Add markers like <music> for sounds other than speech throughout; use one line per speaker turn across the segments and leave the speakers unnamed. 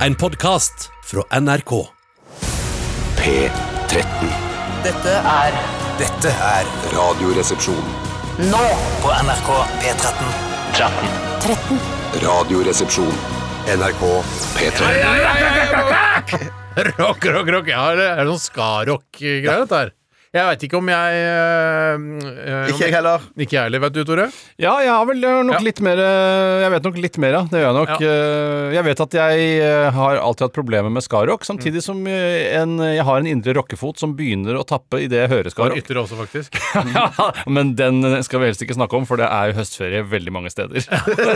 En podkast fra NRK.
P13.
Dette er Dette er
Radioresepsjon.
nå på NRK P13. 13.
Radioresepsjon. NRK P13.
Rock, rock, rock. Ja, det er sånn ska-rock-greier, dette her. Jeg veit ikke om jeg Ikke jeg heller. Ikke jeg heller, vet du, Tore.
Ja, jeg har vel jeg har nok
Ja.
litt mer eh, Jeg vet nok litt mer, ja. Det gjør jeg nok.
Ja.
Eh, Jeg vet at jeg eh, har alltid hatt problemer med skarock, samtidig som eh, en, jeg har en indre rockefot som begynner å tappe idet jeg hører
Og <laughs>
skarock.
ytre også, faktisk.
Ja, <laughs> Men den eh, skal vi helst ikke snakke om, for det er jo høstferie veldig mange steder. <laughs>
Jeg er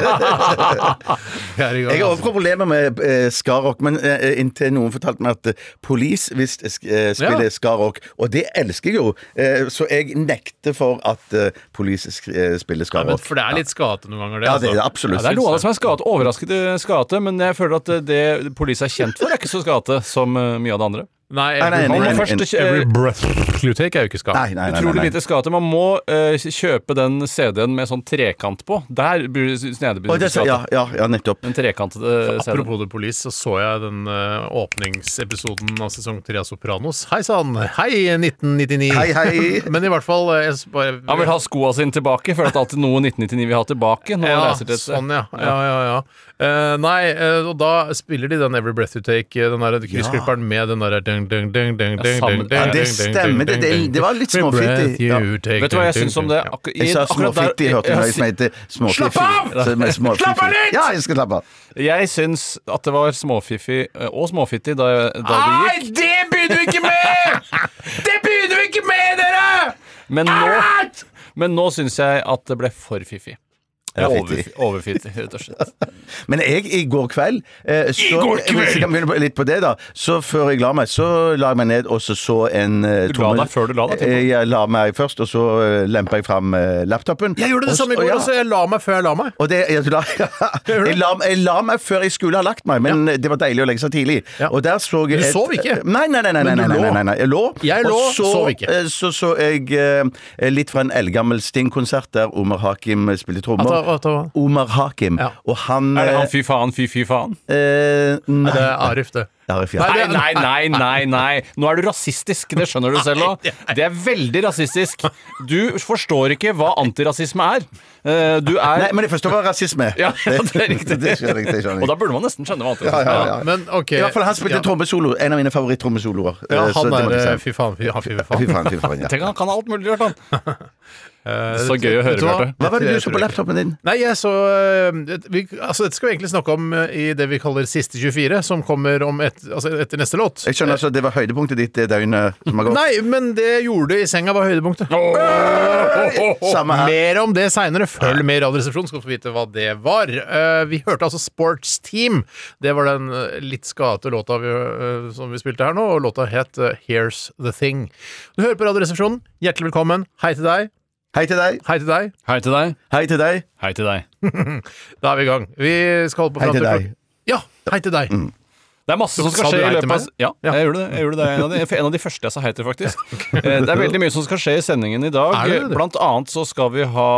Jeg
i gang,
har også
altså.
problemer med eh, skarrock, men eh, inntil noen fortalte meg at eh, Police visst eh, sk- eh, spiller
Ja.
skarrock, og det elsker jeg jo, eh, så jeg nekter for at eh, Police sk eh, spiller
Ja, men
skarrock.
for det er litt skate noen ganger, det. altså.
Ja, det er det
Ja,
absolutt.
det er noe av det som er skate, overrasket skate, men jeg føler at eh, det politiet er kjent for, er ikke så skate som eh, mye av det andre.
Nei,
Nei,
nei,
Man
every,
må
nei, nei.
først eh,
every breath you take er jo ikke ska.
Nei, nei, nei, nei,
Utrolig
nei.
lite skate. Man må eh, kjøpe den CD-en med sånn trekant på. Der blir det
Å, det
snedig
er så- ja, ja, ja, nettopp.
Den trekantede CD-en.
Apropos The Police, så så jeg den eh, åpningsepisoden av sesong 3 av Sopranos. Hei sann! Hei, 1999!
Hei, hei.
<laughs> Men i hvert fall eh, jeg s- bare,
Han vil ha skoa sine tilbake. Føler at det er alltid noe 1999 vil ha tilbake. Når han
Ja,
reiser til et sted.
sånn, ja. ja, ja, ja. Eh, nei, eh, og da spiller de den Every Breath You Take, eh, den der kryssklipperen med den derre ding, ding, ding, ding, ding,
sammen-
ding,
Ja,
ding,
det
ding, ding,
stemmer. Det-
ding,
det-
ding,
det var litt
ding, ding.
småfiffig.
Every breath you take,
Vet du hva jeg
ding,
syns om
ding,
det?
ding.
Akkur- i-
Jeg sa
akkurat der-
småfitti, hørte du hva jeg mente? Småfiffig.
Slapp av!
Så- men småfiffig.
<laughs> Slapp av litt!
Ja, jeg skal slappe av.
Jeg syns at det var småfiffi eh, og småfitti da, jeg- da det
Nei,
gikk.
det begynner vi ikke med! Det begynner vi ikke med, dere!
Men nå, men nå syns jeg at det ble for fiffi.
Ja,
Overfi-
fitti.
Overfitti, rett og
<laughs>
slett.
Men jeg, i går kveld eh, så, I går kveld! Hvis jeg kan begynne på- litt på det, da. Så før jeg la meg, så la jeg meg ned og så så en eh,
Du la deg før du la deg, tenker
Eh, Jeg la meg først, og så eh, lempa jeg fram eh, laptopen.
Jeg gjorde det
Og
samme i
så-
går,
ja.
altså. Jeg la meg før jeg la meg.
Og det, jeg, la, <laughs> jeg, la, jeg la meg før jeg skulle ha lagt meg, men det var deilig å legge seg tidlig.
Ja.
Og der så jeg
Du
et- Eh,
sov ikke?
Nei, nei, nei. nei, nei, nei,
Men du
nei,
lå.
nei, nei. Jeg lå.
Jeg lå,
og så,
sov ikke.
eh, Så så jeg eh, litt fra en eldgammel Sting-konsert der Omar Hakim eh, spilte
At det- at det
trommer.
var-
Omar Hakim.
Ja.
Og han
Er det han
eh,
fy faen, fy fy faen?
eh, Nei.
Det er Arif, det.
Arif, ja.
Nei, nei, nei, nei, nei. Nå er du rasistisk, det skjønner du selv òg. Det er veldig rasistisk. Du forstår ikke hva antirasisme er. Eh, Du er
Nei, men jeg forstår hva rasisme er.
<laughs> Ja, ja, det er
<laughs>
riktig.
det skjønner jeg. Det skjønner
Og da
jeg.
burde man nesten skjønne hva antirasisme
Ja, ja, ja.
Men OK.
I hvert fall han spilte
ja.
trommesolo. En av mine favoritt-trommesoloer.
Ja,
Eh, så
han
det må
er
jeg
eh,
si.
Fy faen, fy, han, fy
Fy
faen. Eh,
faen, fy faen. Ja.
Tenk, han kan alt mulig rart, han. Så gøy å høre,
Vet du hva?
Bjarte.
Hva var det du så på
Jeg tror-
laptopen din?
Nei, jeg så eh, et- vi, altså, Dette skal vi egentlig snakke om eh, i det vi kaller Siste 24, som kommer om et, altså, etter neste låt.
Jeg skjønner altså, Det var høydepunktet ditt det døgnet som har gått.
Nei, men det jeg gjorde i senga var høydepunktet.
Samme her.
Mer om det seinere. Følg med i Radioresepsjonen, skal du få vite hva det var. Eh, vi hørte altså Sports Team. Det var den eh, litt skate låta vi, eh, som vi spilte her nå, og låta het eh, Here's The Thing. Du hører på Radioresepsjonen. Hjertelig velkommen. Hei til deg.
Hei til deg.
Hei til deg.
Hei til deg.
Hei til deg.
Hei til deg.
Da er vi i gang. Vi skal holde på
Hei
fram
til
klok-
deg. Mm.
Ja, hei til deg.
Det er masse som skal
Sa du
skje i
hei til
løpet av
meg?
Ja, jeg gjorde det. Jeg gjorde det. En, av de, for en av de første jeg sa hei til,
<laughs>
faktisk. Eh, Det er veldig mye som skal skje i sendingen i dag.
Er det det?
Blant annet så skal vi ha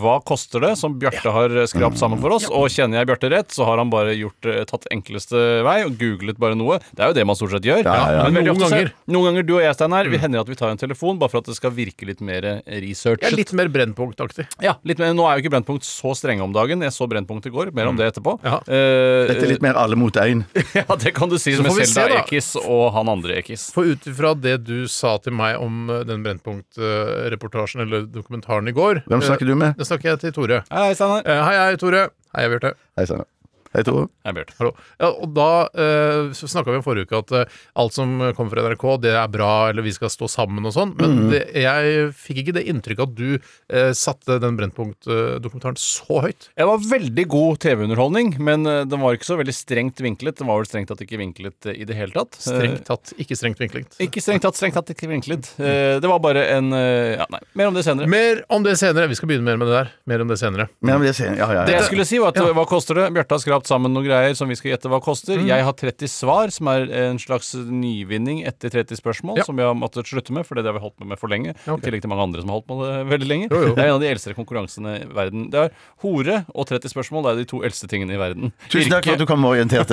Hva koster det?, som Bjarte har
Mm.
skrapt sammen for oss. Og kjenner jeg Bjarte rett, så har han bare gjort, eh, tatt enkleste vei og googlet bare noe. Det er jo det man stort sett gjør.
ja.
Men veldig
Noen
ofte så-
ganger. Mm.
Noen ganger du og jeg, Steinar, vi hender at vi tar en telefon bare for at det skal virke litt mer eh, research.
Jeg er litt mer Brennpunkt-aktig.
Ja, litt mer, Nå er jo ikke Brennpunkt så strenge om dagen. Jeg så Brennpunkt i går. Mer om det etterpå.
Mm. Ja.
Eh,
Dette er litt mer alle mot én.
<laughs> ja, det kan du si
Så
med
får vi se,
Selda
da.
Ekiz og han andre Ekiz.
For ut ifra det du sa til meg om eh, den Brennpunkt-reportasjen eller dokumentaren i går <laughs> eh,
Hvem snakker du med?
Da snakker jeg til Tore.
Hei, Steinar.
Eh, Hei, hei, Tore. Hei, Bjarte.
Hei sann. Hei, Tore.
Hei, Bjarte.
Hallo. Ja, og da eh, så snakka vi om forrige uke at eh, alt som kommer fra NRK, det er bra, eller vi skal stå sammen og sånn, men det, jeg fikk ikke det inntrykket at du eh, satte den Brennpunkt-dokumentaren så høyt.
Det var veldig god TV-underholdning, men eh, den var ikke så veldig strengt vinklet. Den var vel strengt tatt ikke vinklet eh, i det hele tatt. Eh,
Strengt tatt, ikke strengt vinklet.
Ikke strengt tatt, strengt tatt ikke vinklet. Eh, Det var bare en eh, Ja, nei. Mer om det senere.
Mer om det senere. Vi skal begynne mer med det der. Mer om det senere.
Men jeg vil si- ja, ja,
Det
ja.
jeg skulle si var at Hva koster det? Bjarte har skrapt skrapt sammen noen greier som vi skal gjette hva koster.
Mm.
Jeg har 30 svar, som er en slags nyvinning etter 30 spørsmål,
Ja.
som vi har måttet slutte med, for det har vi holdt på med for lenge.
Ok.
I tillegg til mange andre som har holdt på med det veldig lenge.
Jo, jo.
Det er en av de eldste konkurransene i verden. Det er hore og 30 spørsmål. Det er de to eldste tingene i verden.
Tusen takk for at du kom orientert.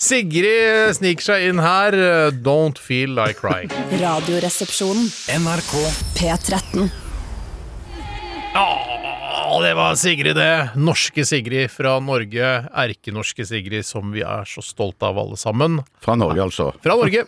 Sigrid sniker seg inn her. eh, Don't feel like crying.
Radioresepsjonen.
NRK
P13.
Å, det var Sigrid, det. Norske Sigrid fra Norge. Erkenorske Sigrid, som vi er så stolte av alle sammen.
Fra Norge, altså.
Fra
<laughs>
Norge,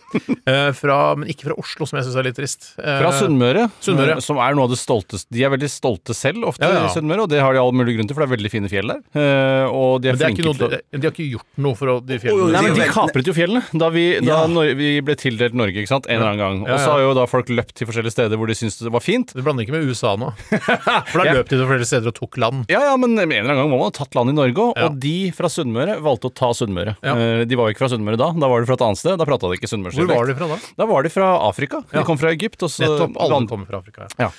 eh, fra, men ikke fra Oslo, som jeg syns er litt trist. Eh,
Fra Sunnmøre, eh,
Sunnmøre, ja.
som er noe av det stolteste De er veldig stolte selv ofte
Ja, ja.
i Sunnmøre, og det har de all mulig grunn til, for det er veldig fine fjell der. Eh, Og de er,
Men det er
flinke
ikke noe,
til å
de, de har ikke gjort noe for å, de fjellene.
Nei, men De
Nei,
kapret jo fjellene da vi, da Nor- vi ble tildelt Norge ikke sant? en eller annen gang. Og så har jo da folk løpt til forskjellige steder hvor de syntes det var fint.
Du blander ikke med USA
<laughs>
nå. For da løp de til flere steder og tok land.
Ja, ja, men en eller annen gang må man ha tatt land i Norge òg. Og de fra Sunnmøre valgte å ta Sunnmøre.
Ja.
Eh, De var jo ikke fra Sunnmøre da. Da var de fra et annet sted. Da prata de ikke
Hvor
sunnmørsdialekt.
var de fra da?
Da var de fra Afrika. De kom fra Egypt. Og så
Nettopp. Alle
land-
kommer fra Afrika.
Ja.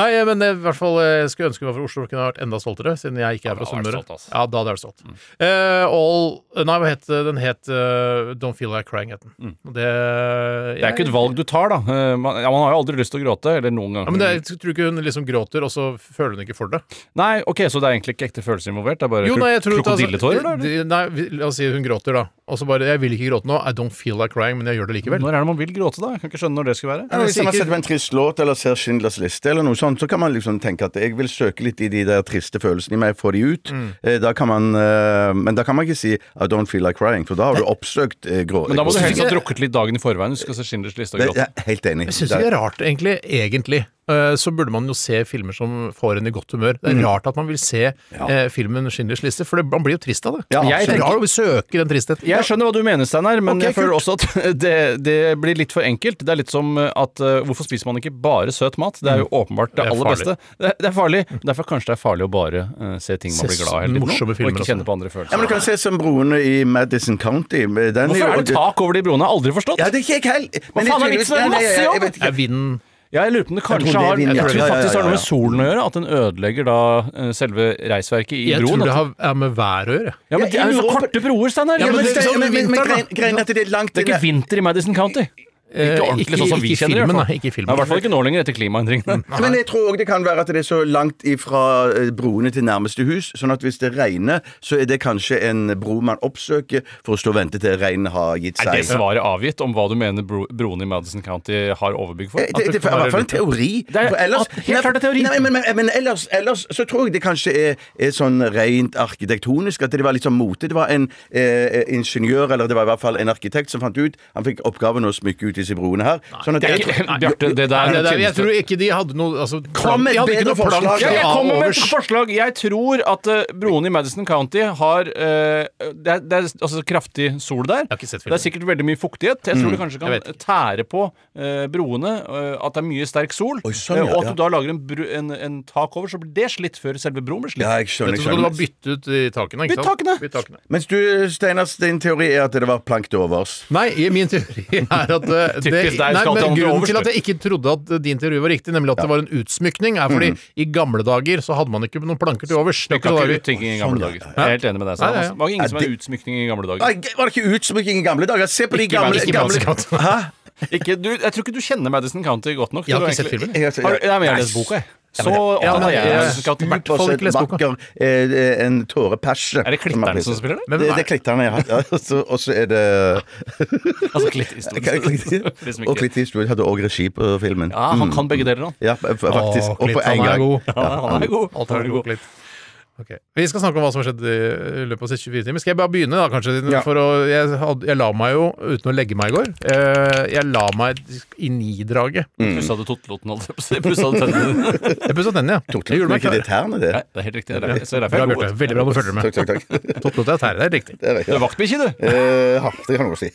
Nei, eh, men jeg, i hvert fall, jeg skulle ønske vi var fra Oslo, kunne jeg vært enda stoltere, siden jeg ikke er fra
hadde vært
Sunnmøre.
stolt, ass.
Ja, da hadde jeg vært stolt. Eh, all Nei, hva het det? den? het eh, Don't Feel Like Crying, het den. Og Det,
Det Mm. er ikke et valg du tar, da. Eh, Man, ja, man har jo aldri lyst til å gråte. Eller noen gang.
Ja, men det, er- Jeg tror ikke hun liksom gråter, og så føler hun ikke for det.
Nei, ok, så det er egentlig ikke ekte følelser involvert? Det er bare
Jo, nei, jeg tror altså,
krokodilletårer? da, eller?
de- Nei, vi- la oss si hun gråter, da. Og så bare 'Jeg vil ikke gråte nå'. I don't feel like crying, men jeg gjør det likevel.
Når er det man vil gråte, da? Jeg kan ikke skjønne når det skal være.
Ja, Hvis man setter på en trist låt eller ser Schindlers liste, eller noe sånt, så kan man liksom tenke at jeg vil søke litt i de der triste følelsene i meg, få de ut.
Mm.
Eh, Da kan man, eh, men da kan man ikke si I don't feel like crying, for da har du oppsøkt eh, grå...
Men da må du
grå-
helst ha drukket litt dagen i forveien. Du skal se Schindlers liste og
Det-
gråte.
Jeg er helt enig.
Jeg syns ikke det er rart, egentlig. egentlig. eh, Så burde man jo se filmer som får en i godt humør. Det
Mm.
er rart at man vil se eh, filmen 'Schindlers liste', for det, man blir jo trist av det.
Ja,
jeg
absolutt.
tenker, vi søker den tristheten.
Jeg skjønner hva du mener, Steinar, men
Ok,
jeg føler også at det, det blir litt for enkelt. Det er litt som at eh, hvorfor spiser man ikke bare søt mat? Det er jo åpenbart Mm. det,
Det er
aller
farlig.
beste. Det, det er farlig. Derfor kanskje det er farlig å bare eh, se ting
Se
man blir glad i hele
morsomme
tiden, og
filmer
ikke
også.
kjenne på andre
Ja, men
følelser.
du kan se som broene i Madison County. Den er jo-
Hvorfor er det tak over de broene? Jeg har aldri forstått.
Ja, det er ikke jeg heller. Men
faen er
tydeligvis-
vitsen med
Nei, nei, jeg-
masse
jeg vet ikke.
Er vinden
Ja, jeg lurer på om det
tror
kanskje
det
har
vinner,
Jeg
ja.
tror det
Ja,
ja,
faktisk har
ja,
noe
ja.
med solen å gjøre, at den ødelegger da eh, selve reisverket i
Jeg tror
broen.
det
at-
har, er med været å gjøre.
Ja, men
Ja,
det er jo
i
så
Europa-
korte broer, Steinar.
Ja, men,
det,
det,
sånn
men, men,
vinteren, da.
greien- greien er at det er langt
det er ikke
inne.
vinter i Madison County. Ikke
Eh,
ordentlig sånn som vi
ikke i filmen,
kjenner det.
nei, ikke i filmen.
I hvert fall ikke nå lenger etter klimaendringene.
Men jeg tror òg det kan være at det er så langt ifra eh, broene til nærmeste hus, sånn at hvis det regner, så er det kanskje en bro man oppsøker for å stå og vente til regnet har gitt
Er det
seg.
svaret avgitt om hva du mener bro broene i Madison County har overbygg for?
Eh, Det, det, er i hvert fall en teori.
er-
For ellers,
at- helt klart en teori.
Nei, men, men, men ellers, ellers så tror jeg det kanskje er, er sånn rent arkitektonisk, at det var litt sånn mote. Det var en eh, ingeniør, eller det var i hvert fall en arkitekt, som fant ut Han fikk oppgaven å smykke ut disse broene her. Sånn at
Det er
jeg
ikke,
tror-
Bjarte, det der
Nei, det, er- jeg
tjeneste-
tror ikke de hadde noe altså,
Kom med
de hadde
et
ikke noe
bedre
plank
forslag.
ja, jeg
av
kommer med et
overs.
forslag. Jeg tror at eh, broene i Madison County har eh, det, er, det er altså kraftig sol der.
har ikke sett
det
filmen.
er sikkert veldig mye fuktighet. Jeg tror det kanskje
jeg vet
kan tære på eh, broene. eh, at det er mye sterk sol.
sånn,
eh,
ja,
og
ja.
at du da lager en, bru, en, en tak over, så blir det slitt før selve broen blir slitt.
Ja, jeg skjønner.
Dette
Jeg
skal du ha
skjønner.
byttet ut i takene. Ikke
Bytt
sant?
takene.
Bytt takene.
Mens du, Steinars, din teori er at det var plank til overs.
Nei, i- min teori er at eh, det,
<laughs> Typisk deg,
nei,
skal
men
til andre
Grunnen til
overskudd.
at jeg ikke trodde at eh, din teori var riktig, nemlig at det var en utsmykning, er fordi i gamle dager så hadde man ikke noen planker til overs.
Mm. Du
Det sånn
kan
var
ikke
jo-
uttynking i gamle dager. Jeg er helt enig med deg.
Nei,
Steinar.
ja, ja.
Det var ingen som
Ja,
er utsmykning i gamle dager.
Nei, var det ikke utsmykking i gamle dager? Se på de
Ikke
gamle,
Madison
gamle
County. <laughs>
Hæ?
Ikke, du, jeg tror ikke du kjenner Madison County godt nok.
Jeg har
til å
ikke sett
egentlig-
filmen.
Jeg har sett-
Har du- Nei, men jeg har
Nei,
lest boka, jeg.
ja,
Så
men-
ja, men
opptatt er jeg
jeg-
av Madison County.
hvert fall ikke les boka.
vakker eh, en tåre pasje.
Er det klitterne som spiller det?
Men
det,
hvem
det
er-
er klitterne, ja. ja. og så- Og så er det
<laughs> <laughs> Altså klitt historisk. <laughs> For de som
<laughs>
ikke-
Og Clint Eastwood hadde òg regi på filmen. Mm.
Ja, han kan begge deler, han.
Ja, f- f- faktisk.
Å,
og på
Clint,
én
han er
gang.
god.
Ja, han er <laughs> god.
Alt har vært godt litt. Ok. Vi skal snakke om hva som har skjedd i i løpet av siste 24 timer. Skal jeg bare begynne, da, kanskje? siden-
Ja.
For å, jeg, had- jeg la meg jo, uten å legge meg i går, eh, jeg la meg i nidraget.
Pussa du totteloten, holdt jeg på å si. Pussa du tennene <laughs> dine?
Jeg pusset tennene, ja. Jeg
Men
gjorde meg
ikke det
klar.
tærne, det?
Nei, det er helt riktig. Det er derfor- så det er derfor
Bra,
jeg er
Bjarte.
god.
Veldig bra du følger med.
Takk, takk,
<laughs>
takk.
Totteloter er tære, det er riktig.
Det er riktig.
Du er vaktbikkje, du.
Eh, ja, det kan du godt si.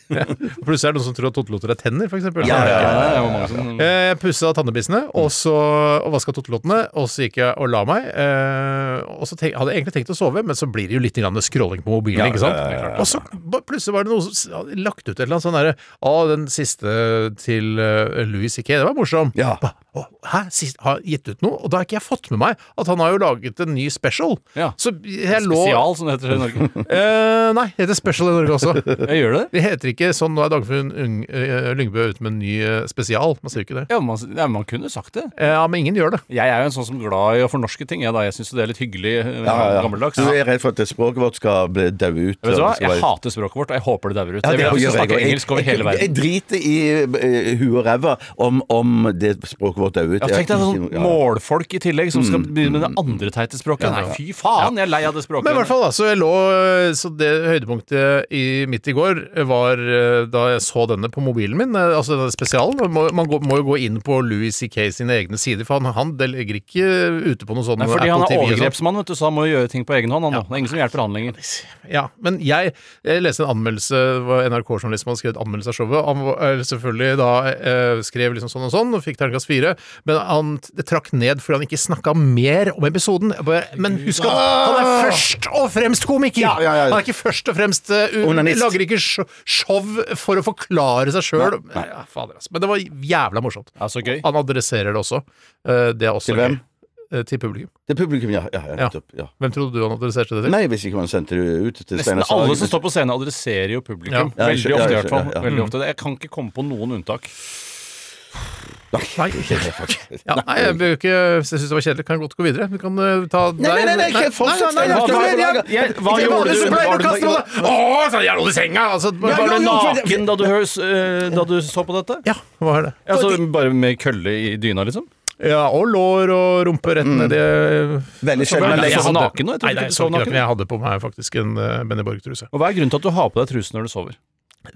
Plutselig er det noen som tror at totteloter er tenner, for eksempel.
Ja, ja, ja.
Det er jo mange som-
Eh, Jeg pussa tannebissene og så og vaska tottelottene, og så gikk jeg og la meg. eh, Og så tenk, hadde egentlig tenkt å sove, men så blir det jo litt grann scrolling på mobilen,
Ja,
ikke sant?
ja, ja, ja, ja.
Og så ba- plutselig var det noe som s- hadde lagt ut et eller annet sånn derre Å, den siste til eh, Louis C.K., det var morsom.
Ja.
Ba, å, Hæ? Sist, har gitt ut noe? Og da har ikke jeg fått med meg at han har jo laget en ny special.
Ja.
Så jeg lå
Spesial, som det heter i Norge.
Eh, nei, det heter special i Norge
<laughs>
også.
Jeg gjør det?
Det heter ikke sånn nå er Dagfinn Ung- eh, Lyngbø ute med en ny eh, spesial. Man sier jo ikke det.
Ja, man, ja, man kunne sagt det.
Eh, Ja, men ingen gjør det.
Jeg er jo en sånn som glad i å fornorske ting. Jeg, da. jeg syns det er litt hyggelig eh, gammeldags.
Du er redd for at det språket vårt skal bli- daue ut.
Vet du
og
hva?
det skal
Jeg
være-
hater språket vårt, og jeg håper det dauer ut.
Ja,
jeg vil at
gjør
vi skal
jeg
snakke
også.
engelsk over
Jeg-
hele verden.
Jeg driter i eh, huet og ræva om, om det språket vårt dauer ut.
Ja, tenk deg
Jeg- Mm.
sånn
ja.
målfolk i tillegg som skal begynne med det andre teite språket. Nei, fy faen, jeg er lei av det språket.
Men i hvert fall da, så jeg lå eh, Så det høydepunktet i, mitt i går var eh, da jeg så denne på mobilen min, eh, altså denne spesialen. Man må, man gå, må jo gå inn på Louis C.K. sine egne sider, for han, han det ligger ikke ute på noe sånn
Nei, fordi han
Apple
er
TV og sånt.
overgrepsmann, vet du, så han må jo gjøre ting på egen hånd. Han, nå. Det er ingen som hjelper han lenger.
Ja, men jeg, jeg leste en anmeldelse hvor NRK-journalisten hadde skrevet anmeldelse av showet. Han var, eh, selvfølgelig da eh, skrev liksom sånn og sånn, og fikk terningkast fire, men han t- det trakk ned fordi han ikke snakka mer om episoden. Jeg Bare, men husk at han er først og fremst komiker!
Ja, ja, ja.
Han er ikke først og fremst eh, u-
Onanist.
Lager ikke sj- show for å forklare seg sjøl. Ja, fader, altså. Men det var jævla morsomt.
Ja, så gøy.
Han adresserer det også. Eh, Det er også
Til hvem?
gøy. Eh, Til publikum.
Det er publikum, ja. ja, ja, nettopp, ja.
Hvem trodde du han adresserte det til?
Nei, hvis ikke man sendte det ut til
Nesten
Steinar
alle som
<laughs>
står på scenen, adresserer jo publikum.
Ja, jeg skjø-
Veldig
ja,
ofte, i
jeg
hvert fall.
skjø- ja, ja.
Veldig ofte. Jeg kan ikke komme på noen unntak.
Nei, ja, nei jeg, bør jo ikke, hvis jeg syns det var kjedelig, kan jeg godt gå videre. Vi kan eh, ta deg.
nei, nei, nei, ikke fortsett.
nei, nei,
Hva-
nei, nei,
hva-
nei,
jeg- Hva
Ikke
gjorde
vanlig
du?
så pleier
Var
du å
du-
kaste noe der. Å, så jævla i senga! Altså, bare,
Var du
bare,
naken da du, høres, eh, da du så på dette?
ja, hva er det?
Ja, så bare med kølle i dyna, liksom?
Ja, og lår og rumpe rett ned i
Veldig
Mm.
sjelden.
Men
sånn-
jeg
Men jeg
jeg
sov
hadde-
naken nå? Jeg
Nei,
trodde
nei,
ikke
så
du sov
ikke det, men
naken.
jeg hadde på meg faktisk en eh, Benny Borg-truse.
Og Hva er grunnen til at du har på deg truse når du sover?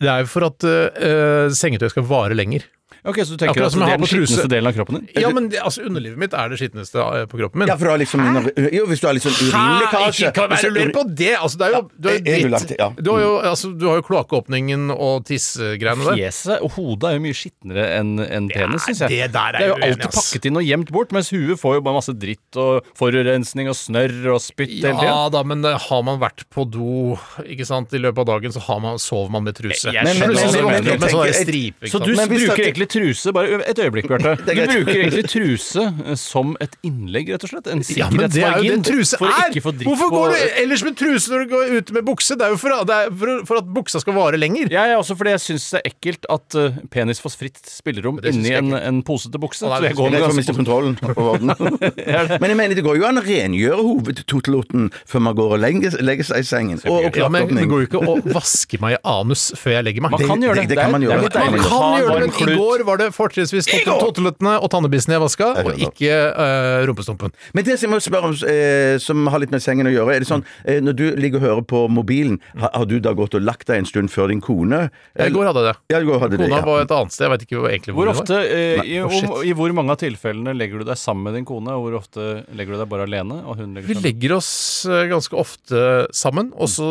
Det er jo for at eh, sengetøy skal vare lenger.
Ok, Så du tenker
Akkurat
at
som jeg
det
har
er den
på truse.
skitneste delen av kroppen din?
Ja, men det, altså, underlivet mitt er det skitneste eh, på kroppen min.
Ja, for du har liksom Jo, hvis du har litt sånn urinlekkasje
Hæ? Ikke kan
hvis
være
det er
lur på det! Altså, det er jo, du, er jo
jeg- jeg vil lagt
dritt.
det, ja.
du har jo, altså, du har jo kloakkåpningen og tissegreiene der.
Fjeset og hodet er jo mye skitnere enn enn penis, syns jeg.
det der er
det er jo
jeg uenig,
alltid
ass.
pakket inn og gjemt bort, mens huet får jo bare masse dritt og forurensning og snørr og spytt hele tiden.
Ja da, men eh, har man vært på do ikke sant, i løpet av dagen, så har man, sover man med truse.
Jeg- jeg
skjønner
Plutselig
hva du
våkner
mener.
opp med sånne
Jeg tenker-
striper, ikke
Så du
sant?
Men hvis
bruker
det-
egentlig truse Bare et øyeblikk, Bjarte.
<laughs>
Du
greit.
bruker egentlig truse eh, som et innlegg, rett og slett. En
ja, men det er jo det
sikkerhetsmargin
truse
for å
er!
ikke få dritt
Hvorfor
på
går du ellers med truse når du går ute med bukse? Det er jo for, det er for, for at buksa skal vare lenger.
Jeg er også fordi jeg syns det er ekkelt at eh, penis får fritt spillerom
synes
inni
jeg
en, en posete bukse.
Å, nei,
Så jeg
det
går
Jeg
med
er redd for å
ganske
miste kontrollen over den. Men jeg mener det går jo an å rengjøre hovedtoteloten før man går og legger, legger seg i sengen. Og, og
Ja, men det
klokkeåpning.
går jo ikke å vaske meg i anus før jeg legger meg.
Man kan
det-
gjøre det.
det kan man
er-
gjøre.
litt
Man
Man
deilig å
kan
ta en
gjøre det, men
varm
i
klut.
går var det fortrinnsvis totelettene og tannebissene jeg vaska,
Jeg
og
skjønner.
ikke eh, rumpestumpen.
Men det som jeg må spørre om, eh, som har litt med sengen å gjøre, er det sånn eh, Når du ligger og hører på mobilen, har, har du da gått og lagt deg en stund før din kone?
I går hadde jeg det.
Ja, i går hadde det,
Kona
ja.
var et annet sted, jeg veit ikke hvor- egentlig hvor, hun
Hvor
var.
ofte, eh, i,
Nei, å,
om, I hvor mange av tilfellene legger du deg sammen med din kone? og Hvor ofte legger du deg bare alene? Og hun
Vi
legger seg
legger oss eh, ganske ofte sammen, og så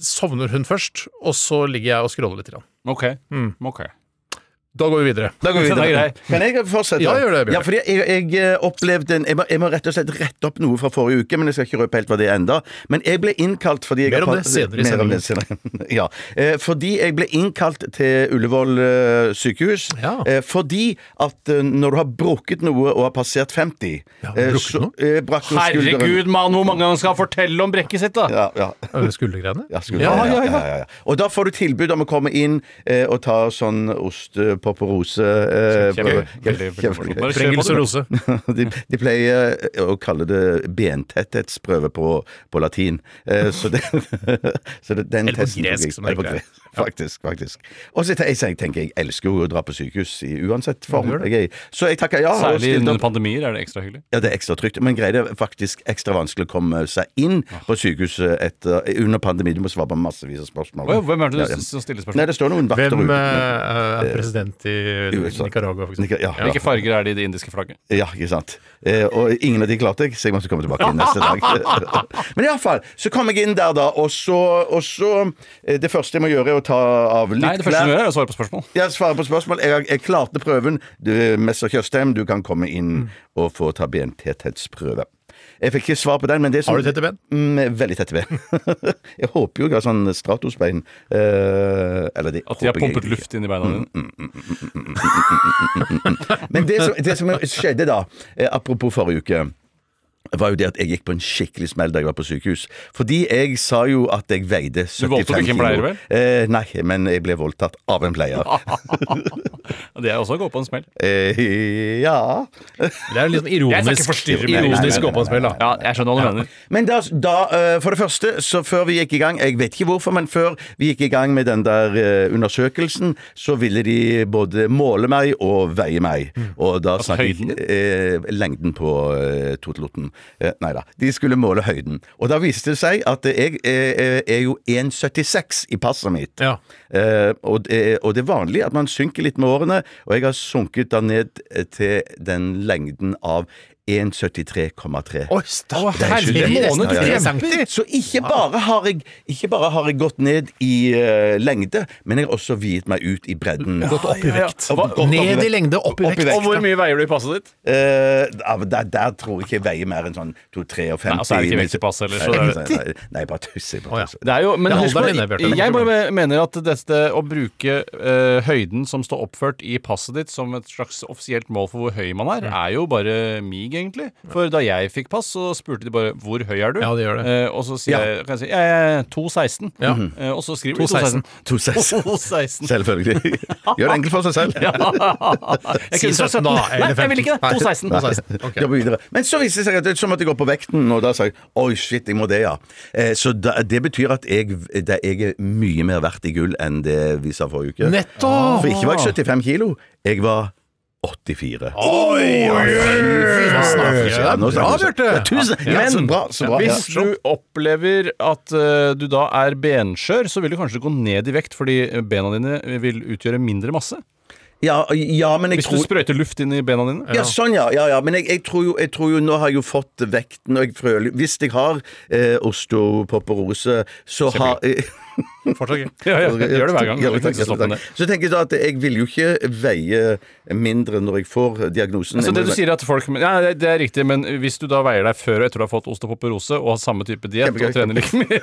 sovner hun først, og så ligger jeg og scroller litt. grann.
Ok.
Mm.
ok.
Da går vi videre.
Da går vi
Den er
videre.
grei.
Kan jeg fortsette?
Ja, gjør det, Bjørn.
Ja, fordi jeg, jeg eh, opplevde en jeg må, jeg må rett og slett rette opp noe fra forrige uke, men jeg skal ikke røpe helt hva det er enda. Men jeg ble innkalt fordi jeg
Mer om
har-
det senere i
Mer om det senere. <laughs> ja. Eh, Fordi jeg ble innkalt til Ullevål eh, sykehus.
Ja.
Eh, Fordi at eh, når du har brukket noe og har passert 50
Ja,
eh,
brukket
så,
noe?
eh, brakk jo skulderen-
Herregud, mann! Hvor mange ganger skal han fortelle om brekket sitt, da?
Ja, ja.
Er det Skuldergreiene?
Ja, skulle
Ja,
det,
ja, ja.
Og da får du tilbud om å komme inn eh, og ta sånn ostepopperose. Eh,
Kjempe-
prøve-
veldig- veldig- Bare kjør på,
Sprengels
du.
og rose.
<laughs> de, de pleier eh, å kalle det bentetthetsprøve på, på latin. Eh, så det, <laughs> så det, den
Eller på
testen tok
gresk,
jeg-
som det
eller på
heter.
gresk, <laughs> Faktisk. faktisk. Og så tenker jeg, tenker jeg elsker jo å dra på sykehus i uansett form. Jeg, er i. så jeg takker ja. og
Særlig
stilte
under
opp.
pandemier er det ekstra hyggelig.
Ja, det er ekstra trygt, men greide faktisk ekstra vanskelig å komme seg inn på sykehuset etter, eh, under pandemi. Du må svare på massevis av spørsmål.
Oi, hvem er det du
Ja, ja.
som stiller
Nei,
spørsmål?
det står noen vakter
Hvem eh,
ute.
er president i
USA.
Nicaragua, for
Nika-
eksempel?
Ja,
Hvilke farger er det i det indiske flagget?
ja, ikke sant. Eh, og ingen av de klarte jeg, så jeg måtte komme tilbake inn neste
<laughs>
dag. Men iallfall, så kom jeg inn der, da, og så, og så eh, Det første jeg må gjøre, er å ta av litt
Nei, det første du gjør, er å svare på spørsmål.
Jeg svarer på spørsmål. Jeg, jeg klarte
Mm.
prøven. Du, Mester Tjøstheim, du kan komme inn og få ta bentetthetsprøve. Eh, Jeg fikk ikke svar på den, men det som
Har du tette ben?
Mm, veldig tette ben. <laughs> jeg håper jo jeg har sånn Stratos-bein. Eh, eller det
At de har
håper jeg
pumpet
egentlig
luft inn i beina dine.
ikke. Men det som, det som skjedde da, eh, apropos forrige uke var jo det at jeg gikk på en skikkelig smell da jeg var på sykehus. Fordi jeg sa jo at jeg veide 75 kilo.
voldtok ikke en pleier, vel?
Eh, nei, men jeg ble voldtatt av en pleier.
Det er også å gå på en smell.
eh, ja
Det er liksom
Jeg skal ikke
ironisk,
forstyrre meg.
ironisk åpenspill, da.
Ja, jeg skjønner hva du mener.
Men da, da, eh, for det første, så før vi gikk i gang Jeg vet ikke hvorfor, men før vi gikk i gang med den der eh, undersøkelsen, så ville de både måle meg og veie meg.
Mm.
Og da
Altså
snakket
høyden?
jeg eh, lengden på eh, Totelotten. Eh, nei da. De skulle måle høyden. Og da viste det seg at eh, jeg eh, er jo 1,76 i passet mitt.
Ja.
Eh, og, det, og det er vanlig at man synker litt med årene, og jeg har sunket da ned eh, til den lengden av 1,73,3.
Oi, stakkars!
Det er ikke
Herre
det.
måned,
Ja, ja, ja.
tre centimeter.
Så ikke bare, har jeg, ikke bare har jeg gått ned i eh, lengde, men jeg har også viet meg ut i bredden.
Gått opp i vekt.
Ja, ja. Gått opp i
Ned i
vekt.
lengde, opp i
Opp i
vekt.
vekt.
Og hvor mye veier du i passet ditt?
Eh, ja, men der, der tror jeg ikke jeg veier mer enn sånn 2,53.
Nei, altså, er det ikke vekt i passet, eller, så
Nei,
er
nei, nei, nei, bare tusse.
Å, ja.
Bare tusse.
Det er jo, men
Det er
husk
alderen
på,
din, Bjarte.
jeg bare mener at dette å bruke eh, høyden som står oppført i passet ditt som et slags offisielt mål for hvor høy man er,
Mm.
er jo bare mig, egentlig. For da jeg fikk pass, så spurte de bare 'hvor høy er du?'
Ja, det gjør det.
Eh, og så sier jeg, kan jeg si 'jeg er 2,16'.
Ja.
Eh, og så skriver de
2,16.
<laughs>
2,16. <laughs>
2,16.
Selvfølgelig. Gjør det enkelt for seg selv.
Ja. Jeg kunne
<laughs> Si
sagt
17 da,
17. Nei,
eller
jeg vil ikke det.
15.
2,16.
Ok.
Jobbe videre. Men så viste det seg at det- så måtte jeg gå på vekten, og da sa jeg oi, shit, jeg må det, ja. Eh, så da, det betyr at jeg, det, jeg er mye mer verdt i gull enn det vi sa forrige uke.
Nettopp!
For ikke var jeg 75 kilo, jeg var 84.
Oi, oi, oi! Hva snakker jeg?
Ja, nå
Bra,
snakker vi.
Bjarte!
Ja, tusen, ja,
Men
så bra, så bra.
hvis
ja.
du opplever at eh, du da er benskjør, så vil du kanskje gå ned i vekt fordi eh, bena dine vil utgjøre mindre masse.
ja, ja, men jeg
Hvis du
tror
sprøyter luft inn i bena dine.
ja, sånn, ja. ja, ja. Men jeg, jeg, tror jo, jeg tror jo Nå har jeg jo fått vekten, og jeg føler Hvis jeg har eh, osteopoporose, så har
Fortsatt gøy.
Ja, ja, Gjør det hver gang.
Gjør det,
Du kan
takk,
ikke stoppe
takk.
med det.
Så tenker jeg da at jeg vil jo ikke veie mindre når jeg får diagnosen. Jeg må
Så Altså, det du
jo-
sier er at folk Ja, det det er riktig, men hvis du da veier deg før og etter du har fått osteopoporose og har samme type diett og
Kjempegøy.
trener like <laughs> mye,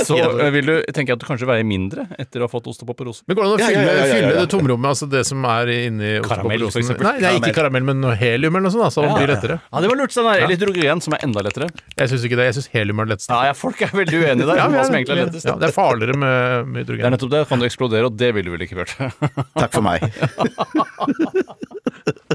så eh, vil du tenke at du kanskje veier mindre etter å ha fått osteopoporose.
Men går det an å
Ja, ja, ja,
fylle,
ja, ja.
fylle det tomrommet, altså det som er inni
Karamell,
ostepopulosen?
for eksempel.
Nei, det er ikke karamell, men noe helium eller noe sånt, da, så det blir lettere.
Ja, det var lurt. Sånn der, eller hydrogen, som er enda lettere.
Jeg syns ikke det. Jeg syns helium er det letteste.
Ja, ja, folk er veldig uenige der.
Ja,
om
vi
hva
er-
som egentlig er lettest.
ja, det er farligere med, med
Det er
hydrogen.
nettopp det. Kan du eksplodere, og det ville du vel ikke gjort.
Takk
<laughs>
for meg.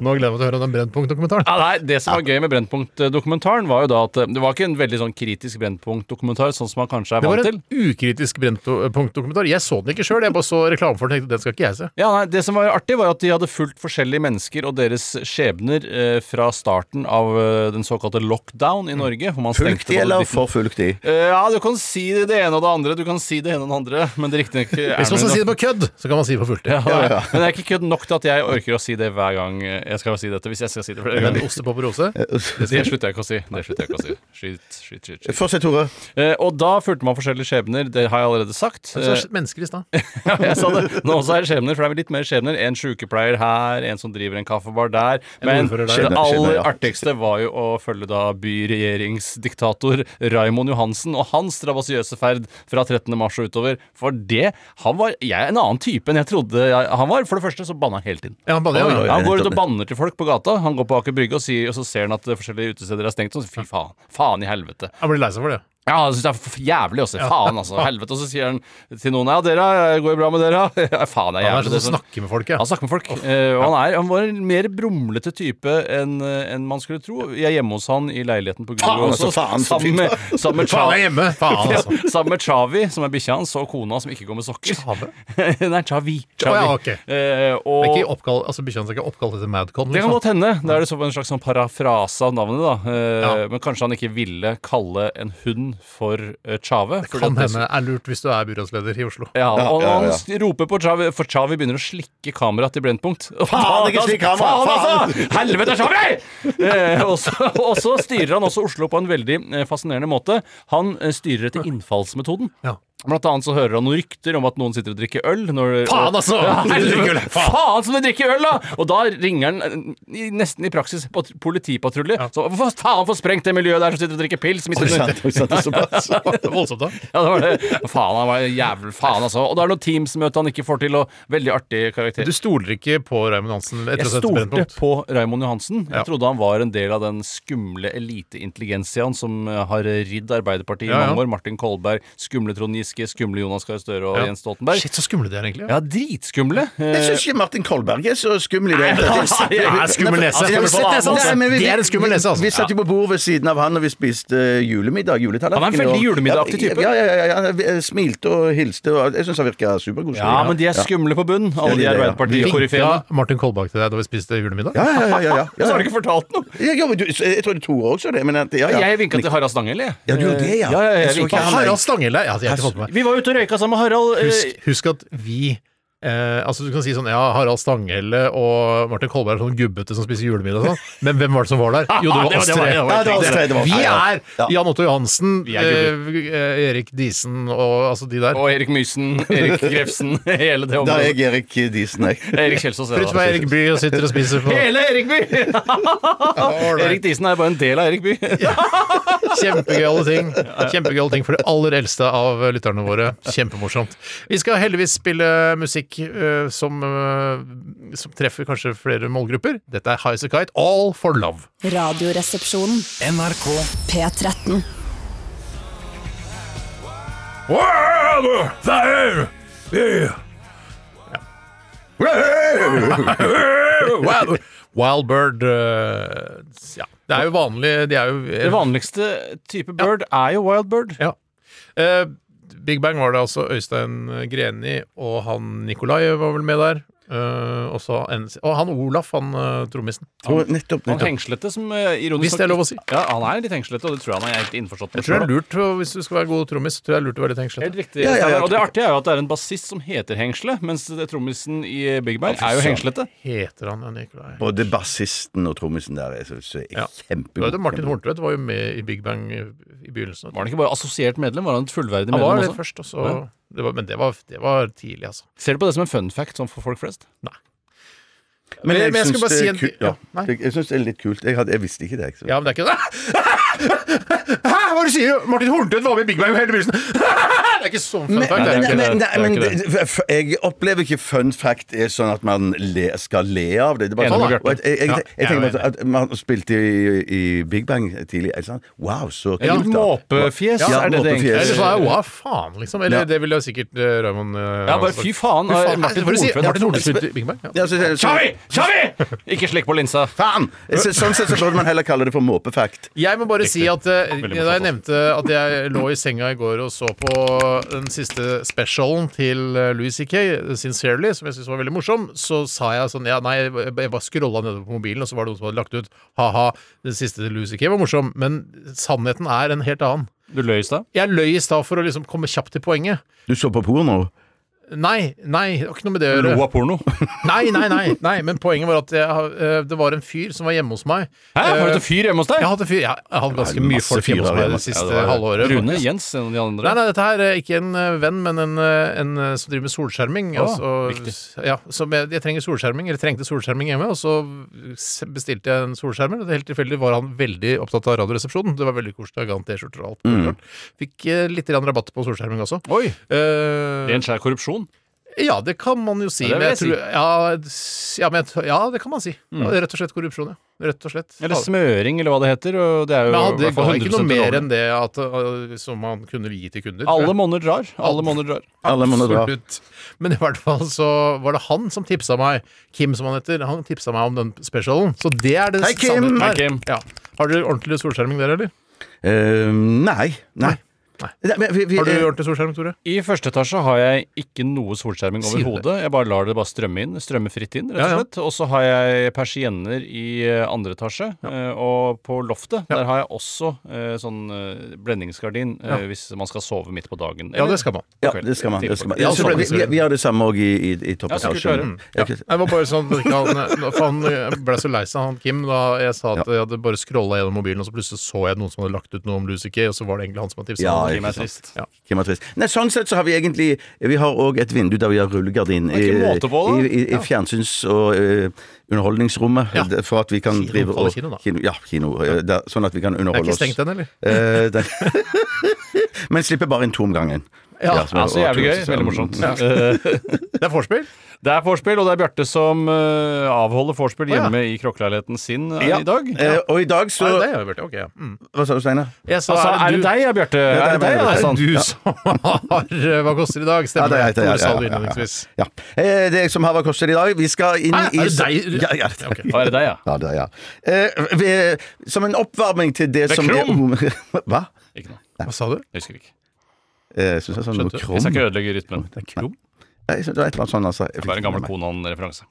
Nå gleder jeg meg til å høre den Brennpunkt-dokumentaren.
ja, nei, det som var gøy med Brennpunkt-dokumentaren, var jo da at eh, det var ikke en veldig sånn kritisk Brennpunkt-dokumentar, sånn som man kanskje er
Det var
vant til.
en ukritisk Brennpunkt-dokumentar. Jeg så den ikke sjøl, jeg bare så reklame for den og tenkte den skal ikke jeg se.
Ja, nei, Det som var artig, var at de hadde fulgt forskjellige mennesker og deres skjebner eh, fra starten av eh, den såkalte lockdown
Mm.
i Norge. Hvor man
Fulgt
stengte
i
både
eller
ditten-
forfulgt i?
Eh, Ja, du kan si det ene og det andre, du kan si det ene og det andre, <laughs> men det riktignok er
Hvis man skal
vel-
si det på kødd, så kan man si det på fullt.
<laughs> ja, ja. Men det er ikke kødd nok til at jeg orker å si det hver gang eh, jeg skal si dette. Hvis jeg skal si det flere
Men
ganger.
ostepoporose
Eh, Det slutter jeg ikke å si. Det slutter jeg ikke å si. Skyt, skyt, skyt, skyt.
Fortsett, Tore.
Eh, og da fulgte man forskjellige skjebner. Det har jeg allerede sagt.
Så
Eh,
er det mennesker i stad.
<laughs> ja, jeg sa det. Nå også er det skjebner, for det er vel litt mer skjebner. En sykepleier her, en som driver en kaffebar der. Men
ordfører der.
det
Skjebner, skjebner,
aller
ja.
artigste var jo å følge da byregjeringsdiktator Raimond Johansen og hans strabasiøse ferd fra 13. mars og utover. For det Han var jeg, er en annen type enn jeg trodde jeg, han var. For det første så banna han helt inn.
Ja, han banner,
Oi,
ja,
oi,
ja.
oi.
Han går ut
nettopp.
og banner til folk på gata. Han går på Aker Brygge og, sier, og så ser han at eh, forskjellige utesteder er stengt. Og så fy faen. Faen i helvete.
Han blir lei seg for det.
Ja, han synes det er f- jævlig også. Faen, altså. Helvete. Og så sier han til noen Ja, dere, eh, går det bra med dere? <laughs> Ja, faen, det er
Han er
jævlig.
sånn
det
som
som-
snakker med folk, ja.
Han snakker med folk. eh, Og han, er, han var en mer brumlete type enn eh, enn man skulle tro. Jeg er hjemme hos han i leiligheten på Grorud
Faen, altså,
også.
faen, så
sammen, med, sammen,
Faen, jeg
med
er
<laughs> Chavi,
hjemme! Faen, altså.
sammen med Chavi, som er bikkja hans, og kona som ikke går med sokker. <laughs> Nei, Chavi.
Å, ja, ok.
Eh, og-
Det er ikke oppkall, altså Bikkja hans er ikke oppkalt etter Madcon?
det kan
Liksom.
godt hende. Da er det så en slags sånn parafrase av navnet. da Eh,
Ja.
Men kanskje han ikke ville kalle en hund for eh, Chave. fordi
Kan
at det-
hende er lurt hvis du er byrådsleder i Oslo.
Ja, og
ja, ja.
han roper på Chavi, for Chavi begynner å slikke kameraet til Brennpunkt. <laughs> Og
Faen,
da-
ikke slikk
da-
kamera,
Faen, altså! Helvete, Chavi! Eh, og, så, og så styrer han også Oslo på en veldig eh, fascinerende måte. Han eh, styrer etter innfallsmetoden.
Ja.
Blant annet så hører han noen rykter om at noen sitter og drikker øl. Når,
Faen, altså! Drikker drikker øl, faen!
Faen som de drikker øl, da! Og da ringer han eh, i, nesten i praksis pat- politipatrulje. Så hva faen får sprengt det miljøet der som sitter og drikker pils? som ikke-
Oi, sant, oi, sant, det er såpass.
Det er <laughs> Voldsomt, da.
Ja, det var det. Faen, han var en jævel faen, altså. Og da er det noe Teams-møte han ikke får til, og veldig artig karakter.
Du stoler ikke på Raymond Hansen etter å
Jeg
ha sett
stolte
Brennpunkt?
på Raymond Johansen.
Ja.
Jeg trodde han var en del av den skumle eliteintelligensiaen som eh, har ridd Arbeiderpartiet i
Ja, ja.
mange år. Martin Kolberg, skumle Trond Giske, skumle Jonas Gahr Støre og
Ja.
Jens Stoltenberg.
Shit, så skumle de er, egentlig.
Ja, dritskumle. Eh,
Jeg syns ikke Martin Kolberg er så skummel i altså, det. <laughs>
det er en
skummel nese.
Nei, men-
Skummel nese, altså.
Nei, men vi-
Det er en skummel nese, altså.
Vi satt jo på bord ved siden av han, og vi spiste eh, julemiddag. juletallerken,
Han er en veldig
og-
julemiddagaktig type.
Ja, ja, ja, ja, ja, vi, eh, Smilte og hilste, og jeg syns han virka supergod.
Ja, men de er skumle på bunn, alle
de
de
er det, ja.
Vinka
Arbeiderpartiet-koryfeene.
Martin Kolbakk til deg da vi spiste julemiddag?
Ja, ja, ja. ja, ja, ja.
Så har du ikke fortalt noe?
Ja, ja, men du, jeg tror det er Tore også, det. Men at, ja, ja.
Jeg vinka til Harald Stange, eller?
Ja, du gjorde det, ja.
Ja, ja, jeg
Jeg så
vinket.
ikke han.
Harald Stanghelle! Ja, jeg har ikke fått med meg.
Vi var ute og røyka sammen med Harald. eh,
Husk, husk at vi eh, altså Du kan si sånn ja, Harald Stanghelle og Martin Kolberg er sånn gubbete som spiser julemiddag og sånn, men hvem var det som var der?
<laughs>
Jo, det var oss
det var-
tre.
det var-
Ja, det var oss tre, det var oss
Vi
tre, ja.
er Jan Otto Johansen, eh, Erik Disen og altså de der.
Og Erik Mysen, Erik Grefsen, <laughs> hele
Da
det
er
området.
jeg Erik Disen, jeg.
Erik Kjelsås. ja, da.
Plutselig var Erik Bye og sitter og spiser på
<laughs> Hele Erik By!
<laughs>
Erik Disen er bare en del av Erik By.
Kjempegøyale <laughs> ting. Kjempegøyale ting for de aller eldste av lytterne våre. Kjempemorsomt. Vi skal heldigvis spille musikk eh, som, eh, som treffer kanskje flere målgrupper. Dette er Highasakite, All for Love.
Radioresepsjonen.
NRK
P13.
Wild, Wild Bird eh, Ja, det er jo vanlig De er jo
<laughs> Det vanligste type bird er jo wild bird.
ja. Eh, Big Bang var det altså Øystein Greni og han Nikolai var vel med der. Eh, og så en, og han Olaf, han eh, trommisen.
Jo, nettopp,
Han
nettopp.
hengslete, som eh, ironisk
Hvis det er lov å si.
Ja, han er litt hengslete, og det tror jeg han er helt innforstått med.
Jeg tror det er lurt å- Hvis du skal være god trommis, tror jeg det er lurt å være litt
Helt
hengslete.
riktig.
Ja, ja, ja.
Steinar. Og det artige er jo at det er en bassist som heter Hengsle, mens det- trommisen i Big Bang er jo hengslete.
Heter han ja, Nikolai?
Både bassisten og trommisen der er så, så er
Ja. Det var
kjempegod.
jo det Martin Horntvedt var jo med i Big Bang i, i begynnelsen.
Var han ikke bare assosiert medlem? Var han et fullverdig
Han var det
medlem også?
først, og så det var, Men det var, det var tidlig, altså.
Ser du på det som en fun fact sånn for folk flest?
Men jeg,
Men jeg skal
syns
bare
det
si
er
en-
kult.
ja,
Ja.
nei.
Jeg, jeg syns det er litt kult. Jeg, hadde, jeg visste ikke det. Jeg, så.
Ja, men det er ikke <laughs> det. Hæ, hva er det du sier? Martin Horntvedt var med i Big Bang hele begynnelsen. <laughs> Det er ikke sånn fun
Men,
fact.
er
men,
ikke
men,
det.
nei,
Det er
men
ikke det.
det- f- jeg opplever ikke fun fact er sånn at man le, skal le av det. det er bare
Enig
sånn,
med
og jeg, jeg, jeg,
Ja,
jeg,
jeg er
tenker
enig.
bare sånn at man spilte i, i Big Bang tidlig. Er det sant? Wow, så
Ja,
kult, da.
Måpefjes,
Ja,
er det det
måpefjes.
Eller
egentlig?
så er jeg, hva faen, liksom. Eller
Ja.
det ville jo sikkert uh, Raymond eh,
Ja, bare fy faen.
Fy
eh,
faen. Hva er det
Martin
du sier?
Hornfeldt
Martin
har-
Horntvedt spilte i Big Bang. Ja.
Ja, så, så, så,
Kjavi! Kjavi! Ikke slikk på linsa.
Faen! Jeg synes- Sånn sett så burde man heller kalle det for måpefact.
Jeg må bare si at eh, da
Veldig
jeg
morsomt.
nevnte at jeg lå i senga i går og så på den siste specialen til eh, Louis C.K., 'Sincerely', som jeg syntes var veldig morsom, så sa jeg sånn ja, Nei, jeg bare scrolla nedover på mobilen, og så var det noen som hadde lagt ut ha-ha, den siste til Louis C.K. var morsom, men sannheten er en helt annen.
Du løy i stad.
Jeg løy i stad for å liksom komme kjapt til poenget.
Du så på porno?
Nei, nei, det har ikke noe med det å
Lo
gjøre.
av porno.
Nei, nei, nei, nei, men poenget var at jeg, har- eh, det var en fyr som var hjemme hos meg.
Hæ, var det et fyr hjemme hos deg?
Eh, Jeg hadde, fyr, jeg hadde ganske mye
masse
folk hjemme hos
fyrer
meg
hjemme.
det siste
Ja, det var-
halvåret.
Rune, Jens, en av de andre.
Nei, nei, dette her er ikke en eh, venn, men en, eh, en eh, som driver med solskjerming.
Å,
altså, ja, som jeg, jeg trenger solskjerming, eller trengte solskjerming hjemme, og så s- bestilte jeg en solskjermer. og Helt tilfeldig var han veldig opptatt av Radioresepsjonen. Det var veldig koselig, ga han T-skjorter og alt. mulig
Mm.
rart. Fikk eh, litt grann rabatt på solskjerming også.
Oi,
Eh,
ren skjær korrupsjon.
ja, det kan man jo si.
Ja, det vil
men jeg
jeg Mm.
tror, ja, s- ja, men jeg, t- ja, det kan man si. Ja, det er rett og slett korrupsjon, ja. Rett og slett.
Eller smøring, eller hva det heter. Og det er jo
Men
i
hadde,
hvert
ga
fall
ikke noe
100%
mer
ulovlig.
enn det at, øh, som man kunne gi til kunder. tror jeg.
Alle måneder drar. Alle måneder drar.
Alle må nå dra.
Absolutt. Men i hvert fall så var det han som tipsa meg, Kim som han heter, han tipsa meg om den specialen. Så det er det
Hei, Kim!
samme
Hei, Kim.
Ja. Har dere ordentlig solskjerming der, eller?
Eh, nei. Nei.
Nei.
men vi- vi-
Har du ordentlig solskjerming, Tore?
I første etasje har jeg ikke noe solskjerming
Sier du det?
overhodet. Jeg bare lar det bare strømme inn. Strømme fritt inn, rett
Ja, ja.
og slett. Og så har jeg persienner i eh, andre etasje. eh, Og på loftet der har jeg også eh, sånn eh, blendingsgardin eh, hvis man skal sove midt på dagen.
Ja, det skal man.
Ja, det skal man. Det skal man.
Ja,
Jeg tror det- vi, vi, vi har det samme òg i, i, i
Ja, så kult å høre.
toppetasjen. Ja, ok.
Jeg var bare sånn, at ikke han, for han ble så lei seg, han Kim, da jeg sa at jeg hadde bare scrolla gjennom mobilen, og så plutselig så jeg noen som hadde lagt ut noe om Lucy Kay, og så var det egentlig han som hadde tipsa.
Ja, Ja,
Kim
ikke
er
sant.
trist.
Ja.
Kim er trist. Nei, sånn sett så har vi egentlig Vi har òg et vindu der vi har rullegardin i,
Det er ikke måte på
i,
det.
i, i fjernsyns- og eh, underholdningsrommet.
Ja.
det- For at vi kan
Kino,
drive
kaller
og
kino, da.
ja, kino. eh, der, sånn at vi kan
Det er
underholde
ikke
oss.
stengt den, eller?
Eh, den. <laughs> Men slipper bare inn to om gangen.
Ja,
som er-
Ja, så jævlig gøy.
og-
Veldig morsomt.
Ja.
Eh,
Det er vorspiel. <laughs>
Det er vorspiel, og det er Bjarte som eh, avholder vorspiel
ja.
hjemme i krokkeleiligheten sin eh, i dag.
Eh, og i dag
Er det
så
deg, ja, Bjarte? Ok, ja. Mm.
Hva sa du, Steinar?
Jeg sa,
Altså, er det
du-
deg, ja, Bjarte?
det
Er
er
det deg,
meg,
ja, sånn.
det er
sant? <laughs>
Du som har eh, Hva koster i dag? Stemmer
Ja,
det?
det er jeg, det er jeg,
Tore sa det
ja, ja, ja.
innledningsvis.
Ja. Eh, det er jeg som har hva koster i dag. Vi skal inn
Hæ?
i
Er det deg?
Ja, ja, det er-
Ja, Er det deg, ja?
Ja, det er jeg. Eh, ved, som en oppvarming til det,
Det er
som
krum!
er <laughs> Hva?
Ikke noe.
Hva sa du?
Jeg husker ikke.
Eh, synes jeg sa noe
Skjønte.
Jeg skal
krum.
ikke ødelegge rytmen. Krom?
Nei, jeg synes Det var et eller annet sånn, altså. Jeg
Det er en
fikk
gammel
ikke med meg.
Konan-referanse.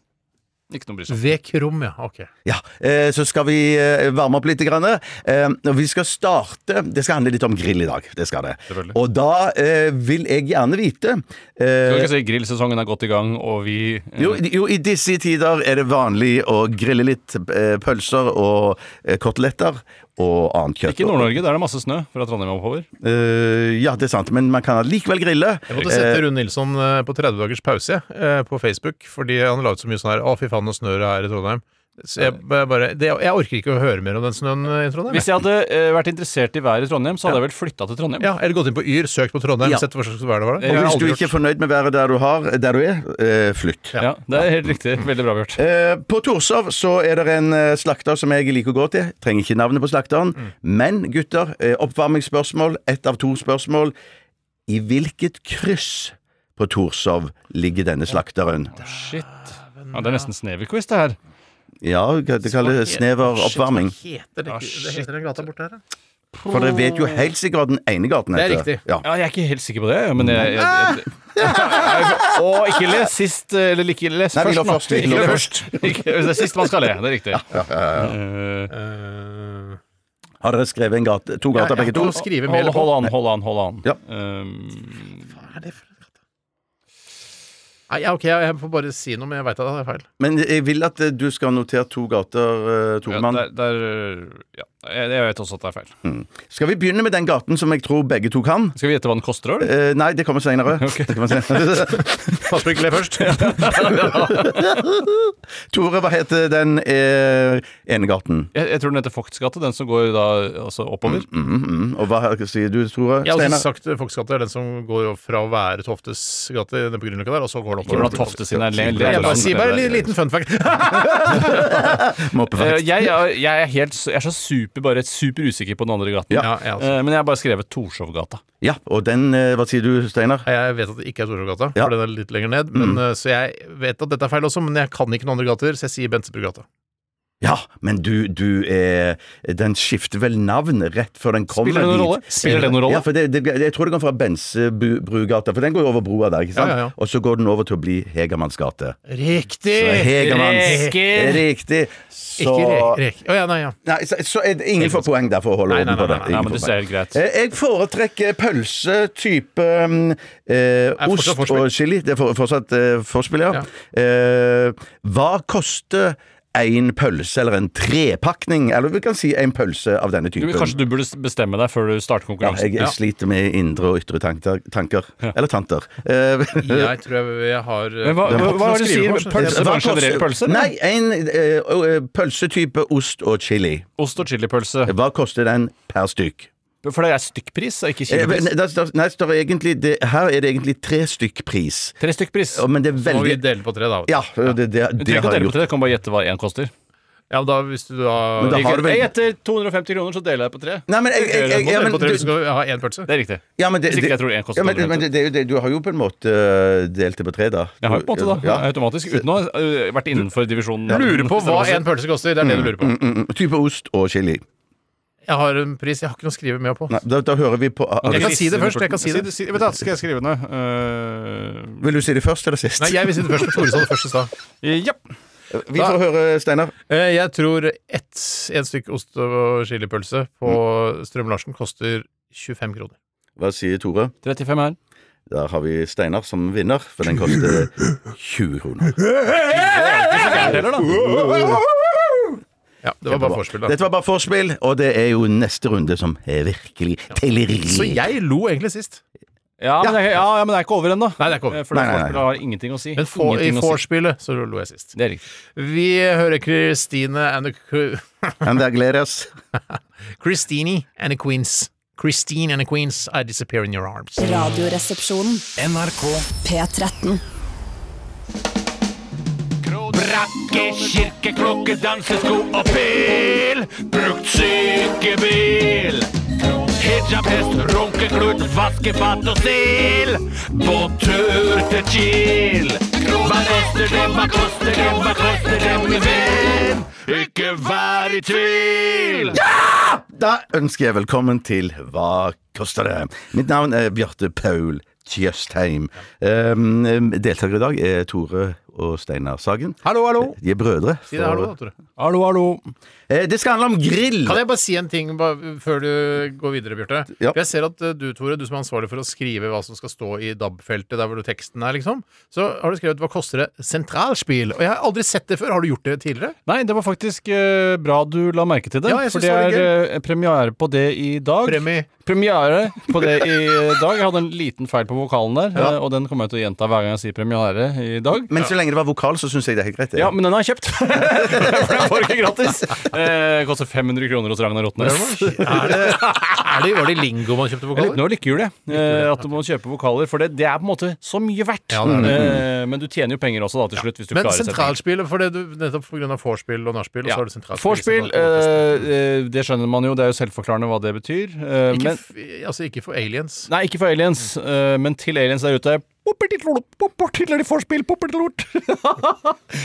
Ikke noe bry seg.
Ved Krum, ja. Ok.
Ja, eh, Så skal vi eh, varme opp litt. Grann. Eh, og vi skal starte Det skal handle litt om grill i dag. Det skal det.
Selvfølgelig.
Og da eh, vil jeg gjerne vite
Skal vi
eh,
ikke si grillsesongen er godt i gang, og vi eh,
Mm. jo, jo, i disse tider er det vanlig å grille litt eh, pølser og eh, koteletter og annet kjøtt.
Ikke i Nord-Norge, der er det masse snø fra Trondheim oppover.
Eh, ja, det er sant, men man kan allikevel grille.
Jeg måtte sette Rune Nilsson eh, på 30 dagers pause eh, på Facebook, fordi han la ut så mye sånn her Å, fy faen, nå snør det her i Trondheim. Så jeg, b- bare, det, jeg orker ikke å høre mer om den snøen eh, i Trondheim.
Hvis jeg hadde eh, vært interessert i været i Trondheim, så hadde jeg vel flytta til Trondheim.
Ja, Eller gått inn på Yr, søkt på Trondheim,
Ja.
sett hva slags vær det var.
Eh,
der.
har
Og hvis du
aldri
ikke er fornøyd med været der du, har, der du er, eh, flytt.
Ja, det er helt riktig. Veldig bra, Bjørt.
Eh, på Torshov så er det en eh, slakter som jeg liker å gå til. Trenger ikke navnet på slakteren.
Mm.
Men gutter, eh, oppvarmingsspørsmål. Ett av to spørsmål. I hvilket kryss på Torshov ligger denne slakteren?
Shit. Ja, det er nesten Snever-quiz, det her.
Ja, det kalles snever oppvarming.
Shit, hva
Ah,
heter det, det heter den gata borte her, da?
For dere vet jo helt sikkert hva den ene gaten
Det er
heter.
riktig.
Ja.
Ja, jeg er ikke helt sikker på det, men jeg, jeg,
Ah!
jeg, jeg Og ikke les sist, eller ikke les
Nei, vi
først.
la
nå.
først, vi
Ikke
la
le
først.
Ikke- Det er sist man skal le, det er riktig. Eh,
Eh,
Har dere skrevet en gate, to gater,
ja,
begge to?
og skrive mer
Hold,
på.
hold an, hold an, hold an.
Ja.
Um,
Hva er det for en gate? Nei, ja, ok, jeg får bare si noe, men jeg veit at det er feil.
Men jeg vil at eh, du skal notere to gater, eh,
ja,
Toremann.
der, der, ja. Jeg jeg vet også at det er feil.
Skal vi begynne med den gaten som jeg tror begge to kan?
Skal vi gjette hva den koster, eller?
Eh, nei, det kommer
<laughs>
senere. Det kommer senere. <laughs>
Pass på ikke le
<laughs>
først.
Tore, hva heter den eh, ene gaten?
Jeg, jeg tror den heter Fogts gate, den som går da altså oppover.
Mm, mm. Og hva sier du, Tore?
Jeg har
Steinar?
også sagt eh, Folksgata er den som går jo fra å være Toftes gate nede på Grünerløkka der, og så går den
Ikke blant
oppover.
Tofte sine le-
Nei, Jeg bare
ledere.
sier bare en li- liten fun fact.
Eh,
Moppefakt.
Eh,
Jeg, er- jeg er helt jeg er så super, bare super usikker på den andre gaten.
Ja.
Ja, jeg, også.
Eh, Men jeg har bare skrevet Torshovgata.
Ja, og den eh, Hva sier du, Steinar?
Nei, Jeg vet at det ikke er Torshovgata,
Ja.
for den er litt lenger ned. Men, eh, Så jeg vet at dette er feil også, men jeg kan ikke noen andre gater, så jeg sier Bentebrugata.
Ja, men du, du eh, Den skifter vel navn rett før den kommer
Spiller det noen rolle? Spiller det noen rolle?
Ja, for det, det, jeg tror det kommer fra Bensebrugata, for den går jo over broa der, ikke sant?
Ja, ja, ja.
Og så går den over til å bli Hegermanns gate.
Riktig!
Så Hegermanns
Reker!
Riktig. Så
Ikke rek, rek. Å ja, nei, ja.
Nei, så, så er det ingen får poeng der for å holde
Nei, nei,
orden på det.
nei, nei,
Nei,
Ingen
men
får
det
poeng.
ser helt greit.
Eh, Jeg foretrekker pølse type mm, eh, ost
fortsatt forspill.
og chili. Det er for, fortsatt eh, forspill, ja. Eh, hva koster en pølse eller en trepakning, eller vi kan si en pølse av denne
Du,
typen?
kanskje du burde bestemme deg før du starter
ja,
konkurransen.
jeg, jeg sliter med indre og ytre tanker. tanker. Eller tanter. Eh, <laughs>
Jeg tror jeg, jeg har eh,
Men hva,
jeg
hva,
har noe
hva er det du
skrivekort,
sier?
så-
Eh,
Pølse?
hva
Bare en sånn generell
koster-
pølse? eller?
Nei, en eh, ø- ø, pølse type ost og chili.
Ost- og chilipølse.
Hva koster den per stykk?
For det er stykkpris, og ikke
Eh,
kilopris.
Nei, det står- nei, det står egentlig, det, her er det egentlig tre stykk pris.
Tre stykkpris.
Og- Men det er
Nå må vi
veldig
dele på tre, da. vet du.
Ja, det, det, det
Du trenger ikke
har jeg
å dele på
gjort.
tre, du kan bare gjette hva én koster.
Ja, men da, hvis du
Men
da,
da har du vel-
Jeg gjetter 250 kroner, så deler jeg på tre.
Nei, men jeg, jeg, jeg,
Må
ja,
dele
men
på tre
du,
hvis du skal ha én pølse.
Det er riktig.
ja, men det,
Hvis ikke
det,
jeg tror én koster
ja, men, men det, det, er jo det- du har jo på en måte øh, delt det på tre, da.
Jeg har jo på en måte da,
Ja.
automatisk, uten å ha øh, vært innenfor divisjonen.
Lurer på hva en pølse koster. Det er det du lurer på.
Mm, mm, type ost og chili.
Jeg har en pris. Jeg har ikke noe å skrive med på.
Nei, da, da hører vi på
Jeg kan
Hvis-
si det først, jeg kan si det.
vet du hva, skal jeg skrive ned? Uh,
Vil du si det først eller sist?
Nei, jeg vil si det først, men Tore sa det først i stad.
Eh, ja.
<laughs> vi får høre, Steinar.
<laughs> Eh, Jeg tror ett en stykk ost- og chilipølse på Strøm-Larsen koster 25 kroner.
Hva sier Tore?
35 her.
Der har vi Steinar som vinner, for den koster 20 kroner.
Deler, da.
Ja, det var bare forspill, da.
Dette var bare forspill, og det er jo neste runde som er virkelig teller i.
Så <laughs> jeg lo egentlig sist.
Ja, men det er, ja, ja, men det er ikke over ennå.
Nei, det er ikke over.
Eh, For det
Nei, nei, nei.
forspillet har ingenting å si.
Men for, i
Ingenting å si.
vorspielet så lo jeg sist.
Det er riktig.
Vi hører Christine and the Qu-
Men det gleder oss.
Christine and the Queens. Christine and the Queens, I disappear in your arms.
Radioresepsjonen.
NRK
P13.
Brakke, kirke, klokke, dansesko og pil Brukt sykebil Hijab, hest, runkeklut, vaskefat og stil På tur til Kiel Hva koster det, hva koster det, hva koster det, min venn? Ikke vær i tvil
Da ønsker jeg velkommen til Hva koster det? Mitt navn er Bjarte Paul Tjøstheim. Um, deltakere i dag er Tore og Steinar Sagen.
Hallo, hallo.
De er brødre.
Si det, hallo, da, Tore.
Hallo, hallo.
Eh, det skal handle om grill!
Kan jeg bare si en ting bare, før du går videre, Bjarte?
Ja.
For Jeg ser at eh, du, Tore, du som er ansvarlig for å skrive hva som skal stå i DAB-feltet, der hvor du teksten er, liksom, så har du skrevet 'Hva koster det sentralspill?' Og jeg har aldri sett det før. Har du gjort det tidligere?
Nei, det var faktisk eh, bra du la merke til det.
Ja, jeg
for
synes
det
det var
er eh, premiere på det i dag.
Premi.
Premiere på det i dag. Jeg hadde en liten feil på vokalen der, eh, og den kommer jeg til å gjenta hver gang jeg sier premiere i dag.
Men så lenge det var vokal, så syns jeg det er helt greit. det.
Ja, men den har jeg <laughs> kjøpt! For den får ikke gratis. Eh, koster 500 kroner hos Ragnar Rotnes.
Er det, var det lingo man kjøpte
Jeg lurer
vokaler?
på lykkehjul, jeg. Eh, At du må kjøpe vokaler. For det, det er på en måte så mye verdt.
Ja, det er det.
Eh, men du tjener jo penger også, da, til slutt. Hvis du
Men
klarer setningen.
sentralspill, for det du, nettopp pga. vorspiel og nachspiel, og
Ja.
så har du sentralspill.
Vorspiel, eh, eh, det skjønner man jo. Det er jo selvforklarende hva det betyr. Eh,
ikke,
men,
f altså, ikke for aliens.
nei, ikke for aliens, eh, men til aliens der ute. Poppertitlolop, poppertitler i vorspiel, poppertilort.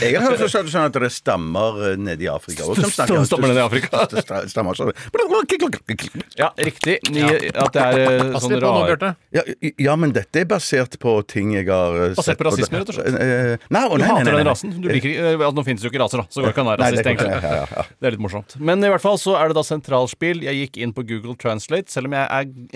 Jeg har hørt også sånn at det er stammer eh, nede i Afrika også, som snakker
<laughs> Stammer nede i Afrika.
St- Stammer sånn
Ja, riktig. Ni, At det er eh,
Pass
sånn
litt på nå,
rar
Bjarte.
ja, ja, men dette er basert på ting jeg har eh,
Basert på rasisme, rett og slett.
Eh, Nei, å, nei,
Du
nei, nei,
hater den
nei.
rasen. Du liker, ikke- eh, at nå finnes det jo ikke raser, da, så går det ikke an å være
Nei, det
rasist.
går ikke,
egentlig.
ja, ja, ja.
Det er litt morsomt. Men i hvert fall så er det da sentralspill. Jeg gikk inn på Google Translate, selv om jeg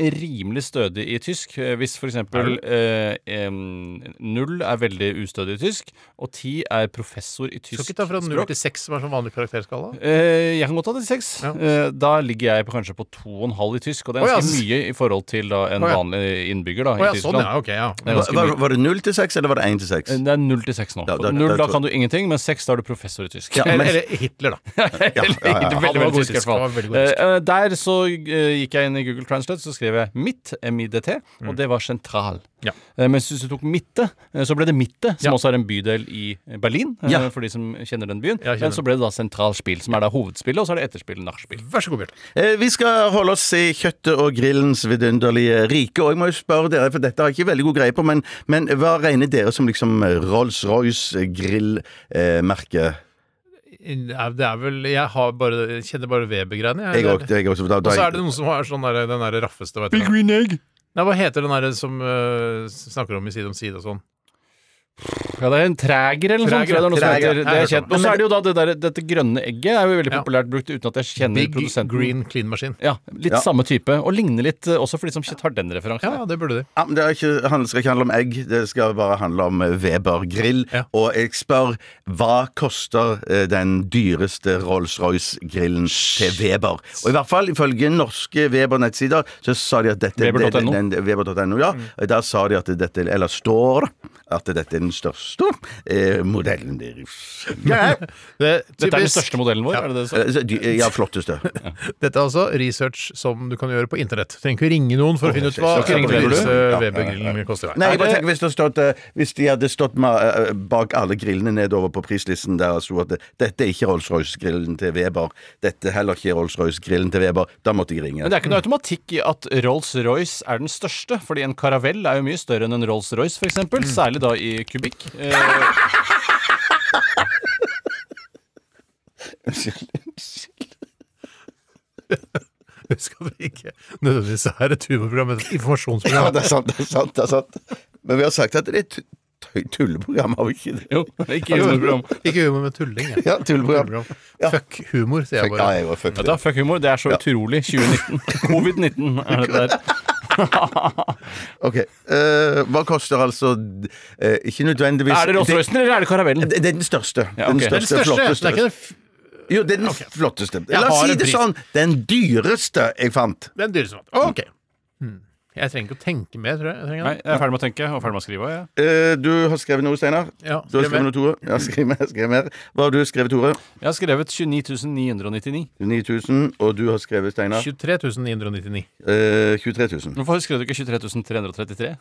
er rimelig stødig i tysk. Eh, Hvis for eksempel eh, em, null er veldig ustødig i tysk, og ti er professor i
Skal
tysk
ikke ta fra null
språk.
til seks, som er sånn vanlig karakterskala?
Eh, jeg kan godt ta det til seks.
Ja.
Eh, da ligger jeg på, kanskje på to og en halv i tysk, og det er
Å, ja,
ganske
s-
mye i forhold til da, en
Å, ja.
vanlig innbygger da,
Å ja,
i
sånn,
Tyskland.
ja. Ok, ja.
Det er ganske
Var,
mye. Eh,
var det null til seks, eller var det én til seks?
Det er null til seks nå.
Ja, da-
null,
da-
da kan du ingenting, men seks, da er du professor i tysk. <laughs>
Ja, men-
Eller, eller Hitler, da.
Eller-
ja, ja.
ikke
Han
Veldig,
var
veldig
god
tysk,
tysk,
i hvert
han
fall.
var veldig god tysk.
Eh, eh, der så eh, gikk jeg inn i Google Translate, så skrev jeg mitt, MIDT, og det var sentral.
Mm. Ja.
Eh, mens hvis du tok midte, eh, så ble det Mitte, som
Ja.
også er en bydel i Berlin, eh,
Ja.
for de som kjenner den byen.
Jeg kjenner
Men så ble det da sentralspill, som er da hovedspillet, og så er det etterspill, nachspiel.
Vær så god, Bjarte.
Eh, Vi skal holde oss i kjøttet og grillens vidunderlige rike. Og jeg må jo spørre dere, for dette har jeg ikke veldig god greie på, men, men hva regner dere som liksom Rolls-Royce-grillmerke?
Nei, Det er vel Jeg har bare, jeg kjenner bare Weber-greiene.
Jeg òg. Og
Og så er det noen som har sånn der, den der raffeste, vet du. hva.
Green Egg!
Nei, hva heter den der som eh, snakker om i Side om side og sånn?
Ja, det er en træger eller noe
Træger,
sånt. tror jeg det er noe som
træger.
heter. Det
Jeg
er
har hørt
kjent. Og så er det jo da det der, dette grønne egget er jo veldig
Ja.
populært brukt uten at jeg kjenner
Big
produsenten.
Green Clean Machine.
Ja, litt
Ja.
samme type, og ligner litt eh, også for de som ikke tar den referansen.
Ja, det burde de.
Ja, men det, er ikke, handler- skal ikke handle om egg, det skal bare handle om eh, Weber grill.
Ja.
Og jeg spør hva koster eh, den dyreste Rolls-Royce-grillen til Weber? Og i hvert fall ifølge norske Weber-nettsider så sa de at dette
Weber.no.
den- den- den- Weber.no,
Mm.
ja. Der sa de at dette, eller står at dette er den største eh, modellen deres. Ja,
Det,
Dette er den
typisk-
største modellen vår, er det det du
<laughs>
sa?
eh, så de- ja flotteste.
Dette er altså research som du kan gjøre på internett. Trenger ikke ringe noen for å finne ut hva
skal ikke ringe
disse
Weber, du?
Weber-grillen koster.
Nei, jeg bare
det-
tenker hvis, det stod, eh, hvis de hadde stått med, eh, bak alle grillene nedover på prislisten der det sto at det- dette er ikke Rolls-Royce-grillen til Weber, dette er heller ikke Rolls-Royce-grillen til Weber, da måtte jeg ringe.
Men det er ikke noe automatikk i at Rolls-Royce er den største, fordi en karavell er jo mye større enn en Rolls-Royce, f.eks.,
Mm.
eksempel særlig da i kubikk. Eh,
<laughs> Husk at det ikke nødvendigvis er et humorprogram, men et
<laughs> Ja,
informasjonsprogram.
det er sant, det er sant, det er sant. Men vi har sagt at det er et tu- tulleprogram, har vi ikke det?
jo, ikke <laughs> humorprogram.
Ikke humor, men tulling. jeg.
<laughs> Ja, tulleprogram.
Humorprogram. Fuck humor, sier jeg
Ja,
bare.
jeg var fuck
Vet
det.
du, hva, fuck humor, det er så utrolig 2019. Covid-19 er det <laughs> der.
Ok, eh, hva koster altså, eh, ikke nødvendigvis...
Er det Rolls-Roycen eller er det karavellen?
Det, det er den største.
Ja, ok.
Den
Den
største,
største!
flotteste.
Det er ikke den f-
Jo, det er den flotteste. La
har
oss si
en
det
pris.
sånn. Den dyreste jeg fant.
Den dyreste maten. OK. Hmm. Jeg trenger ikke å tenke mer, tror jeg. jeg trenger
Nei, jeg er ferdig med å tenke og ferdig med å skrive. også, Jeg,
Eh, du har skrevet noe, Steinar.
Ja,
du har
skriv mer.
skrevet noe, Tore. Ja, skriv mer, skriv mer. Hva har du skrevet, Tore?
jeg har skrevet 29.999.
9000. Og du har skrevet, Steinar?
23 999.
Eh, 23 000.
Hvorfor skrev du ikke 23.333?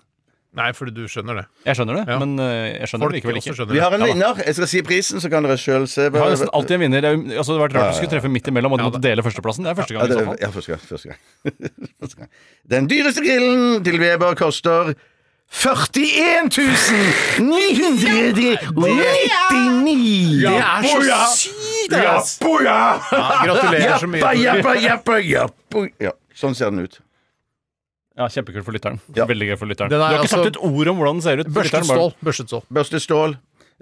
Nei, fordi du skjønner det.
Jeg skjønner det,
Ja.
men eh, jeg skjønner
Folk
det likevel ikke.
også skjønner
Vi
det.
har en
Ja da.
vinner. Jeg skal si prisen, så kan dere sjøl se.
Jeg har nesten alltid en vinner. Det er jo- Altså, det hadde vært rart om du skulle treffe midt imellom og du måtte dele førsteplassen. Det er første
Ja,
gang. i
det,
så fall.
ja første, gang, første, gang. <laughs> første gang. Den dyreste grillen til Weber koster 41 999!
Det er så sykt! ass. Ja, gratulerer så mye.
Jappa, jappa, jappa, jappa. Ja, sånn ser den ut.
Ja, Kjempekult for lytteren.
Ja.
Veldig gøy for lytteren.
Den
Du
er
har ikke
altså-
sagt et ord om hvordan den ser ut. Lytteren
Børstet
bare-
stål. Børstet stål.
Børste stål,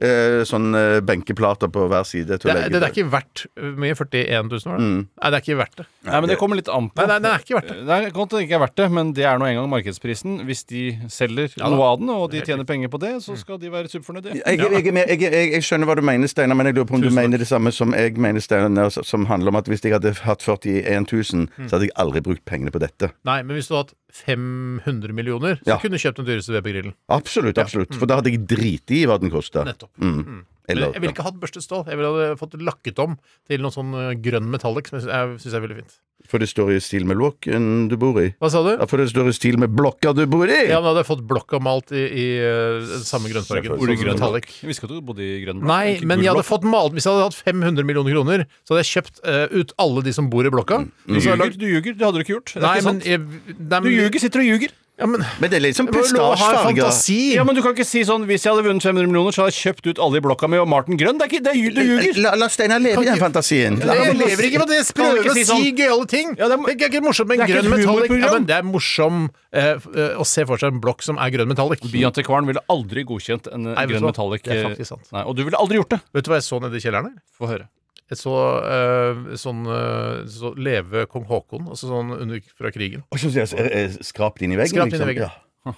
eh, sånn eh, benkeplater på hver side. til å
Det, er-
legge
det, det
på.
er ikke verdt uh, mye 41 000 år. da.
Mm.
Nei, det er ikke verdt det.
Nei, men det kommer litt an på.
Nei, nei, det er ikke verdt det.
Nei, det kan godt hende det ikke er verdt det, men det er nå engang markedsprisen. Hvis de selger
da.
noe av den, og de tjener penger på det,
Mm.
så skal de være superfornøyde.
Jeg, jeg, er med- jeg, jeg, jeg skjønner hva du mener, Steinar, men jeg lurer på om du mener det samme som jeg mener, Steinar, s- som handler om at hvis jeg hadde hatt 41 000,
Mm.
så hadde jeg aldri brukt pengene på dette.
Nei, men hvis du hadde hatt 500 millioner, så
Ja.
kunne du kjøpt den dyreste Weber-grillen.
Absolutt, absolutt. For da hadde jeg driti i hva den Mm. kosta.
Mm. Nettopp. Mm. Men
Eller
jeg ville ikke hatt børstet stål. Jeg ville ha fått lakket om til noe sånn eh, grønn metallic, som jeg sy- jeg syns er veldig fint.
For det står i stil med låken du bor i.
Hva sa du?
Ja, for det står i stil med blokka du bor i!
Ja, men hadde jeg fått blokka malt i, i eh, den samme grønnfargen.
Selvfølgelig.
Sånn som metallic.
Jeg visste ikke at du bodde i Grønland.
Nei, men jeg hadde fått malt Hvis jeg hadde hatt 500 millioner kroner, så hadde jeg kjøpt eh, ut alle de som bor i blokka.
Du
Og så hadde jeg lagd-
ljuger, du ljuger. Det hadde du ikke gjort. Mm, Det er
Nei,
ikke
men,
sant.
jeg, nei, men
Du ljuger, sitter og ljuger.
Ja, men
Men det er litt sånn
det må jo lov å ha en
pistasjefarga.
fantasi!
Ja, men Du kan ikke si sånn hvis jeg hadde vunnet 500 millioner, så hadde jeg kjøpt ut alle i blokka mi og malt den grønn. Det er ikke, det er, lju- du ljuger.
La, la Steinar leve i den fantasien. La
Jeg
ham-
lever ikke med det! Jeg prøver
ikke
å
si
si,
sånn-
gøyale ting!
Ja, det er-
det, er ikke morsomt med
Det er
en
ikke
grønn
et
metallic. Ja,
humorprogram.
men det er morsom eh, f- eh, å se for seg en blokk som er grønn metallic.
Byantikvaren ville aldri godkjent en
Nei,
eh,
vet du
grønn
hva?
metallic.
Det er
eh,
faktisk sant.
Nei, og du ville aldri gjort det.
Vet du hva jeg så nede i kjelleren? her?
Få høre.
Jeg så eh, sånn eh, så Leve kong Haakon, altså sånn under, fra krigen.
Og så sier jeg, eh, eh, Skrapt inn i veggen,
Skrapt inn i
liksom.
veggen.
Ja.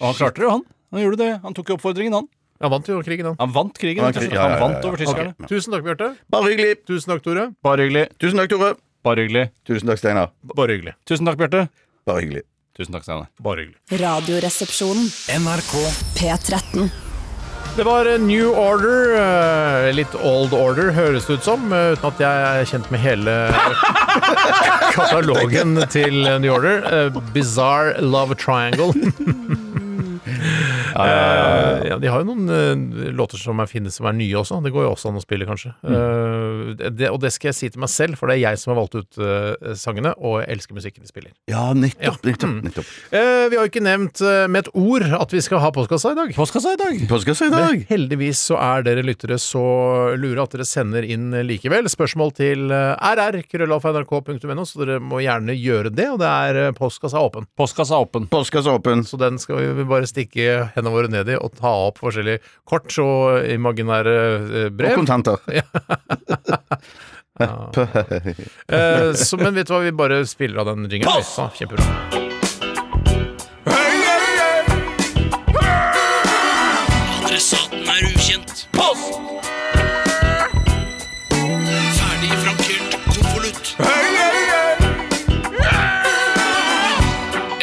Og han klarte det, han. Han gjorde det. Han tok jo oppfordringen, han.
Han vant jo krigen, han.
Han vant krigen.
Han
rett og slett.
krig- ja, ja, ja,
Han
ja.
vant over tyskerne.
Tusen takk, Bjarte.
Bare hyggelig.
Tusen takk, Tore.
Bare hyggelig.
Tusen takk, Tore.
Bare hyggelig.
Tusen takk, Steinar.
Bare hyggelig.
Tusen takk, Bjarte.
Bare hyggelig.
Tusen takk, Steinar.
Bare hyggelig.
Radioresepsjonen. NRK P13.
Det var eh, New Order. eh, litt Old Order, høres det ut som. eh, uten at jeg er kjent med hele <laughs> katalogen til eh, New Order. Eh, Bizarre Love Triangle. <laughs> Eh, ja, de har jo noen eh, låter som er fine som er nye også. Det går jo også an å spille, kanskje. Eh, det, og det skal jeg si til meg selv, for det er jeg som har valgt ut eh, sangene, og jeg elsker musikken de spiller.
Ja, nettopp. nettopp, nettopp.
Eh, vi har jo ikke nevnt eh, med et ord at vi skal ha postkassa i dag.
Postkassa i dag.
Postkassa i dag.
Heldigvis så er dere lyttere så lure at dere sender inn likevel spørsmål til eh, rr.krøllalfa.nrk.no, så dere må gjerne gjøre det. Og det er eh, postkassa er åpen,
Postkassa er åpen.
Postkassa åpen.
så den skal vi bare stikke hendene våre ned i og ta opp forskjellige kort og imaginære eh,
Og
brev.
kontanter.
Eh, så, men vet du hva, vi bare spiller av den jingeren. Så, Kjempebra.
Adressaten er ukjent. Post! Ferdig frankert konvolutt.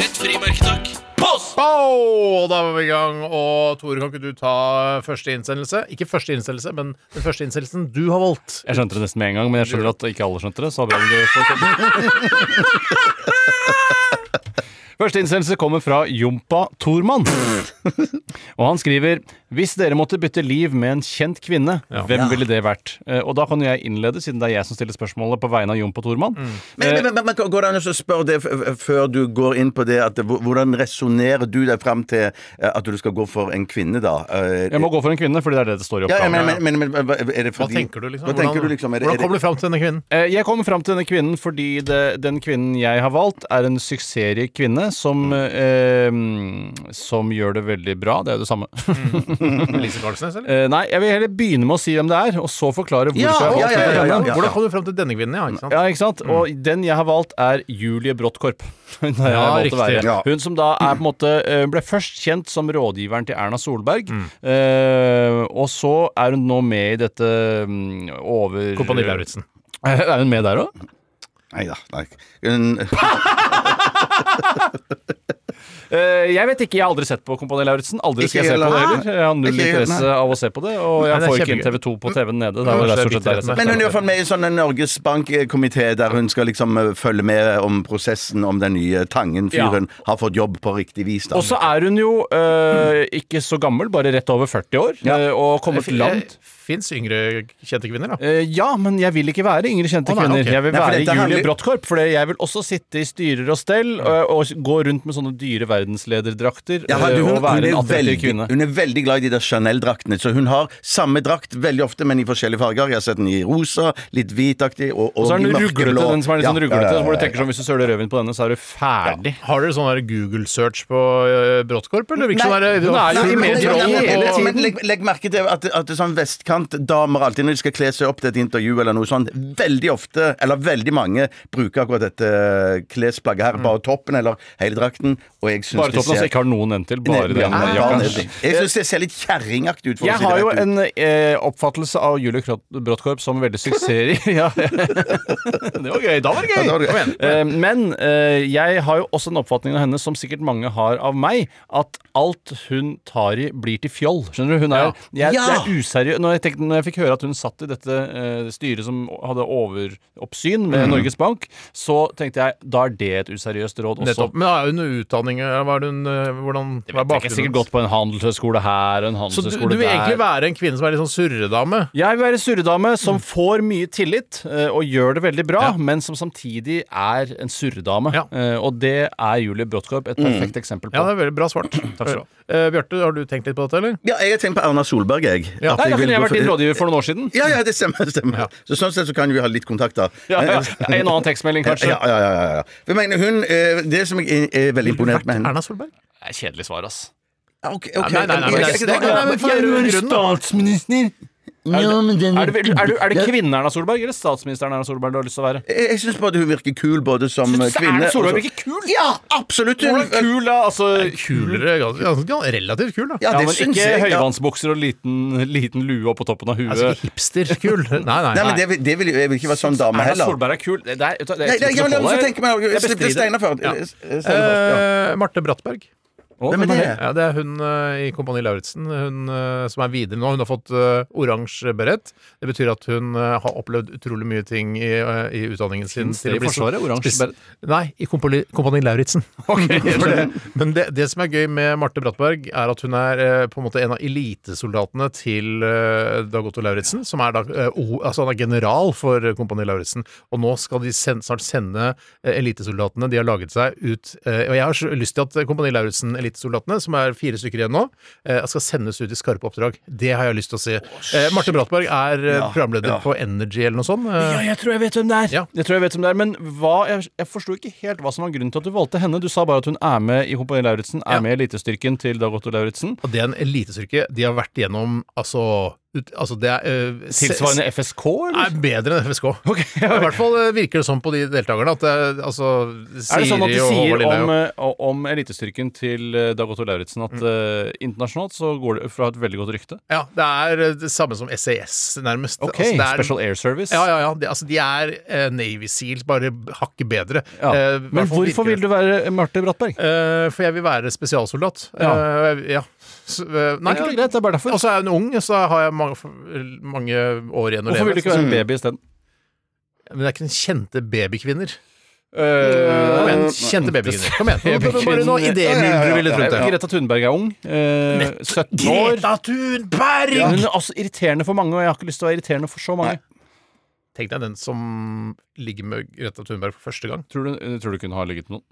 Et frimerke, takk. Post!
Oh, da var vi i gang. Og Tore, kan ikke du ta første innsendelse? Ikke første innsendelse, men den første innsendelsen du har valgt.
Jeg skjønte det nesten med en gang, men jeg skjønner at ikke alle skjønte det. Så bra om dere får se. <laughs> Første innsendelse kommer fra Jompa Tormann. Og han skriver Hvis dere måtte bytte liv med en kjent kvinne, hvem ville det vært? Eh, Og da kan jo jeg innlede, siden det er jeg som stiller spørsmålet på vegne av Jompa Tormann.
Men, men, men, men går det an å spørre det f- f- før du går inn på det, at hvor- hvordan resonnerer du deg fram til eh, at du skal gå for en kvinne, da? Eh,
Jeg må gå for en kvinne, fordi det er det det står i
ja, ja, men,
oppgaven.
men, men, men hva- er det
Hva
fordi
tenker du, liksom?
Hva tenker du, liksom? Er det-
hvordan
er
kommer
det-
du fram til denne kvinnen?
Eh, Jeg kommer fram til denne kvinnen fordi det, den kvinnen jeg har valgt, er en suksessrik kvinne som, eh, som gjør det veldig bra. Det er jo det samme.
Lise Karlsnes, eller?
Eh, nei, jeg vil heller begynne med å si hvem det er, og så forklare hvorfor
Ja,
jeg har
ja,
valgt
ja, ja, ja,
henne.
ja.
Hvordan kom du fram til denne kvinnen? Ja, ikke sant?
Ja, ikke sant? Og den jeg har valgt, er Julie Bråttkorp. <laughs> Hun har jeg
Ja,
valgt å
riktig.
være.
Ja.
Hun som da er på en måte eh, ble først kjent som rådgiveren til Erna Solberg. eh, og så er hun nå med i dette mm, over
Kompani Lauritzen.
<laughs> Er hun med der òg?
Nei da. Nei.
<laughs>
Hun-
Eh, jeg vet ikke. Jeg har aldri sett på Kompani Lauritzen. Aldri skal
Ikke
jeg se på det
heller.
heller. Jeg har null
Ikke heller,
interesse
nei.
av å se på det. Og jeg
Nei, det er
får ikke en
kjempegøy.
TV2 på TV-en nede. Det er vel
Kanskje
det er stort sett der jeg
bitte
ser
litt
på.
Men hun er i hvert fall med i sånn en Norges Bank-komité der hun skal liksom eh, følge med om prosessen om den nye Tangen-fyren har fått jobb på riktig vis. Da.
Og så er hun jo øh, ikke så gammel, bare rett over 40 år, øh, og kommet langt.
Eh, Fins yngre kjente kvinner, da.
Eh, ja, men jeg vil ikke være yngre kjente
Å, nei,
kvinner.
ok.
Jeg vil
Nei, for
være
dette
Julie
handler-
Brottkorp, for jeg vil også sitte i styrer og stell øh, og gå rundt med sånne dyre verdenslederdrakter
Ja,
øh,
du, hun,
og
hun,
være en
er
attraktiv
veldig,
kvinne.
hun er veldig glad i de der Chanel-draktene, så hun har samme drakt veldig ofte, men i forskjellige farger. Jeg har sett den i rosa, litt hvitaktig og, og,
Og så er den
i mørkeblå.
ruglete, den som er litt sånn
Ja,
ruglete.
ja, ja, ja,
Hvor du
ja.
tenker sånn, Hvis du søler rødvin på denne, så er du ferdig.
Har dere sånn der Google-search på eh, Brottkorp, eller virker som
Nei,
det
hun er jo
full
i
Men-
media
kontroll
men- men-
på-
men- men legg, legg merke til at, at det er sånn vestkantdamer alltid når de skal kle seg opp til et intervju eller noe sånt, veldig ofte, eller veldig mange, bruker akkurat dette eh, klesplagget her. Bare toppen eller hele drakten. Og jeg syns
Mm. Bare
det
toppen, altså.
ser
Ikke har noen end til. Bare
Ned- ja,
den
bare
jakka.
ned- Jeg syns det ser litt kjerringaktig ut. For å
Jeg
si det
har jo
rett ut.
en eh, oppfattelse av Julie Krott- Brottkorp som veldig suksessrik. <laughs> ja. Det var gøy. Da var det
Ja,
gøy!
det var det.
Kom igjen. Eh, men eh, jeg har jo også en oppfatning av henne som sikkert mange har av meg, at alt hun tar i, blir til fjoll. Skjønner du? Hun er, jeg, Det er useriøs. Når jeg, tenkte, når jeg fikk høre at hun satt i dette eh, styret som hadde overoppsyn med
Mm.
Norges Bank, så tenkte jeg da er det et useriøst råd også.
Nettopp. Men har hun utdanning eller hva er hun, eh, hvordan,
Jeg
hva er
vet ikke, sikkert
bakgrunnen?
gått på en handelshøyskole her og en
Så du,
handelshøyskole
du vil
der.
egentlig være en kvinne som er litt sånn surredame?
Jeg vil være surredame
Mm.
som får mye tillit eh, og gjør det veldig bra, men som samtidig er en surredame.
Ja.
Eh, Og det er Julie Brodtkorb
Mm.
et perfekt eksempel på.
Ja, det er veldig bra svart. Takk
skal du ha.
Bjarte, har du tenkt litt på dette, eller?
Ja, jeg har tenkt på Erna Solberg, jeg.
Ja.
At
Nei,
vil
da kunne jeg
gå
vært
for-
din rådgiver for noen år
<laughs>
siden. <laughs>
Ja, ja, det stemmer. det stemmer. Så Sånn sett så kan vi ha litt kontakt, da.
Ja,
<laughs>
ja. En annen tekstmelding, kanskje.
Ja, ja, ja, ja, ja. For Jeg mener, hun, eh, det som jeg er er veldig imponert med henne
Erna Solberg?
Det er Kjedelig svar, ass.
Ok, ok.
Nei, nei, nei, men
Jeg-
det-
jeg-
det- nei, men få høre grunnen, da.
statsminister!
Ja, men den-
Er det, er, du- er det kvinnen Erna Solberg eller statsministeren Erna Solberg du har lyst til å være?
Jeg, jeg syns både hun virker kul både som
Synes du
Mm, kvinne
Erna
og
Solberg
så-
virker kul?
Ja, absolutt! Hun,
Hvordan kul, da? Altså,
Kulere, ganske, ganske, relativt kul, da.
ja,
ja,
det
men
syns
ikke
jeg. ja.
høyvannsbukser og liten, liten lue opp på toppen av
Altså
huet.
ikke hipsterkul. Nei, nei.
Nei, men det, vil- det vil, jeg vil ikke være sånn dame
Erna
heller.
Solberg er kul. Det, det, er-
Nei,
det,
nei, ja, men la meg få tenke meg om. Slipp til Steinar først.
Ja.
Eh, Steinar først, ja.
Eh, Marte Brattberg.
Hvem er det?
Ja, det er hun eh, i Kompani Lauritzen hun, eh, som er videre nå. Hun har fått eh, oransje berett. Det betyr at hun eh, har opplevd utrolig mye ting i, eh, i utdanningen sin.
det i Forsvaret, oransje berett?
Nei, i Kompani, Kompani Lauritzen. For det- Men det, det som er gøy med Marte Brattberg, er at hun er eh, på en måte en av elitesoldatene til eh, Dag Otto Lauritzen, som er da eh, o, altså han er general for eh, Kompani Lauritzen. Og nå skal de send, snart sende eh, elitesoldatene de har laget seg, ut. eh, Og jeg har så lyst til at eh, Kompani Lauritzen-elitesoldatene, som er fire stykker igjen nå, eh, skal sendes ut i skarpe oppdrag. Det har jeg lyst til å se. Eh, Marte Brattberg er eh, programleder på Energy eller noe sånt.
Ja,
eh,
jeg tror jeg vet hvem det er.
Ja.
Jeg tror jeg vet hvem det er Men hva, jeg, jeg forsto ikke helt hva som var grunnen til at du valgte henne. Du sa bare at hun er med i Kompani Lauritzen, er
Ja.
med i elitestyrken til Dag Otto Lauritzen.
Og det er en elitestyrke. De har vært gjennom altså, ut, altså det er eh, se-
Tilsvarende FSK, eller? <laughs>
er bedre enn FSK. I hvert fall eh, virker det sånn på de deltakerne. At det er, altså,
Er det sånn
Siri
at de
og
sier
Håvard Lillehaug- Mm.
om, eh, om elitestyrken til eh, Dag Otto Lauritzen at eh, internasjonalt så går det fra et veldig godt rykte?
Ja, det er eh, det samme som SAS, nærmest.
Ok,
Altså, det er,
Special Air Service.
ja, ja, ja. De, altså, de er eh, Navy Seals, bare hakket bedre. Eh,
Ja. Men hvorfor vil du være Marte Brattberg?
for jeg vil være spesialsoldat.
Ja.
Eh, ja. Så, eh, nei,
Enkelt og greit, det er bare derfor.
Og så er hun ung, så har jeg mange, mange år igjen å
Hvorfor vil du
leve.
ikke være en baby isteden?
Men det er ikke den kjente babykvinner. Kom
Uh,
igjen, kjente babykvinner.
<laughs>
Kom igjen. Nå- Bare noe
Ja, ja, ja,
idémyldre ville
ja,
rundt det.
Greta Thunberg er ung. eh, 17 år.
Thunberg!
Ja. Hun er altså irriterende for mange, og jeg har ikke lyst til å være irriterende for så mange.
Tenk deg den som ligger med Greta Thunberg for første gang.
Tror du, tror du ikke hun har ligget med noen?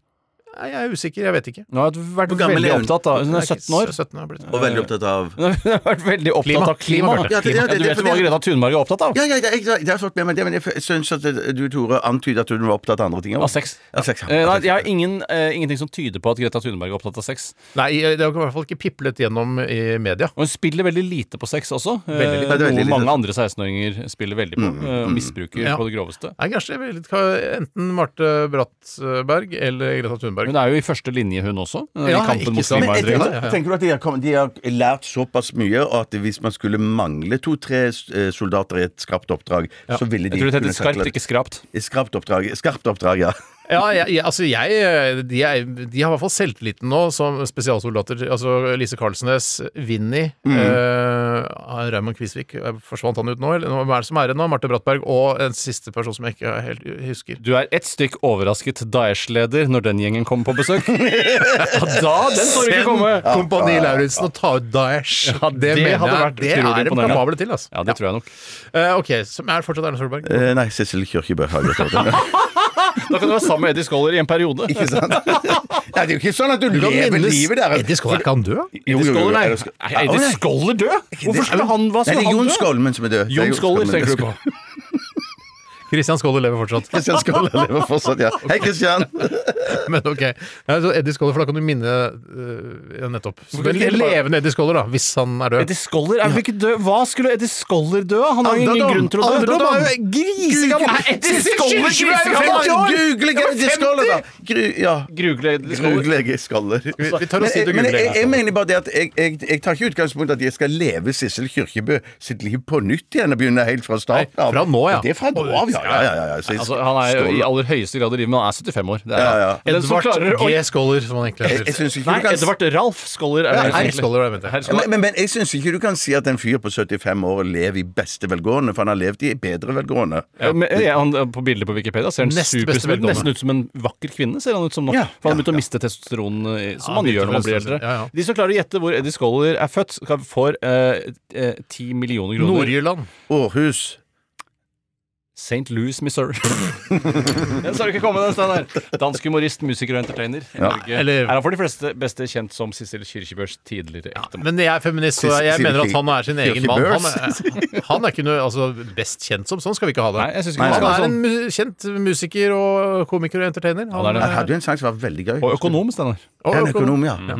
Nei, Jeg er usikker, jeg vet ikke.
Hun har vært
Hvor gammel
veldig
er hun?
opptatt av Hun er
Jeg
17 år.
17 har blitt.
Og veldig opptatt av
Hun har vært veldig opptatt
Klima.
av klima.
Klima, Bjarte.
Ja,
Ja, det- ja, det-
du
det-
vet hva
det-
Greta Thunberg er opptatt av?
Ja, ja, jeg, jeg, jeg har fått med meg det, men jeg syns at du, Tore, antyder at hun var opptatt av andre ting. også.
Av sex.
Av sex, ja.
Eh, nei, jeg har ingen, eh, ingenting som tyder på at Greta Thunberg er opptatt av sex.
Nei, det har i hvert fall ikke piplet gjennom i media.
Og hun spiller veldig lite på sex også. eh,
Veldig lite.
Nei, det er veldig
noe mange
lite.
andre 16-åringer spiller veldig på. eh, og misbruker
Ja.
på det groveste.
Nei, kanskje det blir litt ka- enten Marte Brattberg eller Greta Sandberg.
Hun er jo i første linje, hun også, i
Ja, ikke
kampen mot
sant.
Men jeg
klimaendringene.
Ja, ja,
tenker,
ja.
tenker du at de har, kommet, de har lært såpass mye, og at hvis man skulle mangle to-tre eh, soldater i et skarpt oppdrag, så ville de
Jeg tror det
kunne
heter skarpt,
takle-
ikke skrapt.
I Skarpt oppdrag. Skarpt oppdrag, ja. <laughs>
Ja, jeg, jeg, altså jeg, eh, de, er, de har i hvert fall selvtilliten nå som spesialsoldater. Altså Lise Karlsnes, Vinni,
Mm.
eh, Raymond Kvisvik eh, Forsvant han ut nå? Eller hvem er det som er igjen nå? Marte Brattberg og en siste person som jeg ikke helt husker.
Du er ett stykk overrasket Daesh-leder når den gjengen kommer på
<laughs>
besøk. ja, da, den så du ikke komme!
Kompani Lauritzen og ta ut Daesh!
Ja, det mener jeg er
det
utrolig
er de
imponerende.
kapable til, altså.
Ja, det tror jeg nok.
Eh, ok, som er fortsatt Erna Solberg.
Eh, Nei, Sissel Kyrkjebø har gått over det.
Da kan du være sammen med Eddie Scholler i en periode.
Ikke sant? <laughs> Nei, det er jo ikke sånn at du,
Du kan
lever
minnes-
livet der.
Eddie Skål, er ikke han død?
Jo, jo, jo, jo.
nei.
Er det sk-
Er Eddie
Å, nei.
Scholler død? Hvorfor skulle han
Nei,
Hva
det
skulle
er
han
Jon
dø?
Skolmen som er død. Det er
Jon Scholler
Skolmen. <laughs>
tenker du på.
Christian Skåler lever fortsatt. <laughs>
Christian Skåler lever fortsatt, ja. Hei, Christian!
Men ok, ja, så Eddie Skåler, for da kan du minne øh, ja, nettopp. Så
kan
en
du ikke bare-
levende Eddie Skåler, da, hvis han er død.
Eddie Scholler er vel ikke død? Hva skulle Eddie Scholler dø av? Han har jo ingen
Alderdom.
grunn til å dø.
Alderdom er jo grisegammel!
Google- Er Eddie Skåler grisegammel?
Google Eddie Skåler, da! Gru, ja.
Grugle Eddie Scholler.
Google Eddie Skåler.
Vi- vi tar og
Men,
sier
jeg,
til
men jeg,
Google.
jeg mener bare det at jeg, jeg, jeg tar ikke utgangspunkt i at jeg skal leve Sissel Kyrkjebø sitt liv på nytt igjen og begynne helt fra starten
Nei,
av.
fra nå, ja.
Det er fra nå av, ja. ja, ja, ja, ja. Så jeg-
Altså, han er jo i
Skåler.
aller høyeste grad i live, men han er 75 år. Det er,
Ja, ja.
han. Den som klarer
Edvard
å
G. Skåler, som han egentlig
Jeg, jeg
heter.
synes ikke du
Nei,
kan...
Edvard Ralf Scholler er det
Herr
egentlig.
Skåler, jeg mente.
Herr
Ja,
Scholler.
Men, men, men jeg syns ikke du kan si at en fyr på 75 år lever i beste velgående, for han har levd i bedre velgående.
Ja, men, ja, han, på bildet på Wikipedia ser han
Nest
super-
beste velgående.
nesten ut som en vakker kvinne. ser han ut som nå.
Ja,
For han
ja,
har begynt å
ja.
miste testosteron, eh,
Ja,
som man
begynt å
gjør når man
miste
blir eldre.
testosteron, ja, ja.
De som klarer å gjette hvor Eddie Scholler er født, skal- får eh, eh, 10 millioner kroner.
Nord-Jylland.
Århus.
St. Louis, <laughs> Missouri. den skal du ikke komme den stedet der. Dansk humorist, musiker og entertainer. I Norge
eller-
Er han for de fleste beste kjent som Sissel Kyrkjebøs tidligere ektemann?
Men jeg er feminist, så jeg
Sier- sier
mener at
ikke-
han er sin
sier
egen
ikke
mann. Han
Børs.
er, han er ikke noe altså, best kjent som. Sånn skal vi ikke ha det.
Nei, jeg synes ikke
Nei,
man
Han
skal ha
er en
sånn.
mu- kjent musiker og komiker og entertainer. Han, eh,
Han er det.
Jeg hadde jo en sang som var veldig gøy.
Og økonom, Steinar.
og
En økonom,
økonom.
ja.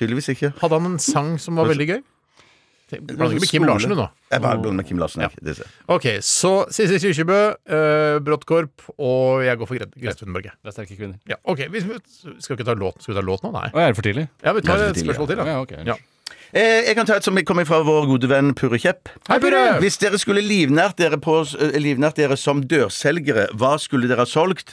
Tydeligvis ikke.
Hadde han en sang som var veldig gøy? Tenk, Blander ikke med Kim
Skole.
Larsen, du nå?
Jeg bare blander med Kim Larsen. jeg. Det ser-
Ok, så Sissel Kyrkjebø, eh, Bråttkorp og jeg går for Gre- Grete Thunberg. jeg.
Det er sterke kvinner.
Ja, ok, vi, Skal vi ikke ta låt? Skal vi ta låt nå? Nei.
Å, jeg er det for tidlig?
Ja, Vi tar
Nei,
et
det er for
spørsmål til, da.
Ja, ok.
Ja.
Eh, Jeg kan ta et som kommer fra vår gode venn Purre Kjepp.
Hei, Purre!
Hvis dere skulle livnært dere, på, eh, livnært dere som dørselgere, hva skulle dere ha solgt?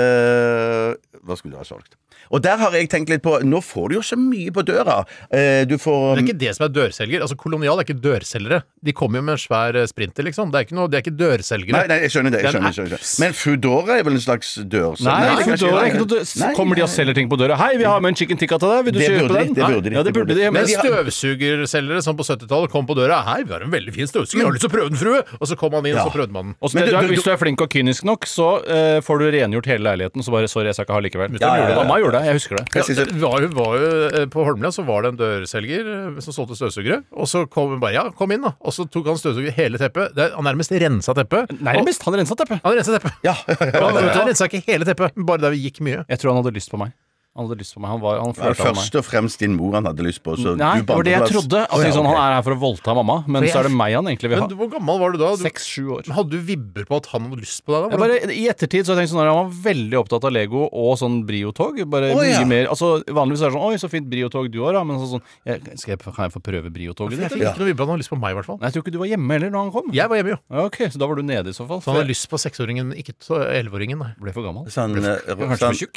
Eh, hva skulle dere ha solgt? Og der har jeg tenkt litt på Nå får du jo så mye på døra. Eh, du får
Det er ikke det som er dørselger. Altså Kolonial er ikke dørselgere. De kommer jo med en svær eh, sprinter, liksom. Det er ikke noe, de er ikke dørselgere.
Nei, nei, jeg skjønner det. Jeg
Det er
skjønner,
en
jeg skjønner, jeg skjønner. Men Foodora er vel en slags dørselger?
Nei,
det er kanskje-
Foodora er ikke noe dø-
Nei,
Kommer de og
nei.
selger ting på døra? 'Hei, vi har med en chicken tikka til deg. Vil du
Det
kjøpe
burde de,
den?'
det
Nei.
burde de,
Ja, det
det
burde
burde
de.
de.
Men
Men
de har-
støvsugerselgere som på 70-tallet kom på døra 'Hei, vi har en veldig fin støvsuger, har du lyst til å prøve den, frue?' Og så kom han inn, og så prøvde man den.
og så
Men
det-
du-
du,
du-
hvis du er flink og kynisk nok, så eh, får du rengjort hele leiligheten. Så bare 'sorry, jeg skal ikke ha likevel'. Mutter'n
ja,
gjorde det.
ja.
Mamma gjorde det. Jeg husker det.
Jeg
Ja,
synes
det var jo, var jo, eh, på Holmlia så var det en dørselger eh, som solgte støvsugere. Og så kom hun bare ja, kom inn, da. Og så tok han støvsuger hele teppet. Det, han nærmest rensa teppet.
Nærmest. Han rensa teppet.
Han rensa teppet.
Ja,
<laughs> Han, han rensa ikke hele teppet, men bare der vi gikk mye.
Jeg tror han hadde lyst på meg. Han hadde lyst på meg. Han var han
Det var
flørta med meg.
først og fremst din mor han hadde lyst på. Så
Nei,
du
det var det jeg
bandeplass.
trodde. At
Å, ja,
liksom,
ok.
Han er her for å voldta mamma, men
For jeg-
så er det meg han egentlig vil
Men
ha.
du, hvor gammel var du da? Du,
Seks-sju år.
hadde du vibber på at han hadde lyst på deg da?
Jeg
Hvordan-
bare, I ettertid så har jeg tenkt sånn at han var veldig opptatt av Lego og sånn Brio-tog. Bare
Å, ja.
mye mer, altså Vanligvis er det sånn 'oi, så fint Brio-tog du har', da. Men så sånn jeg, skal jeg, 'Kan jeg få prøve Brio-toget
Jeg
ditt?'
fikk
eller?
ikke noe vibber at han hadde lyst på meg, i hvert fall.
Nei, Jeg tror ikke du var hjemme heller når han kom.
Jeg var hjemme, jo.
Ja, Ok, Så da var du nede i så fall.
Så han hadde lyst på seksåringen, ikke så- elleveåringen. Nei,
Jeg Altså- ble for gammel.
Så han, eh,
Jeg var Kanskje
så han-
for tjukk.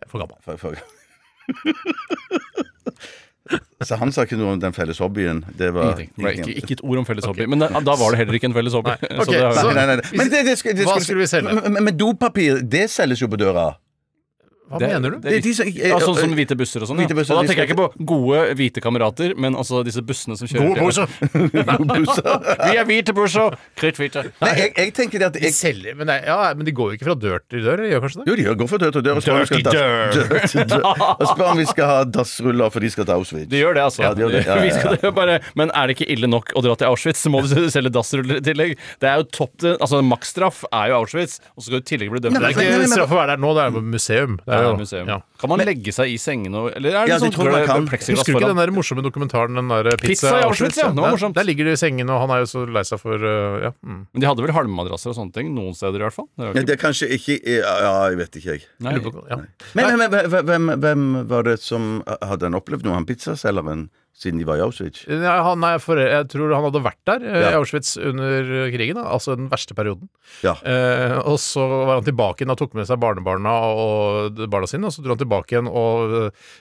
jeg er for gammel.
for- for- <laughs> Så han sa ikke noe om den felles hobbyen. Det var
Ingenting. Det ble Ikke, ikke et ord om felles hobby. Men da, da var det heller ikke en felles hobby.
Nei.
<laughs> Så det har-
Ok, så-
Nei, nei, nei. Men det, det, skulle- det,
Hva skulle vi selge?
Men- Men, men dopapir, det selges jo på døra.
Hva
det-
mener du?
det er
Det er de som- eh,
riktig. ja, sånn som
<laughs>
hvite busser og sånn. Ja.
Hvite busser,
og da
de
tenker jeg
skal-
ikke på gode hvite kamerater, men altså disse bussene som kjører til- <laughs> Vi er hvite busser! Kritthvite.
Nei, jeg, jeg tenker det at
De
jeg,
selger, men, nei, ja, men de går jo ikke fra dør til dør, eller gjør kanskje det?
Jo, de går fra dør til dør og spør om vi skal
Dirty
ta-
dør.
dør til
<laughs>
dør. Og spør om vi skal ha dassruller, for de skal til Auschwitz.
De gjør det, altså.
Ja, de gjør det. Ja, ja, ja.
<laughs> Vi skal jo bare, men er det ikke ille nok å dra til Auschwitz, så må du <laughs> selge dassruller i tillegg. Det er jo topp til, altså Maksstraff er jo Auschwitz, og så skal du i tillegg bli dømt.
Nei,
Det
til
er
men-
ikke straff å være der nå, det er jo museum. Det er er jo-
museum.
ja.
Kan man legge seg i sengene og Eller er
Ja,
det sånn
det tror jeg man kan.
plexiglass
Husker du ikke
foran?
den der morsomme dokumentaren Den der eh, pizza,
Pizza i Auschwitz, ja. Det var
Der-
morsomt.
Der ligger de i sengene, og han er jo så lei seg for uh, ja. mm.
Men de hadde vel halmmadrasser og sånne ting? Noen steder i hvert fall. Det var
Ja,
ikke-
det er kanskje ikke Ja, jeg vet ikke, jeg.
Nei.
Lurer på- ja.
Men, men, men hvem- hvem, hvem var det som eh, Hadde han opplevd noe, han pizzaselgeren, siden de var i Auschwitz?
Ja, han er for, jeg tror han hadde vært der eh, i
Ja.
Auschwitz under eh, krigen, da, altså den verste perioden.
Ja.
Eh, og så var han tilbake igjen og tok med seg barnebarna og de- barna sine, og så dro han tilbake igjen, og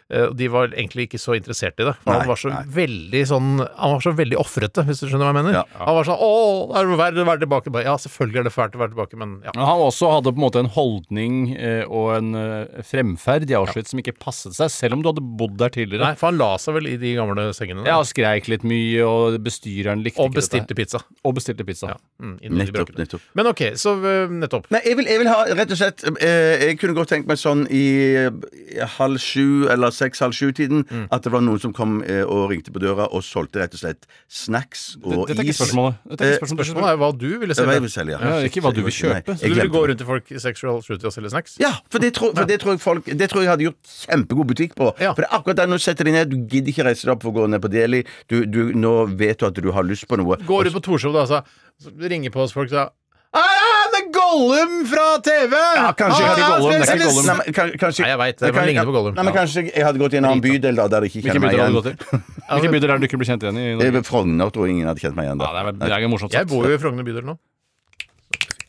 eh, og de var egentlig ikke så interessert i det. For
Nei,
han var så
nei.
veldig sånn Han var så veldig ofrete, hvis du skjønner hva jeg mener.
Ja.
Han var sånn 'Å, det er verre å være tilbake'. Bare, ja, selvfølgelig er det fælt å være tilbake, men ja.
Men han også hadde på en måte en holdning eh, og en eh, fremferd i Auschwitz som ikke passet seg, selv om du hadde bodd der tidligere.
Nei, for han la seg vel i de gamle sengene da,
Ja, skreik litt mye, og bestyreren likte
og
ikke dette
bestilte
her.
pizza.
Og bestilte pizza.
Mm, inni de
Nettopp,
brakene.
nettopp.
Men ok, så eh, nettopp.
Nei, jeg vil, jeg vil ha rett og slett eh, Jeg kunne godt tenkt meg sånn i eh, halv sju eller seks-halv sju-tiden
Mm.
at det var noen som kom eh, og ringte på døra og solgte rett og slett snacks og
Dette er ikke
is.
spørsmålet. Dette er
Eh,
ikke spørsmålet.
Spørsmålet er hva du ville
Det var jeg
selge.
vil selge,
Ja, ikke hva du vil kjøpe.
Nei,
Så
jeg
Så du vil
glemte
gå
det.
rundt til folk i sexual shooting og selge snacks?
Ja, for det tror, for det tror jeg folk Det tror jeg hadde gjort kjempegod butikk på.
Ja.
For det er akkurat der når du setter deg ned, du gidder ikke reise deg opp for å gå ned på Deli. Du, du, nå vet du at du har lyst på noe.
Går ut på Torshov, da, så så ringer på oss folk, så «Ah, ja, det er Gollum fra TV!
Ja, kanskje
Ah,
ikke
ja,
Gollum, det er ikke
spesialist!»
Gollum.
Nei, men, kan- kanskje,
Nei, jeg vet, det
kan-
ligner på Gollum.
Nei, men Kanskje jeg hadde gått i en annen bydel da, der jeg ikke
Hvilke
kjenner meg
bydel hadde du
igjen.
gått til? Hvilke bydel er det du ikke blir kjent igjen i?
Det er
Norge?
ved Frogner tror jeg ingen hadde kjent meg igjen da.
Ja, det er, vel- det er morsomt
Jeg
sagt.
bor jo i Frogner bydel nå.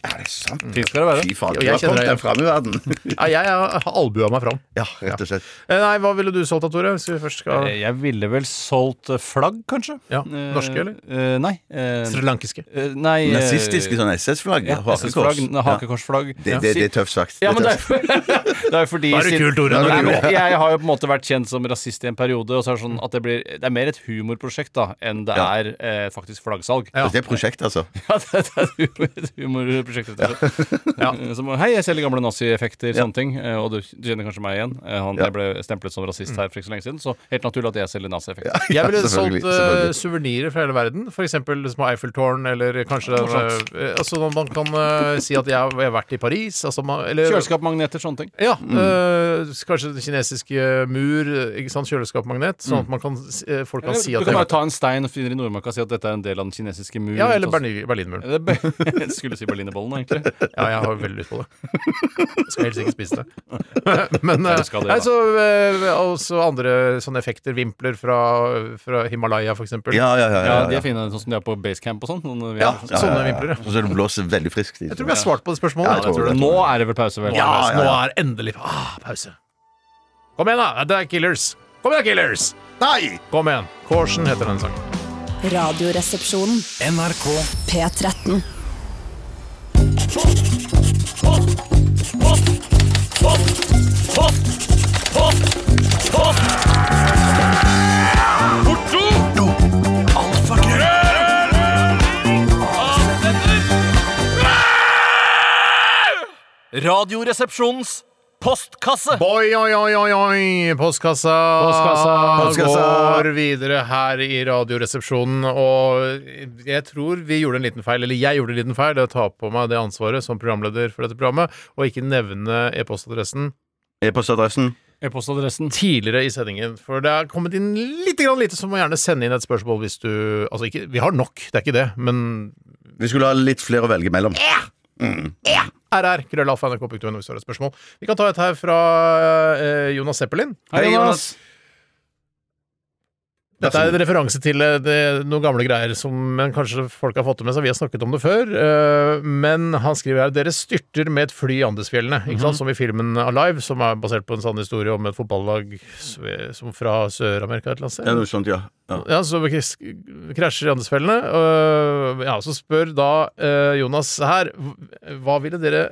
Er det sant?
Fint skal det være.
Fy faen, du
Og jeg
har
kjenner
kommet
deg
deg fram i verden.
Ja, jeg har albua meg fram.
Ja, rett og slett.
Eh, Nei, hva ville du solgt da, Tore? Hvis vi først skal
Eh, Jeg ville vel solgt eh, flagg, kanskje.
Ja,
Eh,
norske, eller?
eh, Nei. eh,
Srilankiske.
eh, Nei eh,
Nazistiske sånn SS-flagg.
ja,
hakekors.
SS-flagg,
Ja.
Hakekorsflagg.
Det, det, det er tøft sagt.
Ja, men <laughs> det
det er
er, det er jo fordi
Da er du
siden-
kul, Tore. Da er du
Nei,
kul.
men Jeg har jo på en måte vært kjent som rasist i en periode, og så er det sånn at det blir Det er mer et humorprosjekt da enn det
Ja.
er eh, faktisk flaggsalg.
Ja.
tøft. Det er prosjekt, altså.
<laughs> Ja, det, det er et humor- et humorprosjekt. rett og slett. Eh, Som, hei, jeg selger gamle nazieffekter, sånne ting. eh, Og du, du kjenner kanskje meg igjen. Eh, Han,
Ja.
Jeg ble stemplet som rasist her for ikke så lenge siden, så helt naturlig at jeg selger nazieffekter. <laughs>
Jeg ville
Ja, selvfølgelig,
solgt uh,
selvfølgelig.
suvenirer fra hele verden. F.eks. små Eiffeltårn, eller kanskje den,
Morsomt.
eh, altså, når Man kan eh, si at jeg har jeg har vært i Paris. Altså, man, eller,
Kjøleskapmagneter, sånne ting.
Ja,
Mm.
øh, s- kanskje den kinesiske mur, ikke sant, kjøleskapmagnet, sånn
Mm.
at man kan, s- eh, folk kan
Eller,
si at
du kan
det-
bare ta en stein og finne i Nordmarka og si at dette er en sånn. del av den kinesiske mur.
Ja, eller
Og så-
Berlin-
<laughs>
Berlinmuren.
Eller Ber- <laughs> Jeg skulle si berlinerbollen, egentlig.
Ja, jeg har veldig lyst på det. Jeg skal helst ikke spise
<laughs>
det. Men
Nei,
eh,
du skal det,
nei,
da.
så, eh, også andre sånne effekter, vimpler fra, fra Himalaya, for eksempel.
Ja, ja, ja. ja,
Ja, de
ja.
er fine, sånn som de er på basecamp og sånn. Sånn, vi
Ja, ja,
er-
ja,
Sånne
ja.
vimpler, ja.
Og så det blåser veldig friskt.
Jeg tror vi har svart på det spørsmålet.
Ja,
jeg
jeg tror det.
Nå er det vel pause, vel?
Ja,
ja,
nå er endelig ah, pause. Kom igjen, da! Det er Killers. Kom igjen, Killers!
Nei!
Kom igjen. Caution heter den sangen.
Radioresepsjonen. NRK P13.
Radioresepsjonens postkasse!
Oi, oi, oi, oi, oi. Postkassa,
Postkassa.
Postkassa.
går videre her i Radioresepsjonen. Og jeg tror vi gjorde en liten feil, eller jeg gjorde en liten feil, det å ta på meg det ansvaret som programleder for dette programmet, og ikke nevne e-postadressen
E-postadressen.
E-postadressen.
tidligere i sendingen. For det er kommet inn litt grann lite, så må gjerne sende inn et spørsmål hvis du Altså, ikke, vi har nok, det er ikke det, men
Vi skulle ha litt flere å velge mellom.
RR, krøllalfa.nrk.no, hvis du har et spørsmål. Vi kan ta et her fra eh, Jonas Zeppelin.
Hei, Jonas.
Dette er en referanse til eh, det, noen gamle greier som men kanskje folk har fått det med seg. Vi har snakket om det før. eh, men han skriver her dere styrter med et fly i Andesfjellene. Ikke sant? Som i filmen Alive, som er basert på en sann historie om et fotballag s- som fra Sør-Amerika et eller annet sted.
Ja, noe sånt, ja. ja.
Ja, så vi kris- krasjer i Andesfjellene. øh, ja, så spør da øh, Jonas her hv- Hva ville dere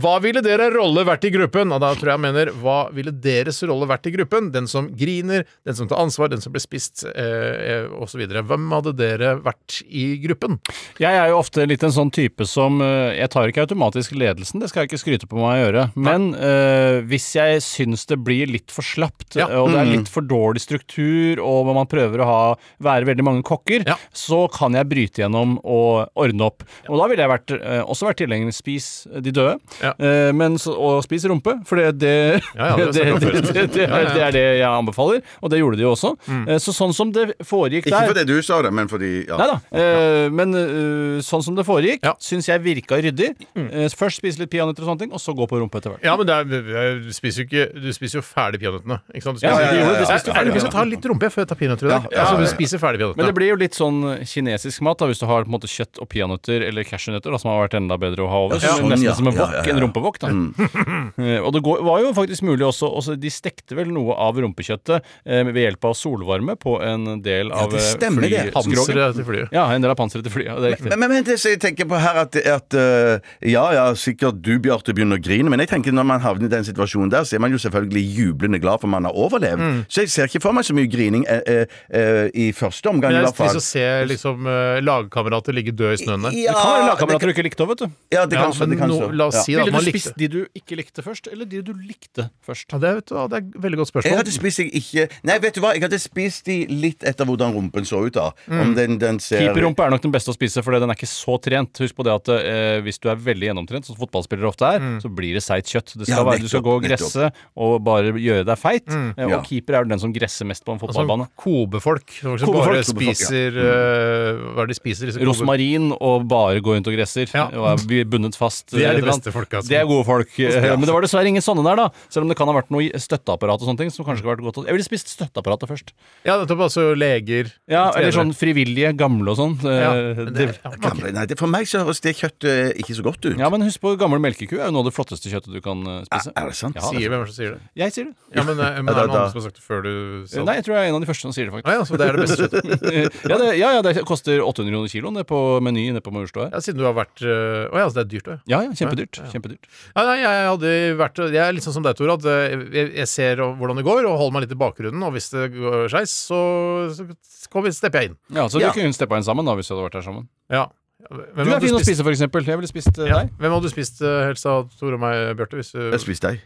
hva ville dere rolle vært i gruppen? Og da tror jeg han mener Hva ville deres rolle vært i gruppen? Den som griner, den som tar ansvar, den som blir spist, eh, eh, osv. Hvem hadde dere vært i gruppen?
Jeg er jo ofte litt en sånn type som eh, Jeg tar ikke automatisk ledelsen, det skal jeg ikke skryte på meg å gjøre. Men eh, hvis jeg syns det blir litt for slapt,
Ja. Mm.
eh, og det er litt for dårlig struktur, og man prøver å ha, være veldig mange kokker,
Ja.
så kan jeg bryte gjennom og ordne opp. Og da ville jeg vært, eh, også vært tilhenger av Spis de døde.
Ja.
Eh, men så, og spis rumpe, for det, det,
Ja, ja,
<laughs> det,
det er
det, det, det, er, det er det jeg anbefaler, og det gjorde de jo også.
Mm.
Eh, så sånn som det foregikk
Ikke
der
fordi du sa det, men fordi ja.
Nei da. Eh, men eh, sånn som det foregikk,
Ja.
syns jeg virka ryddig.
Mm.
Eh, først spise litt peanøtter og sånne ting, og så gå på rumpa etter hvert.
Ja, men det er, du spiser jo ikke Du spiser jo ferdig peanøttene. Ikke sant? Du
Ja,
spiser,
ja, ja, ja, ja.
Du spiser jo ferdig.
Ja, ja, ja.
Vi skal ta litt rumpe før jeg tar peanøtter i
Ja,
dag.
ja,
altså,
ja, ja.
du spiser ferdig
Men det
peanøttene.
blir jo litt sånn kinesisk mat da, hvis du har på en måte kjøtt og peanøtter eller cashewnøtter, da, som har vært enda bedre å ha over.
Ja,
som-
sånn,
Nesten
ja.
som en
Ja,
wok,
ja, ja. Mm.
en rumpevok. Da. <laughs> Eh, og det går, var jo faktisk mulig også, også De stekte vel noe av rumpekjøttet eh, ved hjelp av solvarme på en del av
det stemmer det.
flyskroget.
Panseret til flyet.
Ja, en del av panseret til flyet. ja, Det er riktig.
Men, men, men det som jeg tenker på her at, at eh, Ja, ja, sikkert du, Bjarte, begynner å grine, men jeg tenker når man havner i den situasjonen der, så er man jo selvfølgelig jublende glad for man har overlevd.
Mm.
Så jeg ser ikke for meg så mye grining eh, eh, eh, i første omgang,
Men
i
jeg
hvert fall.
spiser å se liksom, eh, lagkamerater ligge døde i snøen der.
Det kan
Ja,
være
det
lagkamerater
kan-
du ikke likte òg, vet du.
ja, det
Ja,
kan så, det
men
kan
nå-
så.
la oss
Ja.
si da, at
Ville
man
du
likte
spist de du ikke likte først, eller de du likte først?
ja, det, er, vet du, hva, det er et veldig godt
Jeg
spørsmål.
hadde spist de ikke Nei, vet du hva, jeg hadde spist de litt etter hvordan rumpen så ut, da.
Mm.
Om den, den ser
Keeperrumpe er nok den beste å spise, for den er ikke så trent. Husk på det at eh, hvis du er veldig gjennomtrent, som fotballspillere ofte er, så blir det seigt kjøtt. Det skal
Ja,
være, du skal gå og
nettopp,
gresse og bare gjøre deg feit. Eh, og
Ja.
keeper er jo den som gresser mest på en
Sånn
fotballbane.
kobefolk som faktisk
Kobefolk,
bare
kobefolk, ja. Mm.
spiser eh, Hva er det de spiser? disse kobe-
Rosmarin og bare gå rundt og gresser
Ja.
og er bu- bundet fast.
Det er de
eh,
beste
eller annet.
folka, altså.
Det er gode folk. eh, Men det var dessverre ingen sånne der, da. Selv om det kan ha vært noe i- støtteapparat og sånne ting som kanskje ikke har vært godt. å- Jeg ville spist støtteapparatet først.
Ja, nettopp. Altså leger
Ja,
trenere.
Eller sånn frivillige, gamle og sånn. Eh,
Ja, men
det-
det, ja,
Gamle- Nei, det, for meg så høres det kjøttet ikke så godt ut.
Ja, men husk på gammel melkeku er jo noe av det flotteste kjøttet du kan eh, spise.
Er det sant?
Ja,
sier, hvem er det som sier det?
Jeg sier det.
Ja, men, eh, men
Ja, da-
er det noen
da-
andre som har sagt det før du sa
Nei,
det?
jeg tror jeg er en av de første som sier det,
Ah,
faktisk.
ja, så det er det beste kjøttet.
<laughs> ja, det, ja, ja, det koster 800 kroner kiloen det på Meny nede på Majorstua her.
Ja, siden du har vært Å ja, altså det er dyrt, det.
Ja, ja, kjempedyrt. kjempedyrt.
Ja, nei, jeg, hadde vært, jeg er litt sånn som deg, Tor. At eh, jeg, jeg ser hvordan det går, og holder meg litt i bakgrunnen. Og hvis det går skeis, så, så kommer, stepper jeg inn.
Ja, Så
Ja.
du kunne steppa inn sammen da, hvis du hadde vært her sammen.
Ja.
Du
Hvem
er
hadde
fin å
spist-
spise, for eksempel. Jeg ville spist eh,
Ja.
deg.
Hvem hadde du spist eh, helst av Tor og meg, Bjarte? Hvis du
Jeg spiste deg.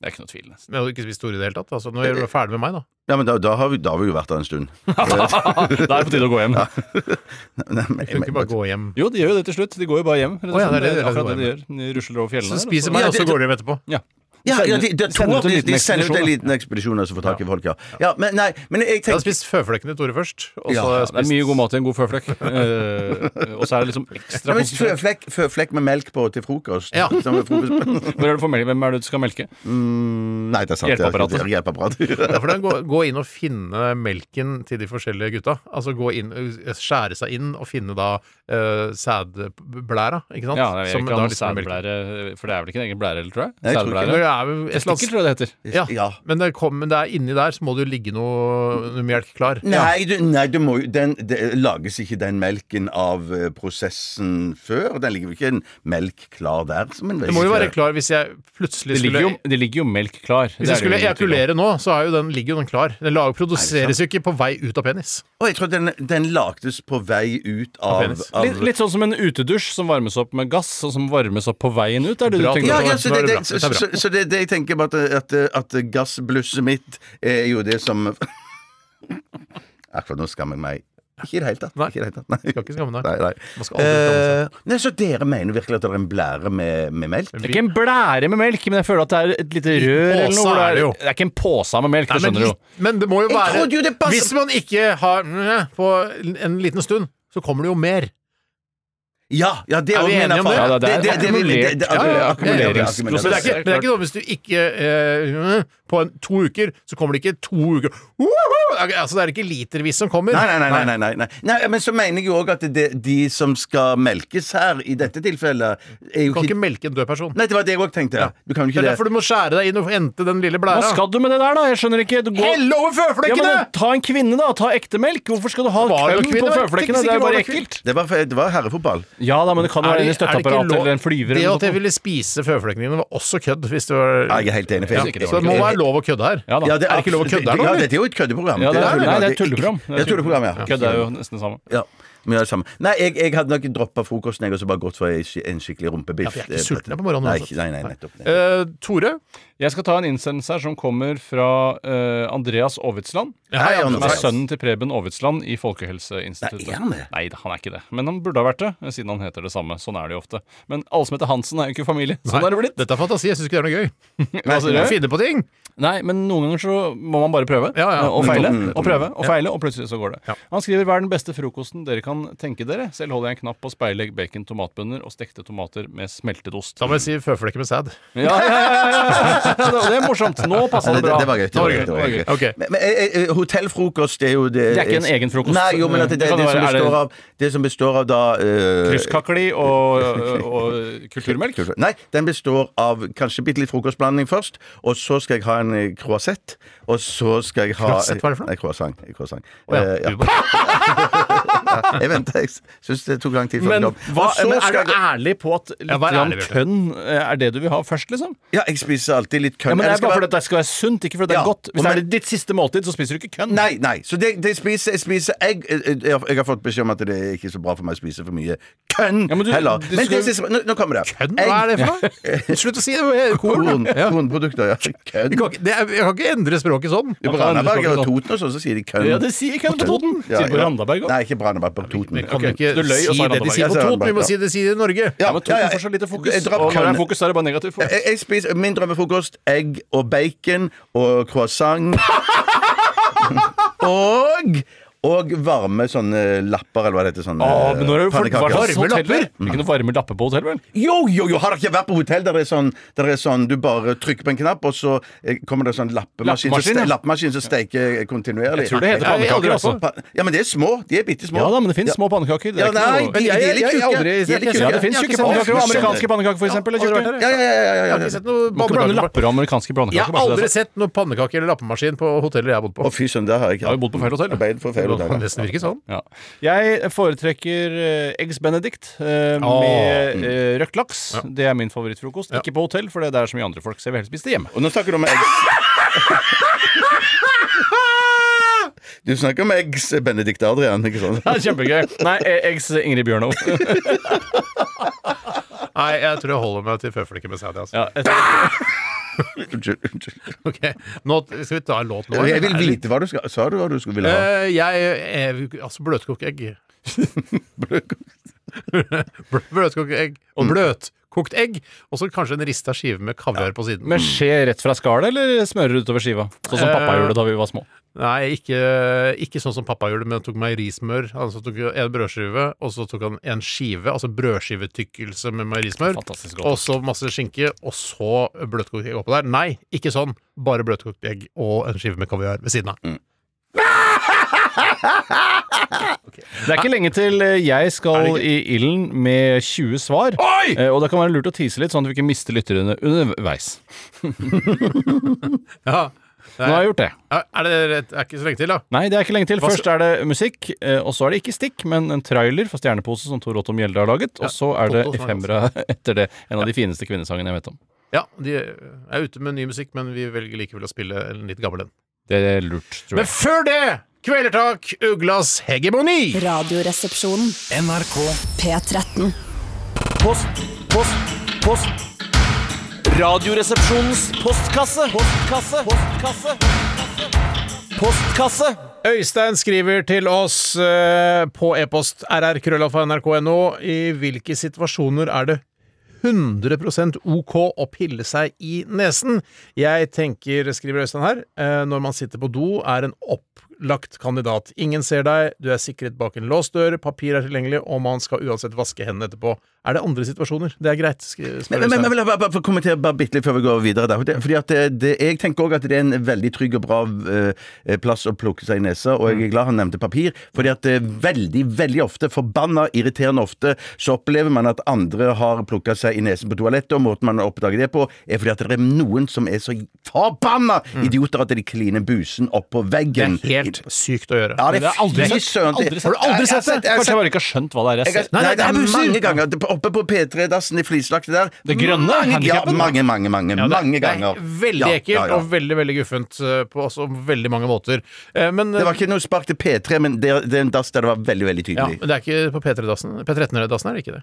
Det er ikke noe tvil, nesten.
Men jeg hadde ikke spist Tore i det hele tatt. Altså, nå er du ferdig med meg, da.
Ja, men da, da, har vi, da har vi jo vært der en stund. <laughs>
Ah.
<laughs> da er det på tide å gå hjem.
Nei, men-
Du kan ikke bare gå hjem.
Jo, de gjør jo det til slutt. De går jo bare hjem.
Å, ja, det er det- det er det de
akkurat
går
det de gjør. De rusler over fjellene.
Så
der, og
spiser
så-
meg,
Ja,
og så
det-
går de hjem etterpå.
Ja.
Ja, ja, de, de,
De sender ut
to,
en
de,
liten
de sender ut en
ekspedisjon, da.
liten ekspedisjon og så får tak i folk, ja. ja men, nei, men jeg
Jeg hadde
tenker
spist føflekkene til Tore først. Og så
Ja,
hadde
Ja,
jeg
det er
spist
mye god mat i en god føflekk.
<laughs>
Eh, og så er det liksom
ja,
ekstra
men
konsentrert.
føflekk, føflekk med melk på til frokost.
Ja.
Som er frokost.
Hvor er det for melk? Hvem er det du skal melke?
Mm, Nei, det er sant. det er-
Hjelpeapparatet.
det er Hjelpeapparatet.
<laughs>
<laughs>
Ja, for det er å gå, gå inn og finne melken til de forskjellige gutta. Altså gå inn, skjære seg inn og finne da eh, sædblæra, ikke sant?
Ja, jeg vil
Som da liksom
ikke
er
ha noe
litt mer melk.
sædblære, for det er vel ikke en egen blære, eller tror jeg?
Nei, jeg tror
Sædblære.
Men Det er jo et eller
Testikkel,
annet
tror jeg det heter.
ja,
Ja.
Men, det kom, men det er inni der så må det jo ligge noe, noe melk klar.
Nei, du, nei du må, jo- den, det lages ikke den melken av eh, prosessen før. Den ligger jo ikke en melk klar der. Som en
Det må jo være klar hvis jeg plutselig
Det ligger,
skulle
jo, det ligger jo melk klar. Det
Hvis
er
jeg
det jo
skulle
ingen tvil om.
ejakulere nå, så er jo den, ligger jo den klar. Den lager, produseres jo ikke på vei ut av penis.
Og jeg tror den, den lagdes på vei ut av,
penis.
av
Litt, litt sånn som en utedusj som varmes opp med gass, og som varmes opp på veien ut. Er det
Bra.
du tenker
Ja,
på?
ja, så
Nå
det,
er
det,
det bra.
så,
Dette er bra.
så, så det, det jeg tenker på at, at, at gassblusset mitt er jo det som Akkurat nå skammer jeg meg. Ikke i det hele tatt.
Nei.
Ikke i det hele tatt. Nei.
Skal ikke skamme deg.
Nei, nei.
Man skal aldri skamme seg.
Eh, nei, så dere mener virkelig at det er en blære med, med melk?
Det er ikke en blære med melk, men jeg føler at det er et lite rør eller
påse
noe. hvor
er det
Det
jo.
er, det er ikke en påse med melk, det
Nei, men,
skjønner du jo.
litt- men det må jo
Jeg
være
trodde jo det passet-
Hvis man ikke har mm, på en liten stund, så kommer det jo mer.
Ja, ja, det
Er vi
også mener
enige om
jeg faen.
det?
Ja, det er akkumulert.
det- det-
Ja, ja,
Men det
akkumuleringsprosess.
er ikke, men det er ikke noe hvis du ikke eh, mm, På en, to uker, så kommer det ikke to uker Woohoo! Altså, det er ikke litervis som kommer.
Nei, nei, nei, nei, nei, nei. nei. Men så mener jeg jo òg at det, de som skal melkes her, i dette tilfellet, er jo
Du kan
ikke
ikke melke en død person.
Nei, det var det jeg òg tenkte. Du kan jo
Det
ikke
er
det.
derfor du må skjære deg inn og hente den lille
Hva
blæra.
skal du med det der, da? Jeg skjønner ikke. Du går...
Hell over
Ja,
føflekkene!
men Ta en kvinne, da. Ta ekte melk. Hvorfor skal du ha
Var det
køm
kvinne?
på føflekkene?
Tenk
Det
sikkert
er jo bare
var det
ekkelt.
Det var, det var herrefotball.
Ja da, men det kan jo være en i
lov-
støtteapparatet eller en flyver
Det at
eller noe
jeg
sånt.
ville spise føflekkene dine, var også kødd. Hvis det
Ja,
var
jeg er helt enig. For jeg,
Ja,
Så det må være lov å kødde her.
Ja da.
Ja,
Er det ikke lov å kødde her nå,
Ja,
eller?
dette er jo et køddeprogram.
Ja, det er,
Det er det.
nei, det er et tulleprogram.
Det er et tulleprogram, ja.
Kødd er jo nesten det samme.
Ja, mye av det samme. Nei, jeg, jeg hadde nok droppa frokosten jeg, og så bare gått for en skik- en skikkelig rumpebiff.
Ja, for jeg er ikke sulten jeg, på morgenen
Nei,
uansett.
ikke- nei, nei, nettopp. nettopp.
Eh, Tore?
Jeg skal ta en innsendelse her som kommer fra eh, Andreas Aavitsland.
Hei,
ja,
Som er
Andreas.
sønnen til Preben Aavitsland i
Nei,
Folkehelseinstituttet.
er han det?
Nei, da, han er ikke det. Men han burde ha vært det, siden han heter det samme. Sånn er det jo ofte. Men alle som heter Hansen, er jo ikke familie. Sånn er det blitt.
Dette er fantasi. Jeg syns ikke det er noe gøy.
<laughs> Hva sier du?
Jeg finner på ting!
Nei, men noen ganger så må man bare prøve.
Ja, ja.
eh, Og feile.
Mm, mm,
Og prøve og feile, og plutselig så går det. Han skriver 'Hva er den beste frokosten dere kan tenke dere?' Selv holder jeg en knapp på speilegg, bacon, tomatbønner og stekte tomater med smeltet ost.
Da må jeg si føflekker med sæd.
Ja, ja, ja, ja, ja. <laughs> Det, det er morsomt. Nå passer
det,
det
det,
bra.
det var gøy. Det var gøy, det var gøy.
Ok.
Men, men eh, eh, hotellfrokost det er jo det
Det er ikke en egen frokost.
Nei, jo, men at det, det,
Det kan
det, som
være- er det-
består av, det som består av da eh,
Krysskakli og, og, og kulturmelk.
Nei, den består av kanskje bitte litt frokostblanding først, og så skal jeg ha en eh, croissette, og så skal jeg ha
Croissette, hva er det for noe?
Nei, croissant. croissant.
Ja.
Eh, ja.
Du bare-
Jeg venter, jeg syns det tok lang tid før
Men,
den kom.
hva,
Og så
men
skal
er du
jeg-
ærlig på at litt
Ja, vær
grann
ærlig, Bjørte.
tønn eh, er det du vil ha først, liksom?
Ja, jeg spiser alltid litt kønn.
Ja, men Det
Jeg
er
skal
bare
være-
fordi at det skal være sunt, ikke fordi det er
Ja,
godt. Hvis
og
det er
men-
ditt siste måltid, så spiser du ikke kønn.
Nei, nei. Så det, det jeg spiser, jeg spiser egg jeg, eh, jeg, har- jeg har fått beskjed om at det er ikke så bra for meg å spise for mye kønn
Ja, men du-
heller.
du
Men
skal-
det, siste- nå, nå kommer det.
Kønn? Hva er det for
<laughs>
noe? Slutt å si det! Korn.
Korn,
Ja.
kornprodukter, ja. Kønn.
Jeg kan, ikke, det er, jeg kan ikke endre språket sånn.
På Randaberg og Toten og sånn, så sier de kønn.
Ja, det sier kønn på Toten.
Ja,
Sier det på
ja.
Randaberg òg.
Nei, ikke Randaberg, på Toten.
Vi kan
Ok,
ikke
du løy og
si
sa
det de
Randaberg.
sier på
Ja,
Toten, vi må
Randaberg,
si det de sier i Norge.
Ja, men Toten
Ja, ja,
får så lite fokus.
jeg drar
Og når det
kønn. Eh,
er fokus, så er det bare negativt fokus.
Jeg, jeg spiser min drømmefrokost egg og bacon og
<laughs>
croissant. og og varme sånne lapper, eller hva det heter. Sånne,
Å, men nå er det jo folk
pannekaker.
varme
Varme lapper?
lapper. Ikke noe varme lapper på hotell, vel?
Jo, jo, jo! Har dere ikke vært på hotell der det er sånn, der det er sånn du bare trykker på en knapp, og så eh, kommer det sånn lappemaskin
Lappemaskin,
som ste-
ja.
lappemaskin som steker eh, kontinuerlig?
Jeg tror det heter
Nei, jeg har aldri
pannekaker,
vært på.
altså.
Pa- Ja, men de er små. De er bitte små.
Ja da, men det fins små pannekaker. Det
Ja,
er ikke
nei,
noe-
men de er litt
Jeg- jeg har
tjukke.
aldri
De er litt
sett det.
ja,
tjukke.
det fins
Jeg har ikke sett
tjukke pannekaker.
det.
og Amerikanske pannekaker, for eksempel. er
aldri vært
tjukke.
der,
Ja, ja, ja, ja, ja,
Jeg har
ja,
ikke
ja.
sett noe
Må ikke blande
pannekaker.
lapper og amerikanske
Jeg
pannekaker.
har
bare så det er
aldri
sagt.
sett noe pannekake eller lappemaskin på hoteller jeg har bodd
Å,
på.
fy søren, der har jeg
Jeg har jo
ikke
bodd på feil hotell. da.
arbeidet for feil.
Det kan
hotell, ja.
nesten virke sånn.
Ja. Jeg foretrekker eh, Eggs Benedict
Åh.
eh, med eh, røkt laks. Det er min favorittfrokost. Ikke på hotell, for det er så mye andre folk, så jeg vil helst spise det hjemme.
Og nå snakker du
<laughs>
om eggs. Du snakker om eggs, Benedikt Adrian, ikke sant?
Det er kjempegøy. <laughs> Nei, eh, Eggs Ingrid Bjørnov.
Nei, jeg tror jeg holder meg til føflekker med sæd. Altså.
Ja, jeg-
Unnskyld. unnskyld.
Ok, nå skal vi ta en låt nå? eller?
Jeg vil vite hva du skal Sa du hva du skulle ville ha?
Eh, jeg er altså bløtkokeegg. <laughs> bløtkokeegg og
Mm.
bløtkokt egg. Og så kanskje en rista skive med kaviar på siden.
Med skje rett fra skallet, eller smører utover skiva? Sånn som pappa
Eh.
gjorde da vi var små.
Nei, ikke, ikke sånn som pappa gjorde, men han tok meierismør. Han så tok en brødskive, og så tok han en skive, altså brødskivetykkelse med meierismør.
Fantastisk godt.
Og så masse skinke, og så bløtkokt egg oppå der. Nei, ikke sånn. Bare bløtkokt egg og en skive med kaviar ved siden av.
Mm.
Det er ikke lenge til eh, jeg skal i ilden med 20 svar.
Oi!
Eh, Og det kan være lurt å tise litt, sånn at vi ikke mister lytterne underveis.
Ja.
Nå har jeg gjort det.
Er er det rett? Er ikke så lenge til, da.
Nei, det er ikke lenge til. Først er det musikk, eh, og så er det ikke stikk, men en trailer fra Stjernepose som Tor Otto Mjelde har laget, og så er det
Otto som har
Efemera <laughs> etter det. En av de fineste kvinnesangene jeg vet om.
Ja, de er ute med ny musikk, men vi velger likevel å spille en litt gammel en.
Det er lurt, tror
Men
jeg.
før det, Kvelertak, Uglas hegemoni!
Radioresepsjonen. NRK P13.
Post, post, post. Radioresepsjonens postkasse. Postkasse. Postkasse. Postkasse.
Øystein skriver til oss eh, på e-post rrkrøllalfa.nrk.no i hvilke situasjoner er det 100 OK å pille seg i nesen. Jeg tenker, skriver Øystein her, eh, når man sitter på do, er en opplagt kandidat. Ingen ser deg, du er sikret bak en låst dør, papir er tilgjengelig, og man skal uansett vaske hendene etterpå. Er det andre situasjoner? Det er greit, skri-
Men,
spør
men, men jeg
Øystein.
vil bare, bare få kommentere bare bitte litt før vi går videre. Der. Fordi at det, det, Jeg tenker også at det er en veldig trygg og bra eh, plass å plukke seg i nesa, og jeg er glad han nevnte papir. Fordi at det er veldig, veldig ofte, forbanna irriterende ofte, så opplever man at andre har plukka seg i nesen på toalettet, og måten man oppdager det på, er fordi at det er noen som er så forbanna idioter at de kliner busen opp på veggen
Det er helt helt sykt å gjøre.
Ja,
Men
det
jeg
er
har aldri
fy
sett,
søren til-
aldri sett,
Jeg- jeg-
aldri sett det!
jeg har
Kanskje jeg bare ikke har skjønt hva det er jeg
Jeg
har
har,
sett.
nei,
nei,
det er
busser.
mange ganger. Det- Oppe på P3-dassen i Flislagt der.
Det grønne
Mange, ja,
handikappen.
mange, mange, mange,
Ja, det er-
mange ganger.
Det er veldig
Ja,
ekkelt
ja, ja.
og veldig veldig guffent eh, på også veldig mange måter. Eh, Men,
Det var ikke noe spark til P3, men det, det er en dass der det var veldig veldig
ja,
tydelig.
men det er ikke på P3-dassen. P13-dassen er det ikke det.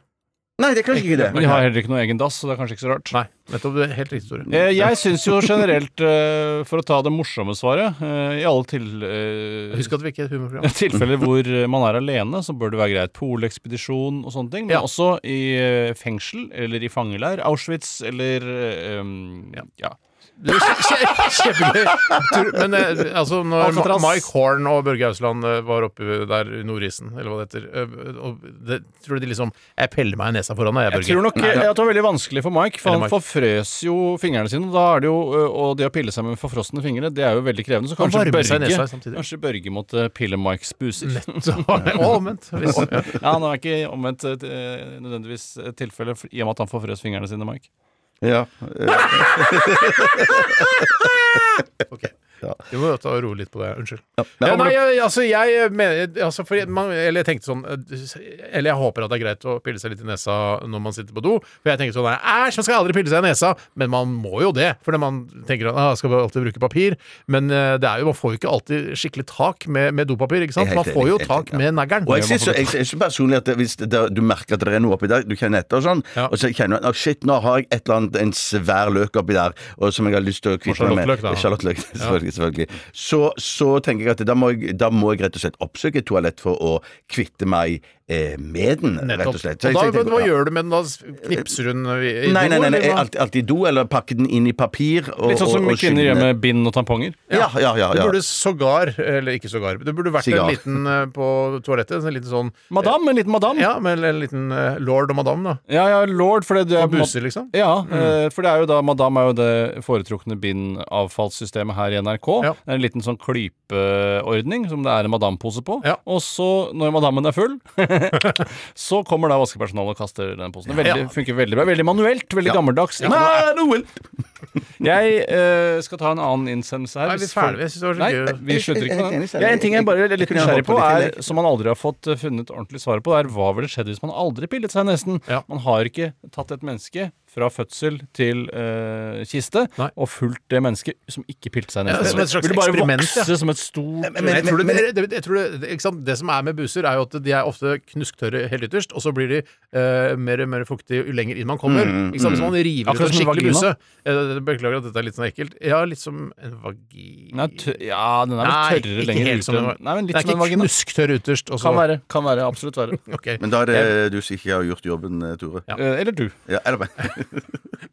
Nei, det er kanskje ikke det.
Men de har heller ikke noen egen dass, så det er kanskje ikke så rart.
Nei, nettopp. det er Helt riktig,
Mm,
Tore.
Eh, Jeg syns jo generelt, eh, for å ta det morsomme svaret, eh, i alle til, eh,
Husk at vi ikke er
<laughs>
et humorprogram.
<laughs> tilfeller hvor eh, man er alene, så bør det være greit. Polekspedisjon og sånne ting. Men
Ja.
også i eh, fengsel eller i fangeleir. Auschwitz eller eh, um, ja.
Det er kje- kje- Kjempegøy. Tore, Men eh, altså, når Ma-
Alcatraz.
Mike Horn og Børge Ausland eh, var oppe der i Nordisen, eller hva det heter, eh, og det, tror du de liksom Jeg peller meg i nesa foran deg, jeg,
Jeg tror
Børge.
nok eh, at det var veldig vanskelig for Mike, for
Eller Mike.
han forfrøs jo fingrene sine. og Da er det jo, ø, og det å pille seg med forfrosne fingre, det er jo veldig krevende. Så
Han
kanskje
varmer seg i
Børge,
nesa samtidig.
kanskje Børge måtte pille Mikes buser.
<laughs> Så, å,
<laughs>
omvendt. Visst.
<laughs> Ja, Han er ikke omvendt eh, nødvendigvis eh, tilfelle f- i og med at han forfrøs fingrene sine, Mike.
Ja.
Vi må ta og roe litt på det. Unnskyld. Ja, nei, jeg, altså, jeg mener altså, for man, Eller jeg tenkte sånn Eller jeg håper at det er greit å pille seg litt i nesa når man sitter på do. For jeg tenker sånn nei, Æsj, man skal aldri pille seg i nesa! Men man må jo det. For man tenker at ah, skal vi alltid bruke papir? Men eh, det er jo, man får jo ikke alltid skikkelig tak med, med dopapir, ikke sant?
Jeg er helt
Man får jo
enig, helt
tak
enig,
med neglen.
Og jeg synes, jeg synes personlig at det, hvis det, der- du merker at det er noe oppi der, du kjenner etter og sånn,
Ja.
og så kjenner du at shit, nå har jeg et eller annet, en svær løk oppi der, og som jeg har lyst til å kvitte meg
Charlottenløk,
med.
da.
<laughs> Charlottenløk, selvfølgelig. selvfølgelig. Så, så tenker jeg at da må jeg, da må jeg rett og slett oppsøke et toalett for å kvitte meg eh, med den, rett og
Nettopp.
slett.
Og da,
tenker-
men, hva
ja.
gjør du med den? Da knipser hun i, i
Eh, Nei, nei,
do,
nei, nei
eller hva?
alltid, alltid i do, eller pakke den inn i papir. Og,
Litt sånn som
og, og
kvinner gjør
skylle-
med bind og tamponger.
Ja, ja, ja.
Det
ja.
burde sågar, eller ikke sågar, det burde vært
Sigar.
en liten eh, på toalettet. En liten sånn
Madam, en liten madam.
Ja, men en liten eh, lord og madame, da.
Ja, ja, lord, for det, det er
Og buser, liksom.
Ja, eh, for det er jo da Madam er jo det foretrukne bindavfallssystemet her i NRK.
Ja.
Det er en liten sånn klypeordning som det er en madampose på.
Ja.
Og så, når madammen er full, <laughs> så kommer da vaskepersonalet og kaster den posen. Det Veldig,
Ja.
funker veldig bra. Veldig manuelt, veldig gammeldags.
<laughs>
Nei, Noel!
Jeg eh, skal ta en annen innsendelse her.
Er vi
hvis folk-
ferdige? Jeg synes det var så
Nei,
gøy.
vi slutter
Jeg- jeg- jeg
ikke
er
med
helt enig,
den.
Sally.
Ja, en ting jeg bare er litt
Jeg kunne ha
nysgjerrig på,
hoppet litt i
er, som man aldri har fått eh, funnet ordentlig svar på, er hva ville skjedd hvis man aldri pillet seg i nesen?
Ja.
Man har ikke tatt et menneske fra fødsel til eh, kiste
Nei.
og fulgt det mennesket som ikke pilte seg i
Ja,
nesen.
som et slags
Vil det bare
eksperiment,
vokse
ja.
som et stort
Men, jeg tror det, det, jeg tror det, det- ikke sant? det som er med buser, er jo at de er ofte knusktørre helt ytterst, og så blir de eh, mer og mer fuktige jo lenger inn man kommer. ikke sant? Hvis man river ut
Mm, Akkurat
en
som en
skikkelig buse
vagina.
eh, Beklager at dette er litt sånn ekkelt. Ja, litt som en vagina
Nei, tø- ja, den er
Nei,
vel
ikke
tørrere lenger
helt
ut.
som en
enn-
vagina.
Nei, men
Det
litt
er
som en
ikke
vagina.
knusktørr ytterst. Og så,
Kan være. Kan være. Absolutt være.
Ok.
Men da er det du som ikke har gjort jobben, eh, Tore. Ja.
Eh, Eller du.
eller meg.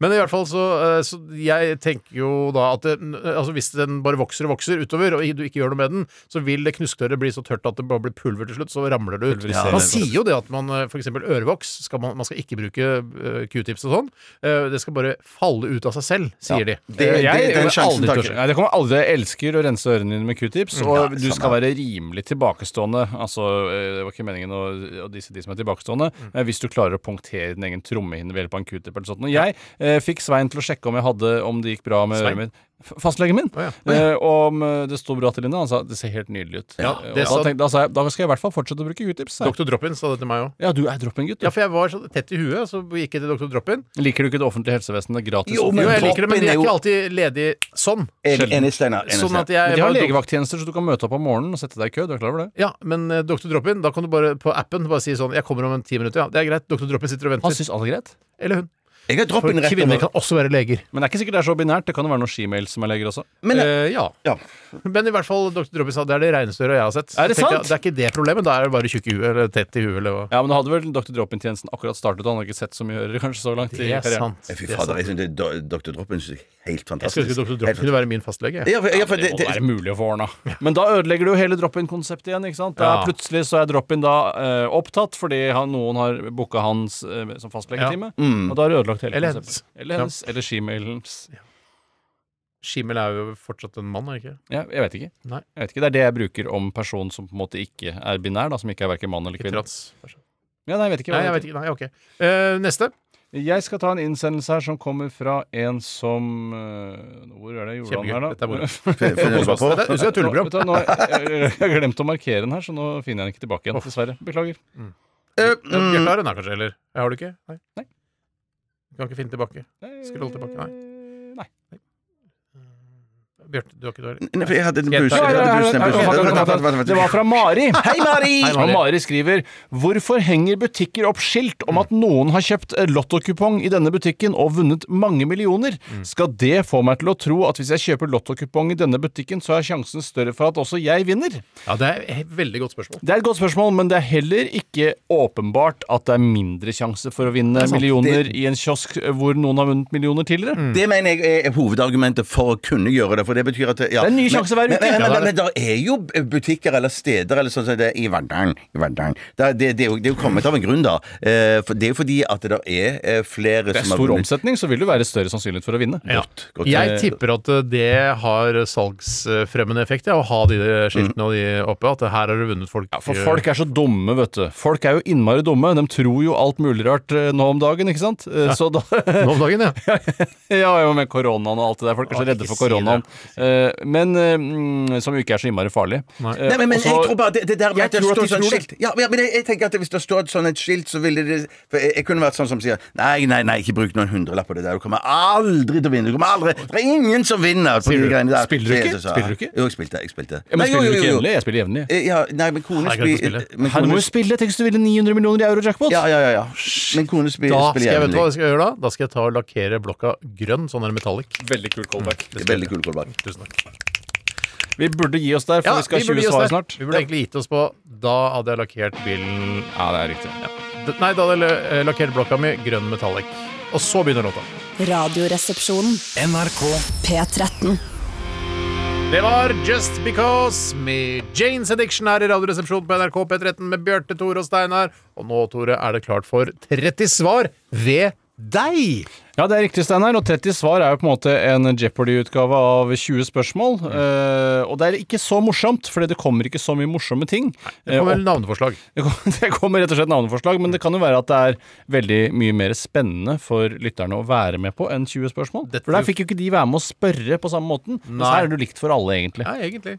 Men i hvert fall så, eh, så Jeg tenker jo da at det, altså hvis den bare vokser og vokser utover, og du ikke gjør noe med den, så vil det knusktørret bli så tørt at det bare blir pulver til slutt, så ramler det ut.
Pulveriserer.
man sier jo det at man eh, for eksempel ørevoks skal man, man skal ikke bruke eh, q-tips og sånn. Eh, Det skal bare falle ut av seg selv, sier de.
Det, det,
Jeg-
den sjansen
aldri
tar
tør-
ikke
Nei, det kommer aldri. Jeg elsker å rense ørene dine med q-tips,
Mm.
og du skal være rimelig tilbakestående. Altså, eh, det var ikke meningen å, å disse de som er tilbakestående,
Mm.
eh, hvis du klarer å punktere din egen trommehinne ved hjelp av en q-tip eller sånt. Og jeg eh, fikk Svein til å sjekke om jeg hadde om det gikk bra med
Svein?
øret mitt. F- Fastlegen min.
Å
Eh, om eh, det sto bra til henne. Han sa det ser helt nydelig ut.
Ja,
Eh, og
det
da,
sa-
tenkte, da sa jeg da skal jeg i hvert fall fortsette å bruke q-tips. sa jeg.
Dr. Droppin sa det til meg òg.
Ja, du er droppen, gutt. du.
Ja, for jeg var så tett i huet, så gikk jeg til Dr. Droppin.
Liker du ikke det offentlige helsevesenet gratis?
Jo,
Jo, jeg liker det, men de
Droppin er
er ikke
jo-
alltid ledige sånn.
Enig, enig, Steinar. enig,
Sånn
Steinar.
at jeg
de har
bare-
legevakttjenester, så du kan møte opp om morgenen og sette deg i kø. Du er klar over det?
Ja, men eh, Dr. Droppin, da kan du bare på appen bare si sånn 'Jeg kommer om en ti minutter', ja. Det er greit. Dr. Droppin sitter og
Han
venter.
syns alt er greit.
Eller hun.
Jeg har
For
droppen rett
kvinner
over.
kan også være leger.
Men det er ikke sikkert det er så binært. Det kan jo være noen skimail som er leger også.
Men,
Eh, ja.
ja.
Men i hvert fall, dr. Droppin sa det er det reneste øret jeg har sett.
Er det
Så tenkte jeg,
sant?
det er ikke det problemet. Da er det bare tjukk i huet eller tett i huet eller hva.
Ja, men da hadde vel Dr. Drop-in-tjenesten akkurat startet, og han har ikke sett så mye ører kanskje så langt i karrieren.
Fy fader, jeg synes det- do- Dr. Droppen synes jeg er helt
Jeg skulle
fantastisk.
ønske dr.
Helt
Droppin kunne være min fastlege. jeg.
Ja, for, ja, for det,
Det må
det,
være mulig å få ordna. <laughs> Men da ødelegger du jo hele drop-in-konseptet igjen. ikke sant?
Ja.
Da Plutselig så er drop-in da eh, opptatt fordi han, noen har booka hans eh, som fastlegetime. Og da har du ødelagt hele
Eller hennes.
konseptet. Mm. Eller hennes. Eller shemailen.
Schimmel er jo fortsatt en mann, er det ikke?
Ja, jeg vet ikke.
Nei.
Jeg vet ikke. Det er det jeg bruker om person som på en måte ikke er binær, da, som ikke er verken mann eller
Ikke
kvinne.
trans.
Ja, nei, jeg vet ikke. hva
Nei, jeg
det
vet ikke. Nei, ok. Eh, neste.
heter. Jeg skal ta en innsendelse her som kommer fra en som eh, Hvor er det jeg gjorde han
Kjempegøy.
her,
Dette er
<laughs>
moro.
da?
Finner du bare på?
Dette er et tulleprogram.
Nå- vet du hva, nå har jeg, jeg har glemt å markere den her, så nå finner jeg den ikke tilbake igjen. Dessverre. Beklager.
Eh, Bjarte har den her, kanskje? Eller jeg har du ikke? Nei.
Nei.
Du kan ikke finne tilbake? Skroll tilbake, nei.
Nei.
Bjarte, du har ikke det? eller?
Nei, for jeg hadde en
Skal jeg
bus.
ta-
Jeg hadde en bus, en bus.
Nei, nei, nei,
Vent, vent,
nei,
vent,
Det var
vent.
fra Mari. Hei, Mari!
Mari.
Og Mari skriver Hvorfor henger butikker opp skilt om at noen har kjøpt lottokupong i denne butikken og vunnet mange millioner? Skal det få meg til å tro at hvis jeg kjøper lottokupong i denne butikken, så er sjansen større for at også jeg vinner?
Ja, det er et veldig godt spørsmål.
Det er et godt spørsmål, men det er heller ikke åpenbart at det er mindre sjanse for å vinne millioner i en kiosk hvor noen har vunnet millioner tidligere.
Det mener jeg er hovedargumentet for å kunne gjøre det. For det betyr at ja,
Det er en ny
men-
sjanse hver
Men,
uke.
men,
Ja,
men,
det er
men, det er jo butikker eller steder eller sånn som det er i Verdalen. I Verdalen. Det, er- det, det, er jo, det er jo kommet av en grunn, da. Eh, for det er jo fordi at det er eh, flere
Det er
som har
stor
vunnet.
omsetning, så vil det være større sannsynlighet for å vinne.
Godt, godt.
Jeg tipper at eh, det har salgsfremmende effekt, ja, å ha de skiltene og de oppe. At her har du vunnet folk. eh,
Ja, for folk er så dumme, vet du. Folk er jo innmari dumme. De tror jo alt mulig rart eh, nå om dagen, ikke sant? Eh, Så da
eh, Nå <laughs> om dagen, ja.
Ja, jo, med koronaen og alt det der. Folk er så
Ja,
redde
ikke
for
si det.
koronaen. Eh, Men eh, mm, Som jo ikke er så innmari farlig. Eh,
Nei, men, men
og så-
jeg tror bare det, det der med
Jeg
at det
tror at
står
de
sånn
tror det.
skilt ja, men- ja, men jeg, jeg tenker at Hvis det står et sånn et skilt, så ville det for jeg, jeg kunne vært sånn som sier Nei, nei, nei, ikke bruk noen hundrelapp på det der. Du kommer aldri til å vinne. Du kommer aldri Det er ingen som vinner på de
du-
greiene der.
spiller du ikke?
Så jeg sa,
Spiller du ikke?
Jo, jeg spilte. Jeg spilte.
Ja, men
Nei, jo, jo,
spiller du
jo,
ikke
jo.
jevnlig? Jeg spiller jevnlig.
Eh, Ja, nei, men kone
Nei, jeg kan
spiller
ikke spille.
men
Her må
kone-
du spille! Tenk hvis du ville 900 millioner i euro-jackpot!
Ja, ja, ja, ja. Men kone spiller,
Da skal
spiller
jeg, vet du
jevnlig.
hva jeg skal gjøre da? Da skal jeg ta og lakkere blokka grønn, sånn der metallic.
Veldig kul callback.
Det er Veldig kul callback.
Tusen takk.
Vi burde gi oss der, for
Ja,
vi skal
vi
ha
burde
20
gi oss
svar
det.
snart.
Vi burde egentlig gitt oss på Da hadde jeg lakkert bilen
Ja, det er riktig.
D- Nei, da hadde jeg eh, lakkert blokka mi grønn metallic. Og så begynner låta.
Radioresepsjonen. P13.
Det var Just Because med Janes Addiction her i Radioresepsjonen på NRK P13 med Bjarte, Tore og Steinar. Og nå, Tore, er det klart for 30 svar ved deg!
Ja, det er riktig, Steinar. Og 30 svar er jo på en måte en Jeopardy-utgave av 20 spørsmål. Eh, og det er ikke så morsomt, fordi det kommer ikke så mye morsomme ting.
Det
Eh,
kommer
og- <laughs>
vel navneforslag.
det kom- det kommer rett og slett navneforslag, men det kan jo være at det er veldig mye mer spennende for lytterne å være med på enn 20 spørsmål.
Dette-
For der fikk jo ikke de være med å spørre på samme måten. Mens
Nei.
her er du likt for alle, egentlig.
Ja, egentlig.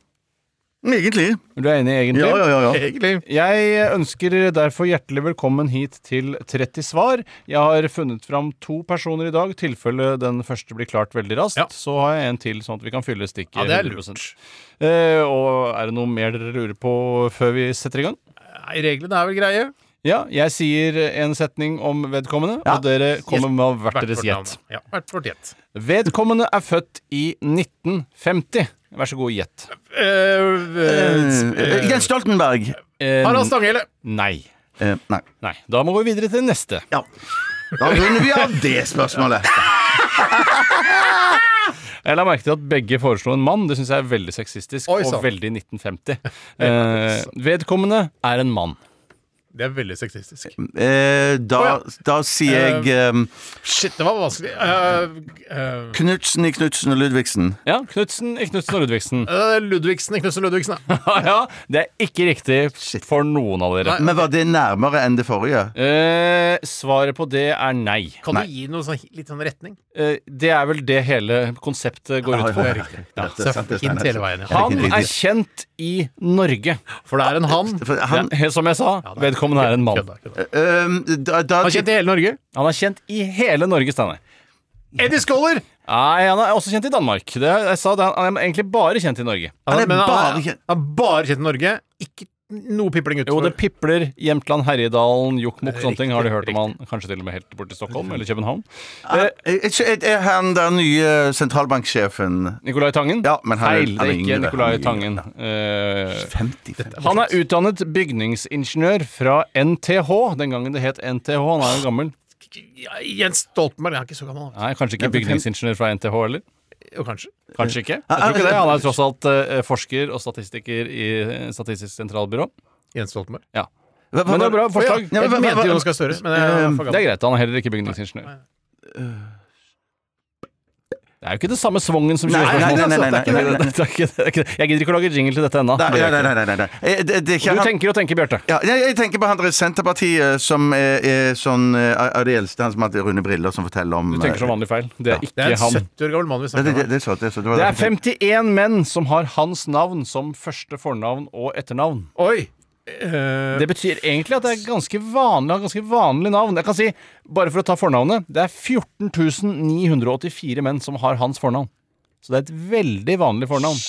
Mm,
Egentlig.
Du er enig, egentlig?
Ja, ja, ja. ja.
Egentlig.
Jeg ønsker derfor hjertelig velkommen hit til 30 svar. Jeg har funnet fram to personer i dag. I tilfelle den første blir klart veldig raskt,
Ja.
så har jeg en til, sånn at vi kan fylle stikket.
Ja, det er
100%.
lurt.
Eh, og er det noe mer dere lurer på før vi setter i gang?
Nei, reglene er vel greie.
Ja, jeg sier en setning om vedkommende,
Ja.
og dere kommer med hvert
Hvert vårt
deres gjett.
navn. Ja, hvert vårt gjett.
Vedkommende er født i 1950. Vær så god, gjett.
Eh, Jens Stoltenberg.
Eh,
Harald Stanghelle.
nei.
Eh, nei.
Nei. Da må vi videre til neste.
Ja. Da runder vi av det spørsmålet.
Jeg la merke til at begge foreslo en mann. Det syns jeg er veldig sexistisk
Oi,
og
sant.
veldig <laughs> 1950. Eh, vedkommende er en mann.
Det er veldig sexistisk.
Eh, da,
Å,
da sier jeg eh,
Shit, det var vanskelig. Eh, eh,
Knutsen i Knutsen og Ludvigsen.
Ja, Knutsen i Knutsen og Ludvigsen.
eh, Ludvigsen i Knutsen Ludvigsen. da.
<laughs> ja, det er ikke riktig for noen av dere.
Men var det nærmere enn det forrige?
Eh, svaret på det er nei.
Kan du gi noe sånn, litt sånn retning?
Eh, det er vel det hele konseptet går ut på.
Ja, det er sant, det er
Hint
sant.
hele veien. Ja.
Han er kjent i Norge.
For det er en han.
For Han,
Ja, som jeg sa, vedkommende er en mann.
Kødda, kødda.
øhm, Eh, ehm, da, da,
Han kjente hele Norge.
Han er kjent i hele Norge, Steinar.
Eddie Scholler!
Nei, han er også kjent i Danmark. Det, jeg sa det, han er egentlig bare kjent i Norge.
Han er
Men
bare kjent-
han er bare kjent i Norge. Ikke noe pipling
Jo,
utenfor.
det pipler Jämtland, Herjedalen, Jokkmokk, sånne ting. Har du hørt
Riktig,
om han kanskje til og med helt bort til Stockholm eller København? Eh,
er, er, er han den nye sentralbanksjefen
Nicolai Tangen?
Ja, men han er-
Feil, det
han er
er ikke
yngre,
Nicolai
han er
Tangen.
yngre.
Eh,
50, 50.
han er utdannet bygningsingeniør fra NTH, den gangen det het NTH. Han er jo gammel.
Ja, Jens Stoltenberg er ikke så gammel. han.
Nei, kanskje ikke bygningsingeniør fra NTH heller?
Jo, kanskje.
Kanskje ikke. Jeg tror ikke det. Han er tross alt eh, forsker og statistiker i eh, Statistisk sentralbyrå.
Jens Stoltenberg.
Ja.
Hva- hva-
Men det er bra forslag.
Ja,
Jeg
men hva-
mente
hva-
Jonas Gahr Støre, men jeg er for
Det er
gammel.
greit, han er heller ikke bygningsingeniør. Det er jo ikke det samme svongen som
Nei, nei, nei, nei, nei, nei,
Det er ikke det, det er ikke det, det er ikke det. Jeg gidder ikke å lage jingle til dette ennå.
Nei, nei, nei, nei, nei, nei. Eh, Det, det,
Du
han-
tenker og tenker, Bjarte.
Ja, jeg, jeg tenker på han der i Senterpartiet som er, er sånn eh, av de eldste, han som hadde runde briller, som forteller om eh,
Du tenker som vanlig feil. Det er
Det er
ikke
en
han.
70 år gammel mann vi
Ja, Det,
snakker
det,
om.
det, er sant, det, er sant, det var
Det er
derfor jeg
51 menn som har hans navn som første fornavn og etternavn.
Oi! Eh,
Det betyr egentlig at det er ganske vanlig, har ganske vanlig navn. Jeg kan si, bare for å ta fornavnet, det er 14 984 menn som har hans fornavn. Så det er et veldig vanlig fornavn.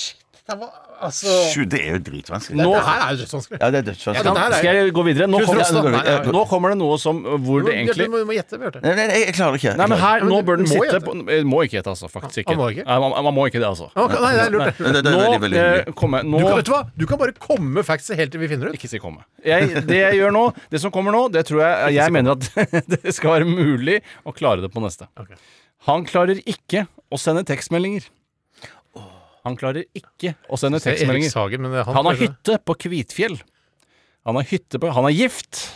det var, altså
tenkte. Sju, det er jo dritvanskelig.
Nå,
Det her er jo dødsvanskelig.
Ja, det er
Ja,
dødsvanskelig.
dette her er-
skal jeg gå videre? Nå
Knut
kommer,
Rostand. Nei, nei, nei.
nå kommer det noe som hvor
Du
det egentlig
må, du må gjette, Bjarte.
Nei, nei, jeg, jeg klarer det ikke.
Nei, men her,
men
nå
du-
bør den
du må
sitte
gjette.
på eh, Må ikke gjette, altså. Faktisk ikke.
Han må ikke?
Nei, man, man må ikke det, <laughs> altså.
Ok, nei, det er lurt.
Nei, det- det er veldig,
Nå
veldig hyggelig.
eh, kommer
Du kan,
nå-
vet du hva? Du kan bare komme med factset helt til vi finner ut.
Ikke si komme. Jeg, det jeg gjør nå, det som kommer nå, det tror jeg Jeg mener at <laughs> det skal være mulig å klare det på neste.
Ok.
Han klarer ikke å sende tekstmeldinger. Han klarer ikke å sende
Det er Erik
tekstmeldinger.
Sagen, men han,
Han har hytte på Kvitfjell. Han har hytte på Han er gift.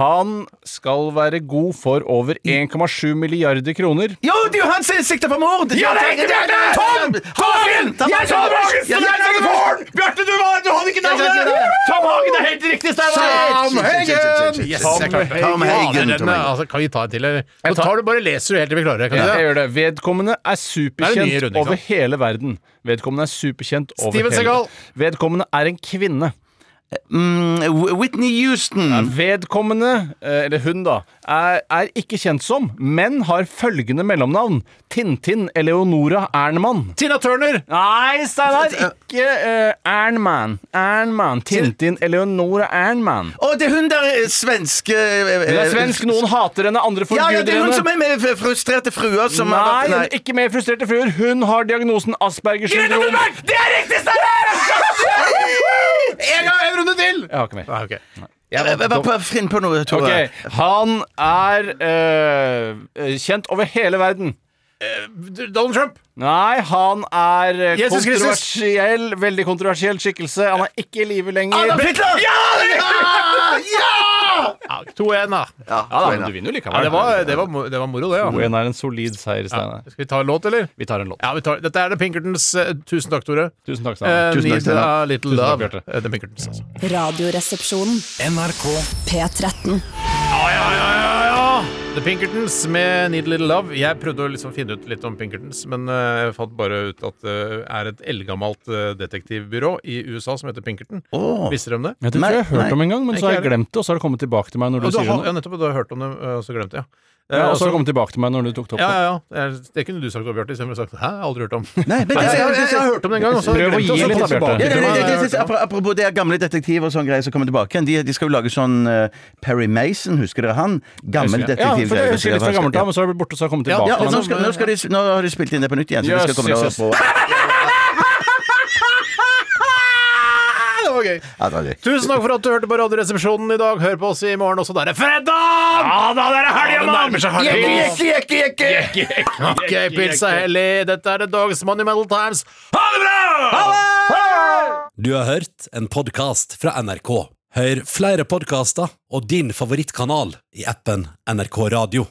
Han skal være god for over 1,7 milliarder kroner.
Jo, det er jo han som er sikta på mord!
Ja, det er riktig, Bjarte!
Tom! Hagen!
Jeg sa Magen!
Ja, ja, ja, ja.
Bjarte, du, var- du hadde ikke
Jeg sa ikke det.
Tom Hagen er helt riktig,
Sam Heggen! Yes,
Tom
jeg klarte det.
Heggen. Tom Heggen,
Ja, den,
Tom Heggen.
altså, kan vi ta en til, eller?
Jeg
Nå
tar-
tar du bare leser du helt til vi klarer det. Kan
Ja, jeg
du det?
gjør det. Vedkommende er
Det er en ny
superkjent
runde, ikke
over
sant?
hele verden. Vedkommende er superkjent over
Steven
hele
Seagal.
Vedkommende er en kvinne.
Mm, Whitney Houston.
Vedkommende, eh, eller hun da, er, er ikke kjent som, men har følgende mellomnavn. Tintin Eleonora Ernmann.
Tina Turner!
Nei, Steinar, ikke eh, Ernmann. Ernmann. Tintin Eleonora Ernmann.
Å, det er hun der eh, svenske
Hun er svensk, noen hater henne, andre
Ja, ja,
forguder
det er hun
henne.
som er med f- frustrerte fruer som
Nei,
har
hun er ikke mer frustrerte fruer. Hun har diagnosen Aspergers syndrom.
Det er riktig, Steinar!
En gang, en runde til!
Jeg har ikke mer.
Ah, ok.
Bare prøv- finn på noe, Tore.
Ok, Han er eh, kjent over hele verden.
Donald Trump!
Nei, han er eh,
Jesus Kristus.
kontroversiell, veldig kontroversiell skikkelse. Han er ikke i live
Ah,
lenger.
Adolf Hitler! Ja!
<laughs>
Ja, 2-1, da.
Ja,
Ja, da,
Tore,
men
da.
du
Ja,
vinner jo likevel.
det, var, det, var, mo- det var moro, det. Ja.
2-1 er en solid seier, Steinar.
Skal vi ta en låt, eller?
Vi tar en låt.
Ja, vi tar, Dette er The Pinkertons. eh, Tusen takk, Tore.
Tusen takk,
Eh,
Steinar. Tusen
Need
takk.
a little
Tusen takk,
love.
Bjarte.
Eh, The Pinkertons, altså.
Radioresepsjonen. NRK P13.
Ja, ja, ja, ja. The Pinkertons med Need a Little Love. Jeg prøvde å liksom finne ut litt om Pinkertons, men eh, jeg fant bare ut at det er et eldgammelt eh, detektivbyrå i USA som heter Pinkerton.
Åh.
Visste dere om det?
Ja, det tror jeg jeg har hørt om en gang, men så har jeg
Ikke jeg
glemt det. Og så har det kommet tilbake til meg når du
Og du
sier
har,
det
ja,
nå.
nettopp, og du har hørt om det, eh, og så glemte jeg. Eh,
Ja, og så har
også-
det kommet tilbake til meg når du tok topp.
ja, ja, ja. Det er- Det kunne du sagt òg, Bjarte. Istedenfor å sagt 'hæ, jeg har aldri hørt om'.
Nei, men det-
jeg, jeg, jeg, har hørt om det en gang. og så har jeg glemt
Prøv å
det, og
gi
så
litt,
kom
da,
tilbake
Bjarte.
til
Ja, det, det,
meg. Jeg
det,
har
det,
hørt om det.
apro- apropos det er gamle detektiver og sånn greier som kommer tilbake igjen. De, de skal jo lage sånn eh, Perry Mason, husker dere han? Gammel
Ja,
detektiv.
for det husker jeg litt fra gammelt av, men så har det blitt borte, og så har det kommet tilbake.
Ja,
til
og
meg.
nå, skal, nå, skal de, nå har de spilt inn det på nytt igjen. Så
Yes,
det skal komme
yes, yes.
da på.
Ah, Det var gøy.
Ja, det er gøy.
Tusen takk for at du hørte på Radioresepsjonen i dag. Hør på oss i morgen også. Da er det fredag! Ja da, det er helga, mann! Jekke, jekke, jekke, jekke! Ok, pizza hellig. Dette er The Dogs Monumental Times. Ha det bra!
Du har hørt en podcast fra NRK. Hør flere podcaster og din favorittkanal i appen NRK Radio.